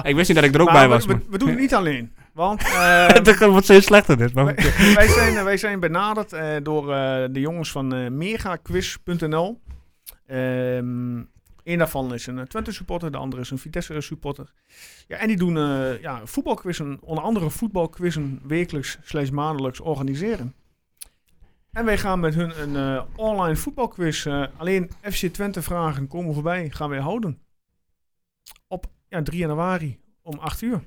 [SPEAKER 2] ik wist niet dat ik er ook
[SPEAKER 1] Maar
[SPEAKER 2] bij
[SPEAKER 1] we-
[SPEAKER 2] was.
[SPEAKER 1] We,
[SPEAKER 2] man.
[SPEAKER 1] we doen het niet alleen. Want eh,
[SPEAKER 2] Het wordt steeds slechter dit. Maar...
[SPEAKER 1] wij, wij zijn, wij zijn benaderd eh, door eh, de jongens van eh, megaquiz.nl. Ehm Eén daarvan is een eh, Twente supporter, de andere is een Vitesse supporter. Ja, en die doen eh, ja, voetbalquizzen, onder andere voetbalquizzen, wekelijks slash maandelijks organiseren. En wij gaan met hun een eh, online voetbalquiz. eh, alleen FC Twente vragen komen voorbij, gaan wij houden. Op ja, 3 januari om 8 uur.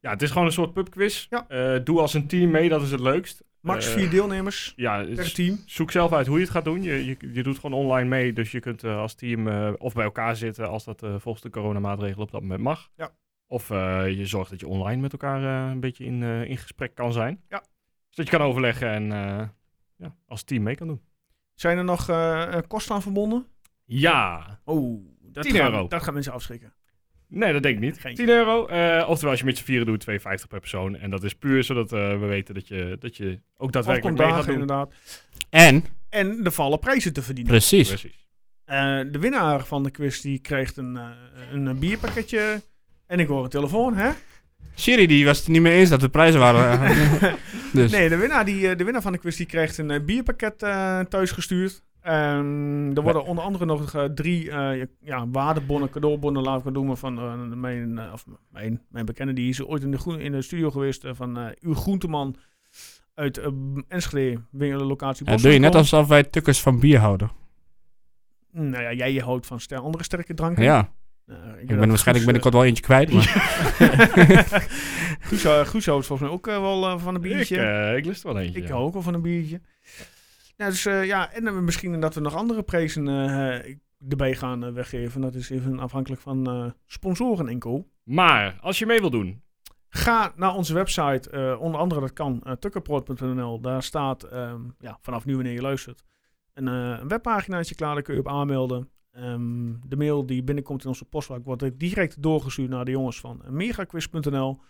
[SPEAKER 3] Ja, het is gewoon een soort pubquiz.
[SPEAKER 1] Ja.
[SPEAKER 3] Eh, doe als een team mee, dat is het leukst.
[SPEAKER 1] Max
[SPEAKER 3] Eh, Dus
[SPEAKER 1] vier deelnemers
[SPEAKER 3] Ja, het
[SPEAKER 1] per
[SPEAKER 3] is-
[SPEAKER 1] team.
[SPEAKER 3] zoek zelf uit hoe je het gaat doen. Je, je, je doet gewoon online mee, dus je kunt eh, als team eh, of bij elkaar zitten als dat eh, volgens de coronamaatregelen op dat moment mag.
[SPEAKER 1] Ja.
[SPEAKER 3] Of eh, je zorgt dat je online met elkaar eh, een beetje in, eh, in gesprek kan zijn.
[SPEAKER 1] Ja.
[SPEAKER 3] Zodat je kan overleggen en eh, ja, als team mee kan doen.
[SPEAKER 1] Zijn er nog eh, eh, kosten aan verbonden?
[SPEAKER 3] Ja,
[SPEAKER 1] Oh, dat
[SPEAKER 3] 10
[SPEAKER 1] gaat,
[SPEAKER 3] euro.
[SPEAKER 1] Dat gaat mensen afschrikken.
[SPEAKER 3] Nee, dat denk ik niet.
[SPEAKER 1] Geen-
[SPEAKER 3] 10 euro. eh, oftewel, als je met z'n vieren doet, 2,50 per persoon. En dat is puur zodat eh, we weten dat je, dat je ook daadwerkelijk mee gaat
[SPEAKER 1] Afkomstdagen
[SPEAKER 3] doen.
[SPEAKER 1] inderdaad.
[SPEAKER 2] En,
[SPEAKER 1] En er vallen prijzen te verdienen.
[SPEAKER 2] precies.
[SPEAKER 3] Precies.
[SPEAKER 1] Eh, de winnaar van de quiz die krijgt een, eh, een eh, bierpakketje. En ik hoor een telefoon, hè?
[SPEAKER 2] Siri die was het niet mee eens dat de prijzen waren. dus.
[SPEAKER 1] Nee, de winnaar, die, eh, de winnaar van de quiz die krijgt een eh, bierpakket eh thuis gestuurd. Ehm, er worden onder andere nog eh, drie eh, ja, waardebonnen, cadeaubonnen, laten we noemen, van eh, mijn, eh, of mijn, mijn bekende. Die is ooit in de, groen, in de studio geweest eh, van eh Uw Groenteman uit eh, Enschede, weer een locatie
[SPEAKER 2] Dat Eh, doe je net alsof wij tukkers van bier houden.
[SPEAKER 1] Nou ja, jij houdt van ster- andere sterke dranken.
[SPEAKER 2] Ja,
[SPEAKER 1] Nou,
[SPEAKER 2] ik
[SPEAKER 1] weet
[SPEAKER 2] ben
[SPEAKER 1] dat
[SPEAKER 2] waarschijnlijk
[SPEAKER 1] Guus,
[SPEAKER 2] binnenkort wel eentje kwijt. Maar
[SPEAKER 1] eh, Guus, eh, Guus houdt volgens mij ook eh, wel eh, van een
[SPEAKER 3] Ik,
[SPEAKER 1] biertje.
[SPEAKER 3] eh, ik lust er wel eentje.
[SPEAKER 1] Ik
[SPEAKER 3] ja.
[SPEAKER 1] hou ook wel van een biertje. Nou, dus eh, ja, en dan misschien dat we nog andere prijzen eh, erbij gaan eh, weggeven. Dat is even afhankelijk van eh, sponsoren en co.
[SPEAKER 3] Maar als je mee wil doen,
[SPEAKER 1] Ga naar onze website, eh, onder andere dat kan, eh tukkerproot.nl. Daar staat ehm, ja, vanaf nu wanneer je luistert een, eh een webpaginaatje klaar. Daar kun je op aanmelden. Ehm, de mail die binnenkomt in onze postvak wordt ook direct doorgestuurd naar de jongens van megaquiz.nl.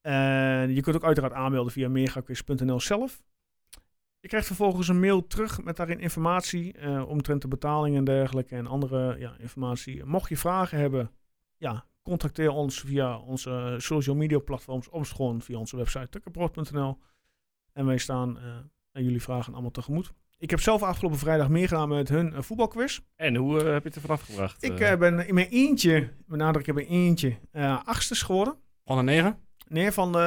[SPEAKER 1] En je kunt ook uiteraard aanmelden via megaquiz.nl zelf. Je krijgt vervolgens een mail terug met daarin informatie eh, omtrent de betaling en dergelijke en andere ja, informatie. Mocht je vragen hebben, ja, contacteer ons via onze eh, social media platforms, of gewoon via onze website tukkenbrood.nl. En wij staan eh, aan jullie vragen allemaal tegemoet. Ik heb zelf afgelopen vrijdag meegedaan met hun eh, voetbalquiz.
[SPEAKER 3] en hoe eh, heb je het ervan afgebracht?
[SPEAKER 1] Ik
[SPEAKER 3] eh?
[SPEAKER 1] eh, ben in mijn eentje, met nadruk in mijn eentje, eh achtste geworden.
[SPEAKER 2] onder Oh, negen?
[SPEAKER 1] Nee, van de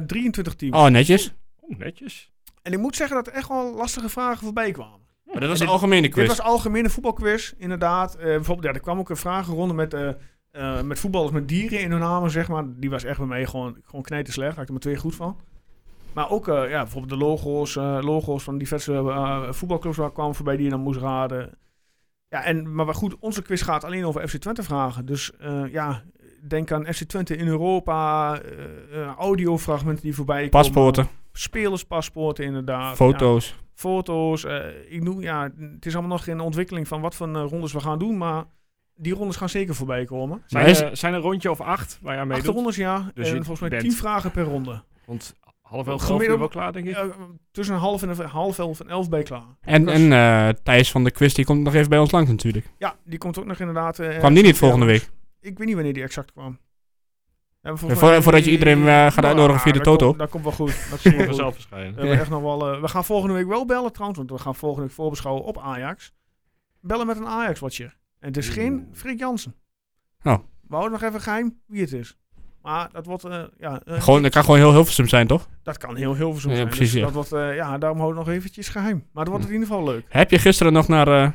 [SPEAKER 1] eh, 23 teams.
[SPEAKER 2] Oh, netjes.
[SPEAKER 3] Oh, netjes.
[SPEAKER 1] En ik moet zeggen dat er echt wel lastige vragen voorbij kwamen.
[SPEAKER 2] Maar dat was
[SPEAKER 1] dit-
[SPEAKER 2] een algemene quiz.
[SPEAKER 1] Dit was algemene voetbalquiz, inderdaad. Eh, bijvoorbeeld, ja, er kwam ook een vragenronde met, eh, eh, met voetballers met dieren in hun namen, zeg maar. Die was echt bij mij gewoon, gewoon knijterslecht. Had ik er maar twee goed van. Maar ook eh, ja, bijvoorbeeld de logo's, eh, logo's van diverse eh, voetbalclubs waar kwamen voorbij die je dan moest raden. Ja, en, maar goed, onze quiz gaat alleen over FC Twente vragen. Dus eh, ja, denk aan FC Twente in Europa, eh, eh, audiofragmenten die voorbij komen.
[SPEAKER 2] Paspoorten,
[SPEAKER 1] Spelerspaspoorten inderdaad. Ja
[SPEAKER 2] foto's.
[SPEAKER 1] foto's. eh, ik noem, ja, het is allemaal nog in ontwikkeling van wat voor eh, rondes we gaan doen, maar die rondes gaan zeker voorbij komen.
[SPEAKER 3] Zijn,
[SPEAKER 2] Maar is-
[SPEAKER 3] er, zijn er een rondje of acht waar je aan
[SPEAKER 1] Acht
[SPEAKER 3] meedoet?
[SPEAKER 1] rondes, ja.
[SPEAKER 3] Dus
[SPEAKER 1] en
[SPEAKER 3] je
[SPEAKER 1] volgens mij
[SPEAKER 3] bent-
[SPEAKER 1] tien vragen per ronde.
[SPEAKER 3] Want half elf, half
[SPEAKER 1] Gemiddeld-
[SPEAKER 3] uur wel klaar, denk ik.
[SPEAKER 1] Ja, tussen half, en half elf en elf bij klaar.
[SPEAKER 2] En,
[SPEAKER 1] dat
[SPEAKER 2] en
[SPEAKER 1] is-
[SPEAKER 2] eh, Thijs van de quiz, die komt nog even bij ons langs natuurlijk.
[SPEAKER 1] Ja, die komt ook nog inderdaad. eh,
[SPEAKER 2] Kwam die niet volgende week?
[SPEAKER 1] Ik weet niet wanneer die exact kwam. Ja, maar
[SPEAKER 2] En
[SPEAKER 1] volgens
[SPEAKER 2] voor-
[SPEAKER 1] mij-
[SPEAKER 2] voordat je iedereen eh, gaat
[SPEAKER 1] Nou,
[SPEAKER 2] uitnodigen via de
[SPEAKER 1] dat
[SPEAKER 2] Toto.
[SPEAKER 1] komt- Dat komt wel goed. Dat
[SPEAKER 3] Die
[SPEAKER 1] komt
[SPEAKER 3] moet
[SPEAKER 1] wel
[SPEAKER 3] vanzelf
[SPEAKER 1] goed.
[SPEAKER 3] verschijnen.
[SPEAKER 1] We, hebben echt nog wel, eh, we gaan volgende week wel bellen trouwens, want we gaan volgende week voorbeschouwen op Ajax. Bellen met een Ajax-watcher. En het is geen
[SPEAKER 3] Oeh.
[SPEAKER 1] Frik Jansen.
[SPEAKER 2] Oh.
[SPEAKER 1] We houden nog even geheim wie het is. Maar dat wordt, eh, ja, eh,
[SPEAKER 2] Gewoon, dat kan gewoon heel Hilversum zijn, toch?
[SPEAKER 1] dat kan heel heel
[SPEAKER 2] Ja,
[SPEAKER 1] zijn. Dus
[SPEAKER 2] precies, ja. Hm.
[SPEAKER 1] Dat wordt, eh, ja, daarom houden we nog eventjes geheim. Maar dat wordt in ieder geval leuk.
[SPEAKER 2] Heb je gisteren nog naar eh,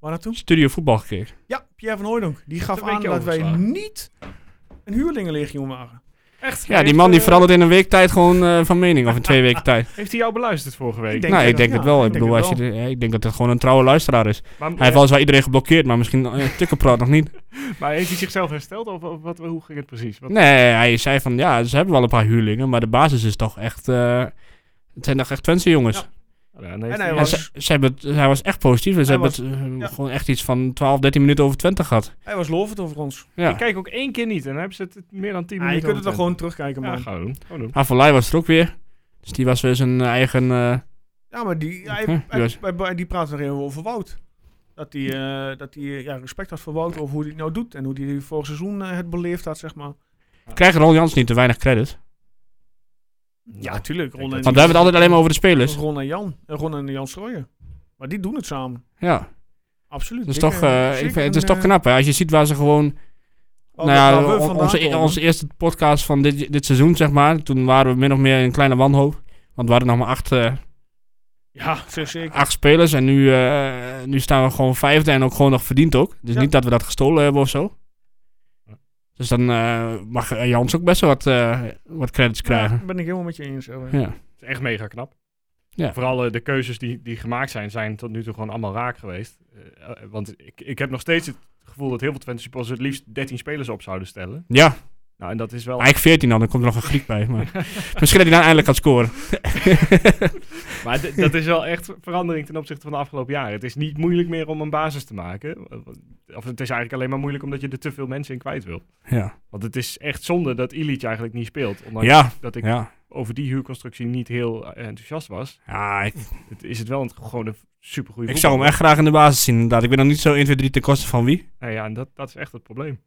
[SPEAKER 1] Waar naartoe?
[SPEAKER 2] Studio Voetbal gekeken?
[SPEAKER 1] Ja, Pierre van Hooydonk. Die gaf
[SPEAKER 3] Een weekje
[SPEAKER 1] aan dat wij
[SPEAKER 3] overgeslagen.
[SPEAKER 1] niet een huurlingenlegioen waren.
[SPEAKER 3] Echt?
[SPEAKER 2] Ja, die man
[SPEAKER 1] eh,
[SPEAKER 2] die verandert in een week tijd gewoon eh, van mening. Of in twee weken tijd.
[SPEAKER 3] eh, Heeft hij jou beluisterd vorige week?
[SPEAKER 1] Ik denk-
[SPEAKER 2] nou,
[SPEAKER 1] dat-
[SPEAKER 2] ik denk
[SPEAKER 1] ja,
[SPEAKER 2] het wel.
[SPEAKER 1] ik
[SPEAKER 2] Ik
[SPEAKER 1] denk
[SPEAKER 2] bedoel,
[SPEAKER 1] het
[SPEAKER 2] als je, de- ja, ik denk dat het gewoon een trouwe luisteraar is.
[SPEAKER 3] maar,
[SPEAKER 2] Hij heeft wel eens wel iedereen geblokkeerd, maar misschien uh, Tukkenpraat nog niet.
[SPEAKER 3] maar heeft hij zichzelf hersteld? Of, of wat, hoe ging het precies? Wat-
[SPEAKER 2] Nee, hij zei van ja, ze hebben wel een paar huurlingen, maar de basis is toch echt. eh, het zijn toch echt Twentse jongens.
[SPEAKER 1] Ja,
[SPEAKER 3] Ja, nee,
[SPEAKER 1] En
[SPEAKER 3] heeft
[SPEAKER 1] hij
[SPEAKER 2] En
[SPEAKER 1] was-
[SPEAKER 2] ze, ze hebben het- hij was echt positief. En ze
[SPEAKER 1] Hij
[SPEAKER 2] hebben het eh,
[SPEAKER 1] ja.
[SPEAKER 2] gewoon echt iets van 12, 13 minuten over Twente gehad.
[SPEAKER 1] Hij was lovend over ons.
[SPEAKER 2] Ja.
[SPEAKER 3] Ik kijk ook één keer niet en dan hebben ze het meer dan tien
[SPEAKER 1] Ah, je
[SPEAKER 3] minuten.
[SPEAKER 1] kunt het dan
[SPEAKER 3] over
[SPEAKER 1] gewoon terugkijken,
[SPEAKER 3] Twente.
[SPEAKER 1] man.
[SPEAKER 3] Ja, gaan we doen. Gaan we doen.
[SPEAKER 2] Havelai was er ook weer. Dus die was weer zijn eigen. eh,
[SPEAKER 1] Ja, maar die, hij,
[SPEAKER 2] Huh, die
[SPEAKER 1] hij-
[SPEAKER 2] was-
[SPEAKER 1] hij- hij- die praat nog even over Wout. Dat hij eh, dat hij, eh, ja, respect had voor Wout over hoe hij het nou doet. En hoe hij vorig seizoen eh, het beleefd had, zeg maar.
[SPEAKER 2] krijgt Ron Jans niet te weinig credit?
[SPEAKER 1] Ja, tuurlijk. Ron en,
[SPEAKER 2] Want we hebben het altijd alleen maar over de spelers.
[SPEAKER 1] Ron en Jan. Eh, Ron en Jan Strooijen. Maar die doen het samen.
[SPEAKER 2] Ja,
[SPEAKER 1] Absoluut.
[SPEAKER 2] dat is
[SPEAKER 1] Ik,
[SPEAKER 2] toch,
[SPEAKER 1] eh,
[SPEAKER 2] eh, ik
[SPEAKER 1] zeker
[SPEAKER 2] vind- het is
[SPEAKER 1] een,
[SPEAKER 2] toch
[SPEAKER 1] eh,
[SPEAKER 2] knap. Hè? Als je ziet waar ze gewoon
[SPEAKER 1] wat-
[SPEAKER 2] nou
[SPEAKER 1] waar
[SPEAKER 2] ja,
[SPEAKER 1] we
[SPEAKER 2] on-
[SPEAKER 1] vandaan
[SPEAKER 2] onze,
[SPEAKER 1] komen.
[SPEAKER 2] onze eerste podcast van dit, dit seizoen, zeg maar. Toen waren we min of meer in een kleine wanhoop. Want we hadden nog maar acht, eh,
[SPEAKER 1] Ja, zeer zeker.
[SPEAKER 2] acht spelers. En nu, eh, nu staan we gewoon vijfde en ook gewoon nog verdiend ook. Dus
[SPEAKER 1] Ja.
[SPEAKER 2] niet dat we dat gestolen hebben of zo. Dus dan eh, mag eh, Jans ook best wel wat, eh, wat credits krijgen.
[SPEAKER 1] Ja, ben ik helemaal met je eens. Owen.
[SPEAKER 2] Ja.
[SPEAKER 3] Het is echt mega knap.
[SPEAKER 2] Ja.
[SPEAKER 3] Vooral eh, de keuzes die, die gemaakt zijn, zijn tot nu toe gewoon allemaal raak geweest. Eh, eh, want ik, ik heb nog steeds het gevoel dat heel veel Twente supporters het liefst 13 spelers op zouden stellen.
[SPEAKER 2] Ja,
[SPEAKER 3] Nou, en dat is wel...
[SPEAKER 2] eigenlijk 14 dan. Dan komt er nog een Griek bij. Maar misschien dat hij dan eindelijk gaat scoren.
[SPEAKER 3] Maar d- dat is wel echt verandering ten opzichte van de afgelopen jaren. Het is niet moeilijk meer om een basis te maken. Of het is eigenlijk alleen maar moeilijk omdat je er te veel mensen in kwijt wil.
[SPEAKER 2] ja.
[SPEAKER 3] Want het is echt zonde dat Illich eigenlijk niet speelt. Ondanks
[SPEAKER 2] Ja,
[SPEAKER 3] dat ik
[SPEAKER 2] ja.
[SPEAKER 3] over die huurconstructie niet heel eh, enthousiast was.
[SPEAKER 2] ja ik,
[SPEAKER 3] Het, is het wel een, gewoon een supergoeie
[SPEAKER 2] ik zou hem
[SPEAKER 3] voetballer.
[SPEAKER 2] echt graag in de basis zien inderdaad. Ik ben nog niet zo 1, 2, 3 ten koste van wie.
[SPEAKER 3] Nou ja, en dat, dat is echt het probleem.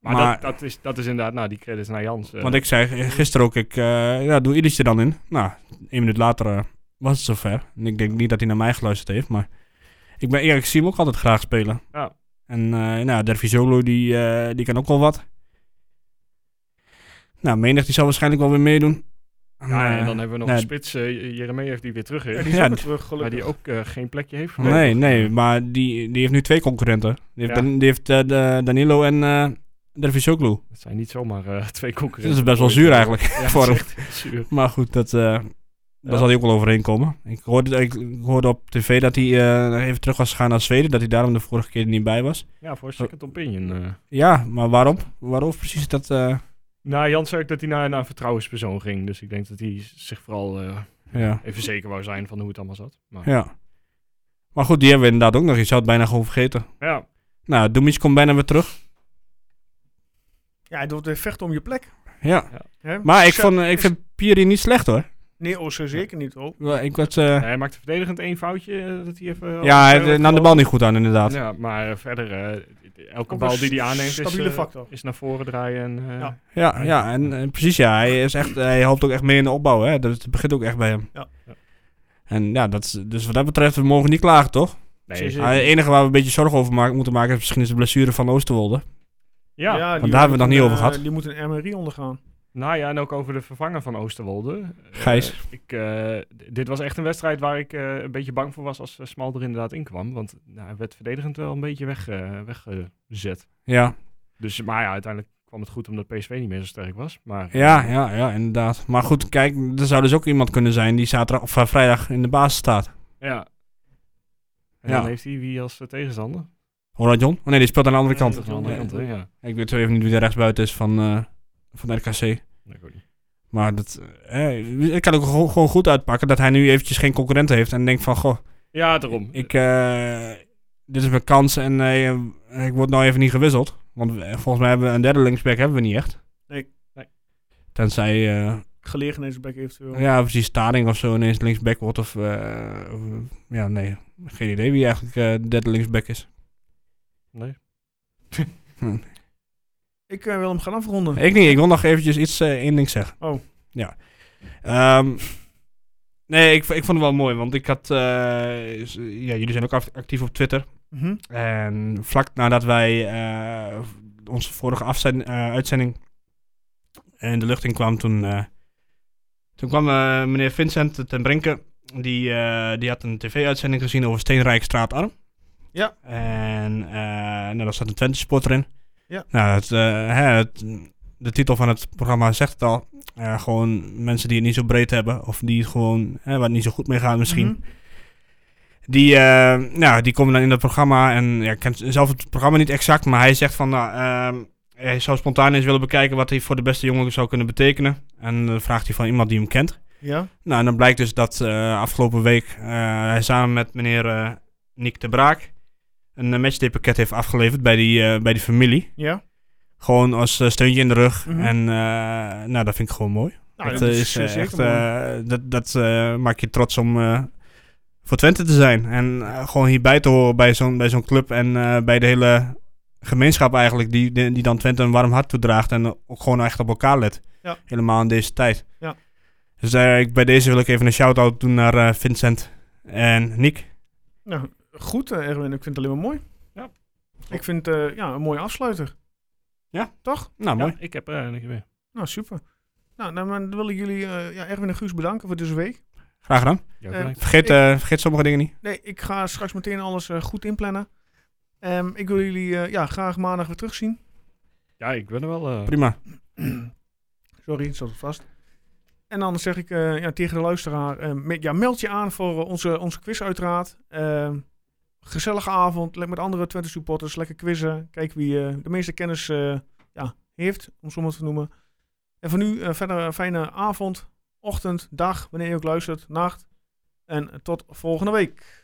[SPEAKER 3] Maar,
[SPEAKER 2] Maar-
[SPEAKER 3] dat, dat, is, dat is inderdaad, nou, die credits naar Jans. eh,
[SPEAKER 2] Want ik zei gisteren ook, ik eh, ja, doe Illich er dan in. Nou, één minuut later eh, was het zover. En ik denk niet dat hij naar mij geluisterd heeft, maar ik, ben, ja, ik zie hem ook altijd graag spelen.
[SPEAKER 3] Ja.
[SPEAKER 2] En eh, nou, Dervi Zolo, die, eh, die kan ook wel wat. Nou, menig, die zal waarschijnlijk wel weer meedoen.
[SPEAKER 3] Ja,
[SPEAKER 2] Maar,
[SPEAKER 3] en dan hebben we nog
[SPEAKER 2] nee.
[SPEAKER 3] een spits, eh Jeremejeff, die weer terug is.
[SPEAKER 1] Ja,
[SPEAKER 3] maar
[SPEAKER 1] die is
[SPEAKER 2] Ja,
[SPEAKER 1] ook weer
[SPEAKER 2] d-
[SPEAKER 1] terug,
[SPEAKER 3] die,
[SPEAKER 1] gelukkig.
[SPEAKER 3] ook eh, geen plekje heeft.
[SPEAKER 2] Nee, nee, maar die, die heeft nu twee concurrenten. Die heeft,
[SPEAKER 3] Ja.
[SPEAKER 2] Dan- die heeft eh, de- Danilo en eh Dervisoglu.
[SPEAKER 3] Dat zijn niet zomaar eh, twee concurrenten.
[SPEAKER 2] Dat is best wel zuur eigenlijk
[SPEAKER 3] Ja,
[SPEAKER 2] voor
[SPEAKER 3] dat
[SPEAKER 2] hem.
[SPEAKER 3] is echt zuur.
[SPEAKER 2] Maar goed, dat, eh daar zal hij ook wel overheen komen. Ik hoorde, ik, ik hoorde op tv dat hij eh, even terug was gegaan naar Zweden. Dat hij daarom de vorige keer er niet bij was.
[SPEAKER 3] Ja, voor second opinion. eh.
[SPEAKER 2] Ja, maar waarom? Waarom precies dat... eh,
[SPEAKER 3] Nou, Jan zei ook dat hij naar, naar een vertrouwenspersoon ging. Dus ik denk dat hij zich vooral eh,
[SPEAKER 2] ja,
[SPEAKER 3] even zeker wou zijn van hoe het allemaal zat. Maar,
[SPEAKER 2] ja. Maar goed, die hebben we inderdaad ook nog. Je zou het bijna gewoon vergeten.
[SPEAKER 3] ja.
[SPEAKER 2] Nou, Dumic komt bijna weer terug.
[SPEAKER 1] Ja, het wordt weer vechten om je plek.
[SPEAKER 2] Ja.
[SPEAKER 1] Hè?
[SPEAKER 2] Maar ik,
[SPEAKER 1] Zo-
[SPEAKER 2] vond, ik vind Pieri niet slecht hoor.
[SPEAKER 1] Nee, oh, zo zeker niet, hoor.
[SPEAKER 2] Wel, Ik was, eh,
[SPEAKER 3] Hij maakte verdedigend één foutje. eh, Dat hij even,
[SPEAKER 2] ja,
[SPEAKER 3] eh,
[SPEAKER 2] hij nam de bal niet goed aan inderdaad.
[SPEAKER 3] Ja, maar eh, verder, eh, elke
[SPEAKER 1] Ook
[SPEAKER 3] bal
[SPEAKER 1] een
[SPEAKER 3] die hij aanneemt is,
[SPEAKER 1] stabiele
[SPEAKER 3] eh,
[SPEAKER 1] factor.
[SPEAKER 3] is naar voren draaien. En, eh,
[SPEAKER 1] Ja.
[SPEAKER 2] Ja, ja en, en precies ja. Hij, is echt, hij helpt ook echt mee in de opbouw. Hè. Dat het begint ook echt bij hem.
[SPEAKER 1] Ja.
[SPEAKER 3] Ja.
[SPEAKER 2] En ja, dat is, dus wat dat betreft, we mogen niet klagen, toch?
[SPEAKER 3] nee,
[SPEAKER 1] Zeker.
[SPEAKER 2] Ah, Het enige waar we een beetje zorgen over maken, moeten maken is misschien is de blessure van Oosterwolde.
[SPEAKER 3] ja.
[SPEAKER 1] die
[SPEAKER 2] hebben we het
[SPEAKER 1] moet
[SPEAKER 2] nog niet
[SPEAKER 1] een,
[SPEAKER 2] over
[SPEAKER 1] eh,
[SPEAKER 2] gehad.
[SPEAKER 1] Die moet een MRI ondergaan.
[SPEAKER 3] Nou ja, en ook over de vervanger van Oosterwolde. Eh,
[SPEAKER 2] Gijs.
[SPEAKER 3] ik, eh, d- dit was echt een wedstrijd waar ik eh, een beetje bang voor was als eh, Smal er inderdaad in kwam. Want nou, hij werd verdedigend wel een beetje weg, eh, weggezet.
[SPEAKER 2] Ja,
[SPEAKER 3] Dus, maar ja, uiteindelijk kwam het goed omdat PSV niet meer zo sterk was. Maar
[SPEAKER 2] ja, ja, ja, inderdaad. Maar goed, kijk, er zou dus ook iemand kunnen zijn die zaterdag of eh, vrijdag in de basis staat.
[SPEAKER 3] ja. En
[SPEAKER 2] Ja.
[SPEAKER 3] dan heeft hij wie als eh, tegenstander?
[SPEAKER 2] Hoor John? Oh nee, die speelt aan de andere kant.
[SPEAKER 3] Aan de andere kant, hè? Ja.
[SPEAKER 2] Ik weet zo even niet wie de rechtsbuiten is van, eh, van RKC.
[SPEAKER 3] Nee, ik weet niet.
[SPEAKER 2] Maar dat, eh, het kan ook gewoon gewoon goed uitpakken dat hij nu eventjes geen concurrent heeft. En denkt van, goh,
[SPEAKER 3] Ja, daarom.
[SPEAKER 2] Ik, eh, dit is mijn kans en eh, ik word nou even niet gewisseld. Want we- volgens mij hebben we een derde linksback hebben we niet echt.
[SPEAKER 1] Nee.
[SPEAKER 3] Nee.
[SPEAKER 2] Tenzij, eh,
[SPEAKER 1] Gelegenheidsback eventueel.
[SPEAKER 2] ja, precies, Staring of zo ineens linksback wordt. Of, eh, of, ja, nee, geen idee wie eigenlijk eh, de derde linksback is.
[SPEAKER 3] Nee.
[SPEAKER 1] Ik eh, wil hem gaan afronden.
[SPEAKER 2] Ik niet, ik wil nog eventjes iets, eh één ding zeggen.
[SPEAKER 1] Oh.
[SPEAKER 2] Ja. Ehm, nee, ik, ik vond het wel mooi, want ik had, eh, s- ja, jullie zijn ook act- actief op Twitter.
[SPEAKER 1] Mhm.
[SPEAKER 2] En vlak nadat wij eh, onze vorige afzend- eh, uitzending in de lucht in kwam, toen, eh, toen kwam eh, meneer Vincent ten Brinke. Die, eh, die had een tv-uitzending gezien over Steenrijkstraat Arm.
[SPEAKER 1] Ja.
[SPEAKER 2] En eh, nou, daar zat een Twente supporter in.
[SPEAKER 1] Ja.
[SPEAKER 2] Nou, het, eh, hè, het- de titel van het programma zegt het al. Eh, gewoon mensen die het niet zo breed hebben. Of die het gewoon, hè, waar het niet zo goed mee gaat misschien.
[SPEAKER 1] Mhm.
[SPEAKER 2] Die, eh, nou, die komen dan in dat programma. En ja, ik ken zelf het programma niet exact. Maar hij zegt van. Nou, ehm, hij zou spontaan eens willen bekijken wat hij voor de beste jongen zou kunnen betekenen. En dan vraagt hij van iemand die hem kent.
[SPEAKER 1] Ja.
[SPEAKER 2] Nou, en dan blijkt dus dat eh, afgelopen week eh, hij samen met meneer eh Nick de Braak een eh, matchday pakket heeft afgeleverd bij die, eh, bij die familie.
[SPEAKER 1] Ja.
[SPEAKER 2] Gewoon als eh, steuntje in de rug.
[SPEAKER 1] Mhm.
[SPEAKER 2] En eh, nou, dat vind ik gewoon mooi.
[SPEAKER 1] Nou,
[SPEAKER 2] dat
[SPEAKER 1] dat
[SPEAKER 2] eh,
[SPEAKER 1] is,
[SPEAKER 2] is
[SPEAKER 1] eh,
[SPEAKER 2] eh,
[SPEAKER 1] zeker
[SPEAKER 2] echt,
[SPEAKER 1] mooi.
[SPEAKER 2] eh, dat, dat eh, maakt je trots om eh, voor Twente te zijn. En eh, gewoon hierbij te horen bij zo'n, bij zo'n club en eh, bij de hele gemeenschap eigenlijk, die, die, die dan Twente een warm hart toedraagt en eh, ook gewoon echt op elkaar let.
[SPEAKER 1] Ja.
[SPEAKER 2] Helemaal in deze tijd.
[SPEAKER 1] Ja.
[SPEAKER 2] Dus eh, ik, bij deze wil ik even een shout-out doen naar eh, Vincent en Nick.
[SPEAKER 1] Nou, goed eh, Erwin. Ik vind het alleen maar mooi.
[SPEAKER 3] Ja.
[SPEAKER 1] Ik vind eh ja, een mooie afsluiter.
[SPEAKER 2] Ja.
[SPEAKER 1] Toch?
[SPEAKER 2] Nou, mooi.
[SPEAKER 3] Ja, ik heb er niks meer.
[SPEAKER 1] Nou, super. Nou, nou, maar dan wil ik jullie, eh, ja, Erwin en Guus, bedanken voor deze week.
[SPEAKER 2] Graag gedaan.
[SPEAKER 3] Ja,
[SPEAKER 1] Eh,
[SPEAKER 3] bedankt.
[SPEAKER 2] Vergeet, eh, vergeet sommige dingen niet.
[SPEAKER 1] Nee, ik ga straks meteen alles eh, goed inplannen. Ehm, ik wil jullie eh, ja, graag maandag weer terugzien.
[SPEAKER 3] ja, ik ben er wel. eh,
[SPEAKER 2] Prima.
[SPEAKER 1] Sorry, het zat er vast. En dan zeg ik eh, ja, tegen de luisteraar, eh, me- ja, meld je aan voor eh, onze, onze quiz uiteraard. Ehm, gezellige avond, le- met andere Twente supporters, lekker quizzen. Kijk wie eh, de meeste kennis eh, ja, heeft, om zo maar te noemen. En voor nu eh, verder een fijne avond, ochtend, dag, wanneer je ook luistert, nacht. En tot volgende week.